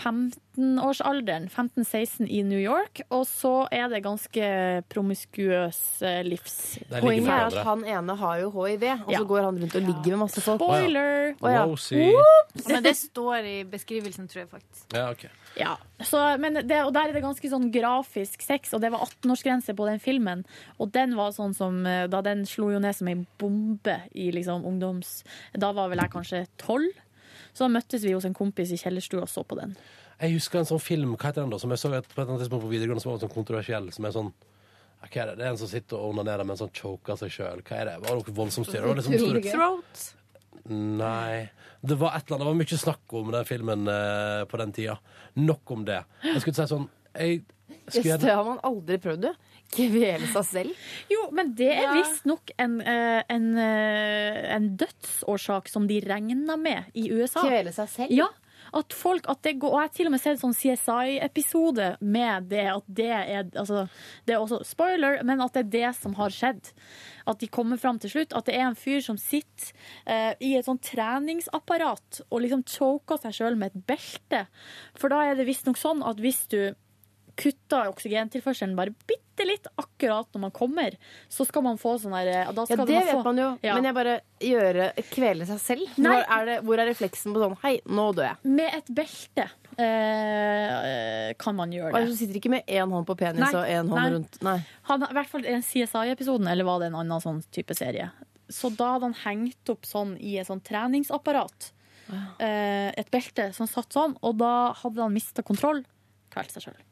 Speaker 5: 15-årsalderen, 15-16 i New York. Og så er det ganske promiskuøs eh, livs...
Speaker 3: Poenget er at han ene har jo HIV, og så går han rundt og ligger med masse folk.
Speaker 5: Spoiler!
Speaker 3: Å, ja.
Speaker 2: Rosie.
Speaker 25: Ja, Men det står i beskrivelsen, tror jeg faktisk.
Speaker 2: Ja, ok.
Speaker 5: Ja, så, men det, og der er det ganske sånn grafisk sex, og det var 18-årsgrense på den filmen. Og den var sånn som eh, Da den slo jo ned som ei bombe i liksom ungdoms... Da var vel jeg kanskje tolv. Så da møttes vi hos en kompis i kjellerstua og så på den.
Speaker 2: Jeg husker en sånn film hva heter den da, som jeg så et, på et eller annet tidspunkt på videregående som var sånn kontroversiell. Som er sånn ja, hva er det? det er en som sitter og onanerer mens han choker seg sjøl. Hva er det? Var det noe voldsomt styr? Det var liksom stor-
Speaker 25: Throat.
Speaker 2: Nei. Det var et eller annet, det var mye snakk om den filmen eh, på den tida. Nok om det. Jeg skulle si sånn jeg, skulle
Speaker 3: Yes,
Speaker 2: gjerne-
Speaker 3: det har man aldri prøvd, du. Kvele seg selv.
Speaker 5: Jo, men det er visstnok en, eh, en, eh, en dødsårsak som de regna med i USA.
Speaker 3: Kvele seg selv?
Speaker 5: Ja. At folk, at det går, og jeg har til og med sett sånn CSI-episode med det at det er altså, Det er også spoiler, men at det er det som har skjedd. At de kommer fram til slutt. At det er en fyr som sitter eh, i et sånn treningsapparat og liksom choker seg sjøl med et belte. For da er det visstnok sånn at hvis du kutta oksygentilførselen bare bitte litt akkurat når man kommer, så skal man få sånn der
Speaker 3: Ja,
Speaker 5: da skal
Speaker 3: det
Speaker 5: få,
Speaker 3: vet man jo,
Speaker 5: Ja.
Speaker 3: men jeg bare gjøre kvele seg selv.
Speaker 5: Nei.
Speaker 3: Hvor er, det, hvor er refleksen på sånn hei, nå dør jeg?
Speaker 5: Med et belte eh, kan man gjøre
Speaker 3: Og
Speaker 5: det.
Speaker 3: du sitter ikke med én hånd på penis
Speaker 5: Nei.
Speaker 3: og én hånd
Speaker 5: Nei.
Speaker 3: rundt Nei.
Speaker 5: Han, I hvert fall i den CSI-episoden, eller var det en annen sånn type serie? Så da hadde han hengt opp sånn i et sånn treningsapparat. Eh, et belte som satt sånn, og da hadde han mista kontroll. Kvalt seg sjøl.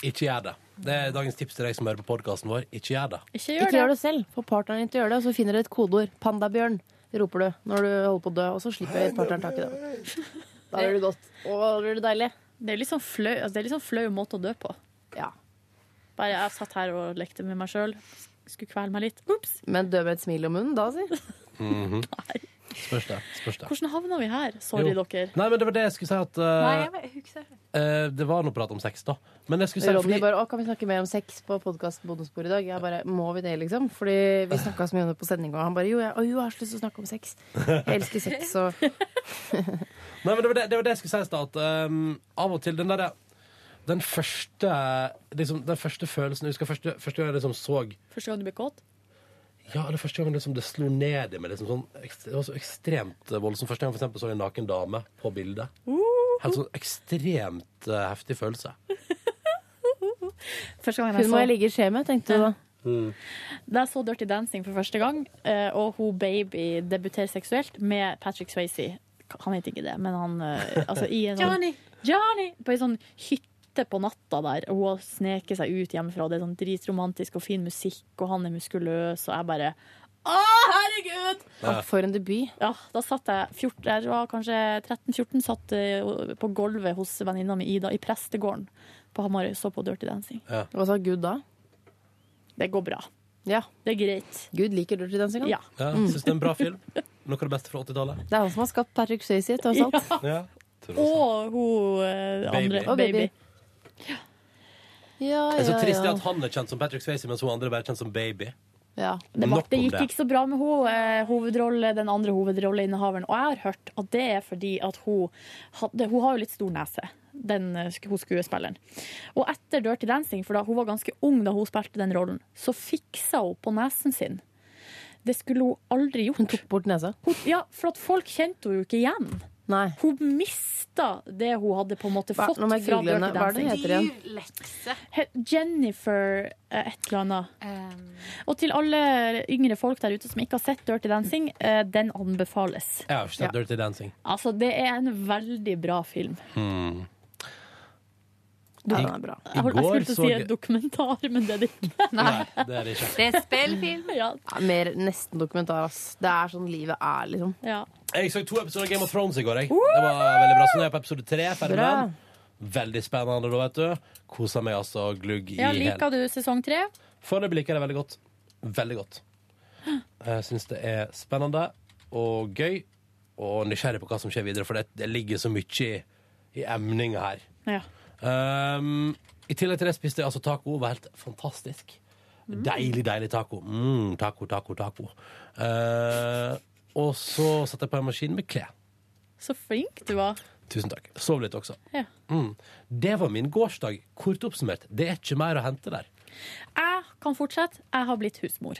Speaker 2: Ikke gjør det. Det er dagens tips til deg som hører på podkasten vår. Ikke gjør det.
Speaker 5: Ikke
Speaker 3: Ikke gjør det selv. Få partneren din til å gjøre det, og så finner dere et kodeord. Pandabjørn roper du når du holder på å dø, og så slipper partneren tak i det. Da gjør du godt. Å, da blir det deilig.
Speaker 5: Det er litt sånn flau, altså, det er litt sånn flau måte å dø på.
Speaker 3: Ja.
Speaker 5: Bare jeg satt her og lekte med meg sjøl. Skulle kvele meg litt. Ops!
Speaker 3: Men dø med et smil om munnen da, si.
Speaker 2: Spørs det. Spørs det.
Speaker 5: Hvordan havna vi her? Sorry,
Speaker 2: Jo.
Speaker 5: dere.
Speaker 2: Nei, men det var det jeg skulle si at eh,
Speaker 25: husker det.
Speaker 2: eh, Det var noe prat om sex, da. Men jeg skulle si
Speaker 3: Ronny
Speaker 2: fordi-
Speaker 3: bare 'Å, kan vi snakke mer om sex på podkasten Bonusbord i dag?' Jeg bare 'Må vi det', liksom? Fordi vi snakka så mye om det på sending, og han bare 'Jo, jeg, å, jo, jeg har så lyst til å snakke om sex'. Jeg elsker sex, og
Speaker 2: Nei, men det var det, det, var det jeg skulle si i stad. at, ehm, av og til den derre den første, liksom, den første følelsen Jeg husker første, første gang jeg liksom så
Speaker 5: Første gang du ble kåt?
Speaker 2: Ja, eller første gang liksom det slo ned i meg. Liksom, sånn, ekst- det var så ekstremt eh, voldsomt. Første gang for eksempel, så jeg en naken dame på bildet.
Speaker 3: Uh.
Speaker 2: Helt sånn ekstremt eh, heftig følelse.
Speaker 5: Første gangen jeg
Speaker 3: Hun
Speaker 5: så
Speaker 3: må jeg ligge i skje med, tenkte du da.
Speaker 5: Da jeg så Dirty Dancing for første gang, eh, og hun baby debuterer seksuelt med Patrick Swayze Han heter ikke det, men han eh, altså, i en sånn,
Speaker 25: Johnny.
Speaker 5: Johnny! På ei sånn hytte på natta der, og hun sneker seg ut hjemmefra, og det er sånn dritromantisk og fin musikk, og han er muskuløs, og jeg bare Å, herregud!
Speaker 3: Ja. For en debut.
Speaker 5: Ja, da satt jeg 14, jeg var kanskje 13-14, satt eh, på gulvet hos venninna mi Ida i prestegården på Hamarøy, så på Dirty Dancing.
Speaker 3: Hva sa Gud da?
Speaker 5: Det går bra. Det er greit.
Speaker 3: Gud liker Dirty Dancing. han.
Speaker 5: Ja.
Speaker 2: Ja,
Speaker 3: Mm.
Speaker 2: Syns det er en bra film. Noe av det beste fra 80-tallet.
Speaker 3: Det er han som har skapt Patrick Swayze, tross alt.
Speaker 2: Ja.
Speaker 5: Og hun eh, andre.
Speaker 3: Og baby. Ja,
Speaker 2: Det er så
Speaker 3: ja,
Speaker 2: trist det
Speaker 3: ja.
Speaker 2: at han er kjent som Patrick Swayze, mens hun andre bare er kjent som Baby.
Speaker 3: Ja.
Speaker 5: Det, var,
Speaker 2: Nok
Speaker 5: det
Speaker 2: om
Speaker 5: gikk
Speaker 2: det.
Speaker 5: ikke så bra med hun, eh, hovedrolle, den andre hovedrolleinnehaveren. Og jeg har hørt at det er fordi at hun hadde Hun har jo litt stor nese, den eh, sk- hun skuespilleren. Og etter Dirty Dancing, for da hun var ganske ung da hun spilte den rollen, så fiksa hun på nesen sin. Det skulle hun aldri gjort. Hun tok
Speaker 3: bort nesa?
Speaker 5: ja, for at folk kjente henne jo ikke igjen. Hun mista det hun hadde på en måte
Speaker 3: Hva-
Speaker 5: fått
Speaker 3: nå
Speaker 5: fra
Speaker 3: må jeg
Speaker 5: Dirty
Speaker 3: google henne.
Speaker 5: Dancing.
Speaker 3: Hva er det hun heter igjen?
Speaker 26: Lekse.
Speaker 5: He- Jennifer eh, et eller annet. Og til alle yngre folk der ute som ikke har sett Dirty Dancing, eh, den anbefales.
Speaker 2: Jeg har ikke sett
Speaker 5: Ja.
Speaker 2: Dirty Dancing.
Speaker 5: Altså, det er en veldig bra film.
Speaker 2: Hmm.
Speaker 5: Du-
Speaker 2: I-
Speaker 5: Jeg, hold-
Speaker 2: i
Speaker 5: jeg
Speaker 2: går
Speaker 5: skulle til å si
Speaker 2: så jeg-
Speaker 5: en dokumentar, men det er det ikke.
Speaker 2: Nei, det er det ikke.
Speaker 26: Det er spillfilm.
Speaker 5: Ja.
Speaker 3: Ja, mer nesten dokumentar, ass. Det er sånn livet er, liksom.
Speaker 2: Jeg så to episoder av Game of Thrones i går. Jeg. Det var veldig bra. Så nå er jeg på episode tre. ferdig med
Speaker 5: Bra.
Speaker 2: den. Veldig spennende, da, vet du. Kosa meg altså glugg i
Speaker 5: Ja,
Speaker 2: hjel.
Speaker 5: liker du sesong tre?
Speaker 2: Foreløpig liker jeg det veldig godt. Veldig godt. Jeg syns det er spennende og gøy, og nysgjerrig på hva som skjer videre, for det, det ligger så mye i, i emninga her.
Speaker 5: Ja.
Speaker 2: Um, I tillegg til det spiste jeg altså taco. Var helt fantastisk. Deilig, deilig taco. Mm, taco, taco, taco. Eh, og så satte jeg på en maskin med klær.
Speaker 5: Så flink du var.
Speaker 2: Tusen takk. Sov litt også.
Speaker 5: Ja.
Speaker 2: Mm. Det var min gårsdag. Kort oppsummert, det er ikke mer å hente der.
Speaker 5: Jeg kan fortsette. Jeg har blitt husmor,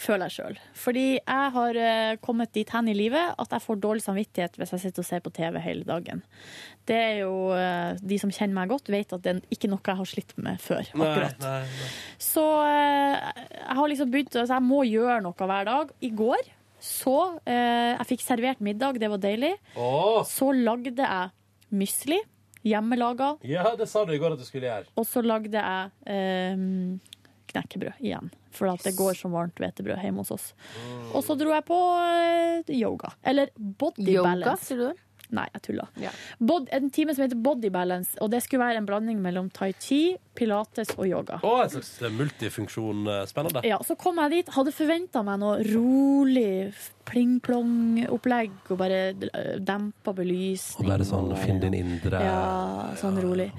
Speaker 5: føler jeg sjøl. Fordi jeg har eh, kommet dit hen i livet at jeg får dårlig samvittighet hvis jeg sitter og ser på TV hele dagen. Det er jo, eh, De som kjenner meg godt, vet at det er ikke noe jeg har slitt med før. akkurat.
Speaker 2: Nei, nei,
Speaker 5: Så eh, jeg har liksom begynt altså Jeg må gjøre noe hver dag. I går så eh, Jeg fikk servert middag, det var deilig.
Speaker 2: Åh!
Speaker 5: Så lagde jeg mysli, hjemmelaga,
Speaker 2: Ja, det sa du i går at du skulle gjøre.
Speaker 5: og så lagde jeg eh, knekkebrød igjen. For at det går som varmt hvetebrød hjemme hos oss. Og så dro jeg på eh, yoga. Eller body
Speaker 3: Yoga,
Speaker 5: balance.
Speaker 3: sier du det?
Speaker 5: Nei, jeg tulla. Bod, en time som heter body balance, og det skulle være en blanding mellom tai chi, pilates og yoga.
Speaker 2: Å, en slags multifunksjon. eh, Spennende.
Speaker 5: Ja, så kom jeg dit, hadde forventa meg noe rolig f- pling-plong-opplegg og bare eh, dempa belysning.
Speaker 2: Bare sånn, finn din indre
Speaker 5: Ja, sånn rolig.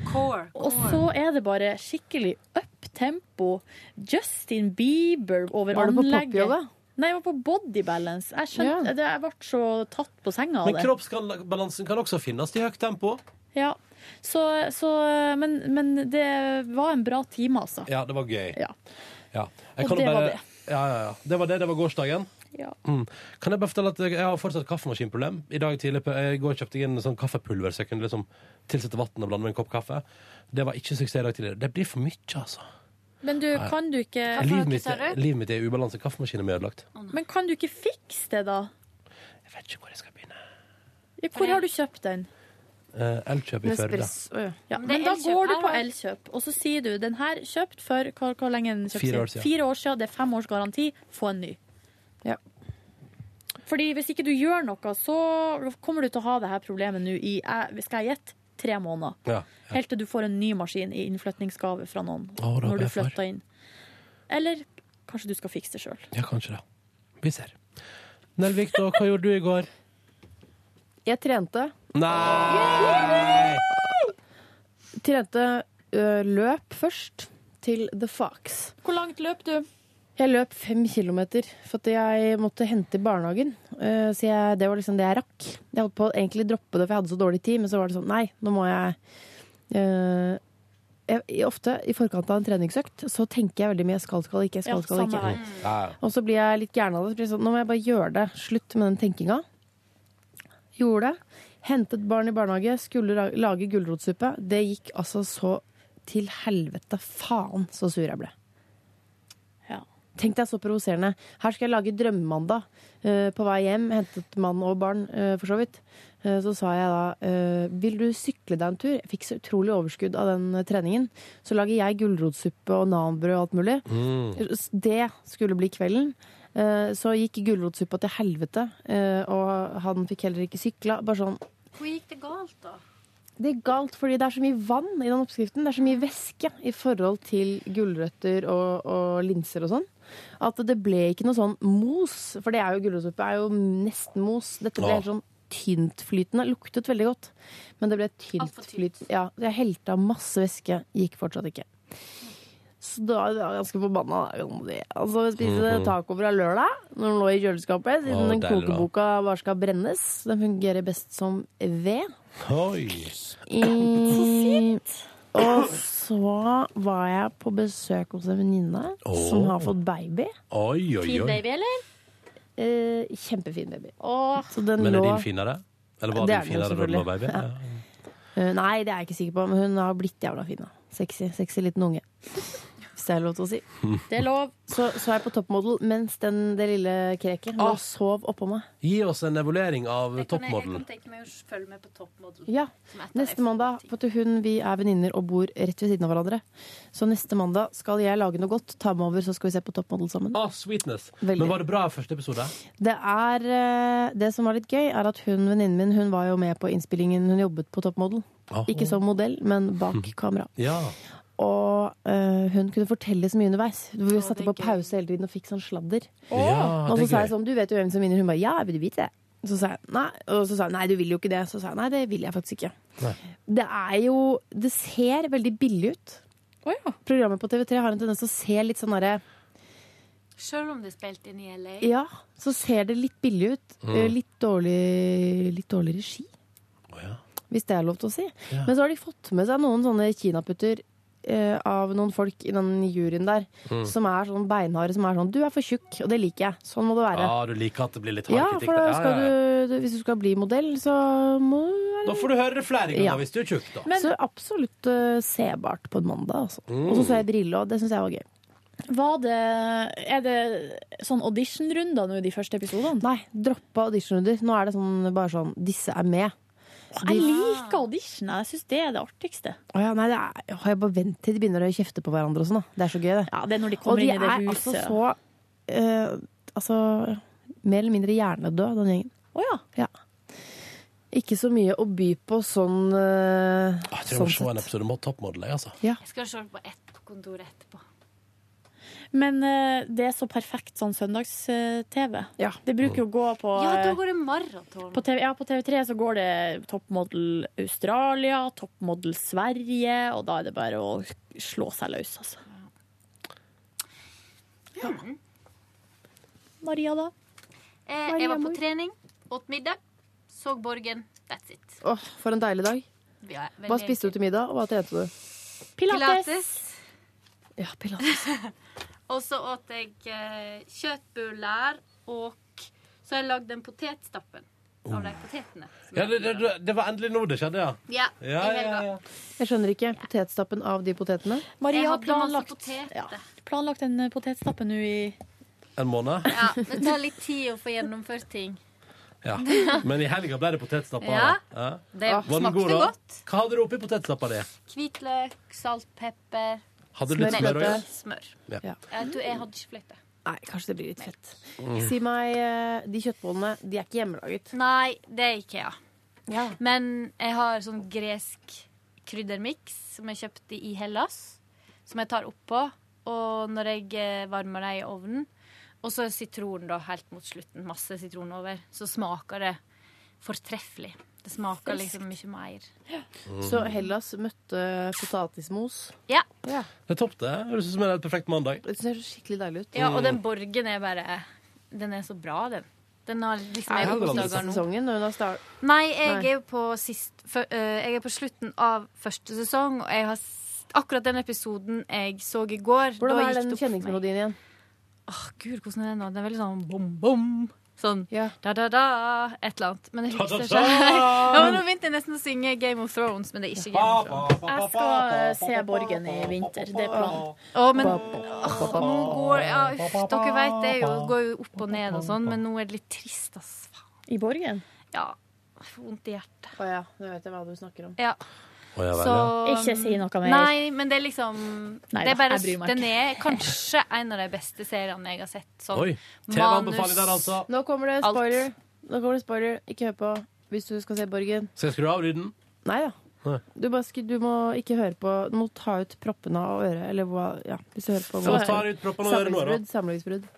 Speaker 5: Og så er det bare skikkelig up tempo. Justin Bieber over
Speaker 3: Var du på
Speaker 5: anlegget.
Speaker 3: popyoga?
Speaker 5: Nei, jeg var på body balance. Jeg skjønte, det, jeg ble så tatt på senga av
Speaker 2: Men
Speaker 5: det.
Speaker 2: kroppsbalansen kan også finnes i høyt tempo.
Speaker 5: Ja. Så, så, men, men det var en bra time, altså.
Speaker 2: Ja, det var gøy.
Speaker 5: Ja.
Speaker 2: Ja.
Speaker 5: Og det var det.
Speaker 2: Ja, ja, ja. Det var det. Det var gårsdagen.
Speaker 5: Ja.
Speaker 2: Mm. Kan jeg bare fortelle at jeg jeg har fortsatt kaffemaskinproblem. I dag tidlig på, jeg går og kjøpte jeg inn sånn kaffepulver så jeg kunne liksom tilsette vann og blande med en kopp kaffe. Det var ikke suksess i dag tidlig. Det blir for mye, altså.
Speaker 5: Men du,
Speaker 2: Nei.
Speaker 5: kan du ikke
Speaker 2: Livet mitt, er- livet mitt er i ubalanse. Kaffemaskinen min er ødelagt.
Speaker 5: Men kan du ikke fikse det, da? Jeg vet ikke hvor jeg skal begynne. hvor har du kjøpt den?
Speaker 2: Eh, Elkjøp i Førde.
Speaker 5: Ja,
Speaker 26: Men det
Speaker 5: men
Speaker 26: er
Speaker 5: da
Speaker 26: Elkjøp.
Speaker 5: går du
Speaker 26: Her
Speaker 5: på
Speaker 26: var-
Speaker 5: Elkjøp, og så sier du den her kjøpt for hvor, hvor lenge er den kjøpt
Speaker 2: Fire år siden.
Speaker 5: Fire år siden. Det er fem års garanti. Få en ny.
Speaker 3: Ja.
Speaker 5: Fordi hvis ikke du gjør noe, så kommer du til å ha det her problemet nå i eh, skal jeg gjette, tre måneder.
Speaker 2: Ja.
Speaker 5: Helt til du får en ny maskin i innflytningsgave fra
Speaker 2: Å,
Speaker 5: noen
Speaker 2: det håper
Speaker 5: når du
Speaker 2: jeg får.
Speaker 5: flytter inn. Eller kanskje du skal fikse det sjøl.
Speaker 2: ja, kanskje det. Vi ser. Nelvik, da, hva gjorde du i går?
Speaker 3: Jeg trente.
Speaker 2: Nei!
Speaker 3: Trente ø, løp først til The Fox.
Speaker 5: Hvor langt løp du?
Speaker 3: Jeg løp fem kilometer, for at jeg måtte hente i barnehagen. Eh, Så jeg, det var liksom det jeg rakk. Jeg holdt på å egentlig droppe det, for jeg hadde så dårlig tid, men så var det sånn, nei, nå må jeg... eh, jeg, i- ofte i forkant av en treningsøkt så tenker jeg veldig mye jeg skal, skal, ikke, jeg skal,
Speaker 5: Ja,
Speaker 3: skal,
Speaker 5: samme
Speaker 3: ikke.
Speaker 5: her.
Speaker 3: Og så blir jeg litt gæren av det. så blir jeg Sånn, nå må jeg bare gjøre det. Slutt med den tenkinga. Gjorde det. Hentet barn i barnehage, skulle ra- lage gulrotsuppe. Det gikk altså så til helvete. Faen så sur jeg ble. Tenk deg så provoserende. Her skal jeg lage drømmemandag. Eh, på vei hjem hentet mann og barn, eh, for så vidt. Eh, så sa jeg da eh, vil du sykle deg en tur? Jeg fikk så utrolig overskudd av den eh, treningen. Så lager jeg gulrotsuppe og nanbrød og alt mulig.
Speaker 2: Mm.
Speaker 3: Det skulle bli kvelden. Eh, Så gikk gulrotsuppa til helvete, eh, og han fikk heller ikke sykla. Bare sånn
Speaker 11: Hvor gikk det galt, da?
Speaker 3: det er galt, fordi det er så mye vann i den oppskriften. Det er så mye væske i forhold til gulrøtter og, og linser og sånn. At det ble ikke noe sånn mos, for det er jo gulrotsuppe, er jo nesten mos. Dette ble
Speaker 27: Ja.
Speaker 3: helt sånn tyntflytende. Luktet veldig godt, men det ble tyntflytende. Ja, jeg helte av masse væske, gikk fortsatt ikke. Så da var jeg ganske forbanna. da, kan man si. Altså, jeg spiste
Speaker 27: Mhm.
Speaker 3: taco fra lørdag, når den lå i kjøleskapet, siden
Speaker 27: Å,
Speaker 3: den
Speaker 27: deilig, da.
Speaker 3: kokeboka bare skal brennes. Den fungerer best som ved. I... Og så var jeg på besøk hos en venninne
Speaker 27: Åh.
Speaker 3: som har fått baby.
Speaker 2: Oi, oi, oi.
Speaker 3: eller? Eh, kjempefin baby. Så den
Speaker 2: Men er
Speaker 3: lå
Speaker 2: din finere? Eller var din
Speaker 3: Det er den jo,
Speaker 2: finere da du var baby?
Speaker 3: selvfølgelig. Ja. Eh, Nei, det er jeg ikke sikker på, men hun har blitt jævla fin. da Sexy, sexy liten unge. Hvis det er lov til å si.
Speaker 5: Det er lov.
Speaker 3: Så, så er jeg på toppmodell mens den, det lille kreket lå og sov oppå meg.
Speaker 2: Gi oss en evaluering av
Speaker 11: Jeg
Speaker 2: toppmodellen.
Speaker 11: kan tenke meg å følge med på toppmodell.
Speaker 3: Ja, Neste mandag. For at hun, vi er venninner og bor rett ved siden av hverandre. Så neste mandag skal jeg lage noe godt, ta med over, så skal vi se på toppmodell sammen.
Speaker 2: Ah, sweetness.
Speaker 3: Veldig.
Speaker 2: Men var det bra første episode?
Speaker 3: Det, er, eh, det som var litt gøy, er at hun, venninnen min, hun var jo med på innspillingen. Hun jobbet på Toppmodell.
Speaker 27: Ah.
Speaker 2: Aha.
Speaker 3: Ikke som modell, men
Speaker 27: Hm.
Speaker 3: bak kamera.
Speaker 2: Ja.
Speaker 3: Og eh, hun kunne fortelle så mye underveis. Vi satte på pause hele tiden og fikk sånn sladder.
Speaker 27: Ja, Ah,
Speaker 3: og
Speaker 27: det er
Speaker 3: så sa jeg
Speaker 27: gøy.
Speaker 3: sånn, du vet jo hvem som vinner. Hun bare, ja, jeg vil vite det. Så sa jeg, nei. Og så sa hun, nei, du vil jo ikke det. Så sa jeg, nei, det vil jeg faktisk ikke. Det er jo Det ser veldig billig ut. Programmet på TV3 har en tendens til å se litt sånn derre
Speaker 11: Selv om det er spilt inn i LA.
Speaker 3: ja, så ser det litt billig ut.
Speaker 11: Mm.
Speaker 3: Eh, Litt, dårlig, litt dårlig regi. Hvis det er lov til å si.
Speaker 27: Ja.
Speaker 3: Men så har de fått med seg noen sånne kinaputter eh, av noen folk i den juryen der,
Speaker 2: Mm.
Speaker 3: som er sånn beinharde, som er sånn 'du er for tjukk', og det liker jeg. Sånn må det være.
Speaker 2: Ja, du liker at det blir litt hard
Speaker 3: Ja,
Speaker 2: kritikk?
Speaker 3: for
Speaker 2: da.
Speaker 3: da
Speaker 2: Ah, Ja,
Speaker 3: skal
Speaker 2: ja, ja.
Speaker 3: Du, du- hvis du skal bli modell, så må du være
Speaker 2: Da får du høre det flere ganger
Speaker 3: Ja.
Speaker 2: hvis du er tjukk, da.
Speaker 3: Så absolutt eh, sebart på en mandag, altså.
Speaker 2: Mm.
Speaker 3: Og så så jeg briller, og det syns jeg var gøy.
Speaker 5: Var det, er det sånn auditionrunder nå i de første episodene?
Speaker 3: Nei, droppa auditionrunder. Nå er det sånn, bare sånn 'disse er med'. De-
Speaker 5: Jeg liker audition. Jeg syns det er det artigste.
Speaker 3: Å ja, nei, det er, åh, jeg bare vent til de begynner å kjefte på hverandre og sånn. da. Det er så gøy, det.
Speaker 5: Ja, det er når de kommer
Speaker 3: og de
Speaker 5: inn i det
Speaker 3: er
Speaker 5: huset.
Speaker 3: altså så eh, Altså mer eller mindre hjernedød, den gjengen.
Speaker 5: Å ja.
Speaker 3: Ikke så mye å by på sånn eh,
Speaker 2: Ah, Jeg tror jeg må
Speaker 3: sånn
Speaker 2: se en
Speaker 3: sett.
Speaker 2: episode med Toppmodell, jeg, altså.
Speaker 3: Ja.
Speaker 11: Jeg skal se det på ett på kontoret etterpå.
Speaker 5: Men eh, det er så perfekt sånn søndags-TV. Det bruker jo å gå på
Speaker 11: Ja, da
Speaker 5: eh,
Speaker 11: går det maraton.
Speaker 5: på TV, ja, på TV3 så går det toppmodell Australia, toppmodell Sverige, og da er det bare å slå seg løs, altså.
Speaker 11: Ja.
Speaker 5: Maria, da?
Speaker 11: Eh, jeg var på trening, åt middag, så Borgen. That's it.
Speaker 3: Åh, for en deilig dag.
Speaker 11: Ja, veldig
Speaker 3: Hva spiste du til middag, og hva trente du?
Speaker 11: Pilates.
Speaker 3: Ja, pilates.
Speaker 11: Og så åt jeg eh, kjøttbuller, og så har jeg lagd en potetstappen av de potetene.
Speaker 2: Ja, det, det, det var endelig nå det skjedde, ja.
Speaker 11: Ja,
Speaker 2: Ja,
Speaker 11: i
Speaker 2: ja,
Speaker 11: helga.
Speaker 2: ja.
Speaker 3: Jeg skjønner ikke. Potetstappen av de potetene?
Speaker 5: Maria
Speaker 11: Jeg
Speaker 5: har
Speaker 11: hadde
Speaker 5: planlagt,
Speaker 11: masse poteter.
Speaker 5: ja, planlagt en eh, potetstappe nå i
Speaker 2: En måned?
Speaker 11: Ja, men det tar litt tid å få gjennomført ting.
Speaker 2: Ja. Men i helga ble det potetstappa.
Speaker 11: Ja.
Speaker 2: Ja.
Speaker 11: Det
Speaker 2: Var den
Speaker 11: smakte
Speaker 2: god, da?
Speaker 11: godt.
Speaker 2: Hva hadde du oppi potetstappa di?
Speaker 11: Hvitløk, salt, pepper.
Speaker 2: Hadde du litt Smør. smør også?
Speaker 11: Smør.
Speaker 2: Ja.
Speaker 11: Jeg, tror jeg hadde ikke fløyte.
Speaker 3: Nei, kanskje det blir litt fett.
Speaker 11: Mm.
Speaker 3: Si meg, eh, de kjøttbollene, de er ikke hjemmelaget?
Speaker 11: Nei, det er IKEA. Men jeg har sånn gresk kryddermiks som jeg kjøpte i Hellas, som jeg tar oppå. Og når jeg eh, varmer dem i ovnen, og så sitron da helt mot slutten, masse sitron over, så smaker det fortreffelig. Det smaker liksom mye mer.
Speaker 3: Så
Speaker 2: Mm.
Speaker 3: Hellas møtte potatismos.
Speaker 11: Ja.
Speaker 2: Det er topp, det. Høres ut som en helt perfekt mandag.
Speaker 3: Det ser skikkelig deilig ut.
Speaker 11: ja, og den borgen er bare Den er så bra, den. Den har
Speaker 2: Mm.
Speaker 11: liksom jeg har koset meg nå.
Speaker 3: sesongen når hun har start...
Speaker 11: Nei, jeg
Speaker 3: Nei.
Speaker 11: er jo på, sist, fø- eh, jeg er på slutten av første sesong, og jeg har s- akkurat den episoden jeg så i går.
Speaker 3: Hvordan
Speaker 11: da gikk
Speaker 3: er den
Speaker 11: det opp for meg.
Speaker 3: kjenningsmelodien igjen?
Speaker 11: Åh, Gud, hvordan er den nå? Den er veldig sånn bom, bom. Sånn da-da-da, et eller annet. Men jeg husker ikke.
Speaker 5: Da, da, da!
Speaker 11: Ja, men nå begynte jeg nesten å synge Game of Thrones, men det er ikke Game of Thrones.
Speaker 5: Jeg skal eh, se Borgen i vinter. Det er planen.
Speaker 11: Å, men åh, nå går ja, uff, Dere vet det er jo, går jo opp og ned og sånn, men nå er det litt trist, ass.
Speaker 5: I Borgen?
Speaker 11: Ja. Jeg får vondt i hjertet.
Speaker 3: Å ja, nå vet jeg hva du snakker om.
Speaker 11: Ja.
Speaker 2: Å, ja vel,
Speaker 11: Så,
Speaker 2: ja.
Speaker 5: Ikke si noe mer.
Speaker 11: Nei, men det er liksom
Speaker 5: Nei
Speaker 11: det er
Speaker 5: da,
Speaker 11: bare,
Speaker 5: jeg bryr meg
Speaker 11: Den er kanskje en av de beste seriene jeg har sett. Sånn
Speaker 2: Oi, altså.
Speaker 11: manus
Speaker 3: Nå kommer det
Speaker 11: alt.
Speaker 3: spoiler. Nå kommer det spoiler. Ikke hør på hvis du skal se Borgen.
Speaker 2: Skal jeg skru av lyden?
Speaker 3: Nei da.
Speaker 2: Nei.
Speaker 3: Du, bare, skru- du må ikke høre på Du må ta ut proppene av øret. Eller hva ja, hvis du hører på
Speaker 2: Så tar jeg ut proppene av øret nå, da.
Speaker 3: Samlivsbrudd. Samlivsbrudd.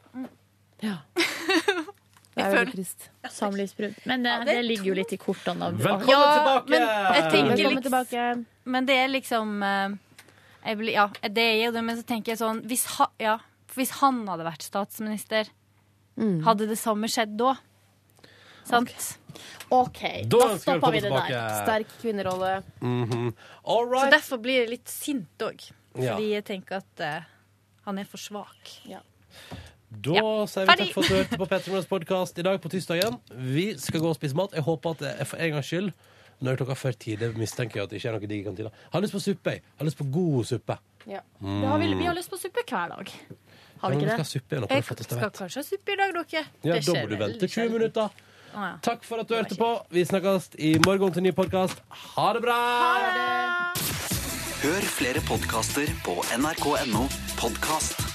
Speaker 11: Mm.
Speaker 3: Ja. Det er veldig trist.
Speaker 5: Samlivsbrudd. Men det, det ligger jo litt i kortene. av-
Speaker 2: Velkommen
Speaker 11: Ja,
Speaker 5: tilbake!
Speaker 11: men jeg tenker
Speaker 5: Velkommen
Speaker 11: liksom, Men det er liksom eh, jeg blir, Ja, det er jo det, men så tenker jeg sånn Hvis, ha, ja, for hvis han hadde vært statsminister,
Speaker 5: Mm.
Speaker 11: hadde det samme skjedd da? Sant?
Speaker 5: OK.
Speaker 11: Da
Speaker 2: Da ønsker jeg stopper vi det velkommen der. tilbake.
Speaker 3: Sterk kvinnerolle.
Speaker 2: Mhm. All
Speaker 11: Så
Speaker 2: right.
Speaker 11: derfor blir jeg litt sint òg.
Speaker 2: Ja.
Speaker 11: Fordi jeg tenker at eh, han er for svak.
Speaker 2: Da
Speaker 11: Ja.
Speaker 2: sier vi
Speaker 11: Ferdig.
Speaker 2: takk for at du hørte på Petter Morgens podkast i dag på tirsdagen. Vi skal gå og spise mat. Jeg håper at jeg for en gangs skyld når klokka før tide mistenker jeg at det ikke er noe digg i kantina. Jeg Har lyst på suppe. jeg. Jeg Har lyst på god suppe.
Speaker 5: Ja.
Speaker 2: Mm.
Speaker 5: Det har vi, vi har lyst på suppe hver dag. Har vi
Speaker 2: Ja, men
Speaker 5: ikke
Speaker 2: vi
Speaker 5: det?
Speaker 2: skal ha suppe igjen, og
Speaker 5: Jeg
Speaker 2: få det til å
Speaker 5: skal
Speaker 2: vente.
Speaker 5: kanskje ha suppe i dag, dere.
Speaker 2: Ja,
Speaker 5: Det
Speaker 2: da
Speaker 5: skjer
Speaker 2: må du
Speaker 5: vel.
Speaker 2: vente 20 minutter.
Speaker 11: Å, ja.
Speaker 2: Takk for at du hørte på. Vi snakkes i morgen til ny podkast. Ha det bra!
Speaker 1: Hør flere podkaster på nrk.no podkast.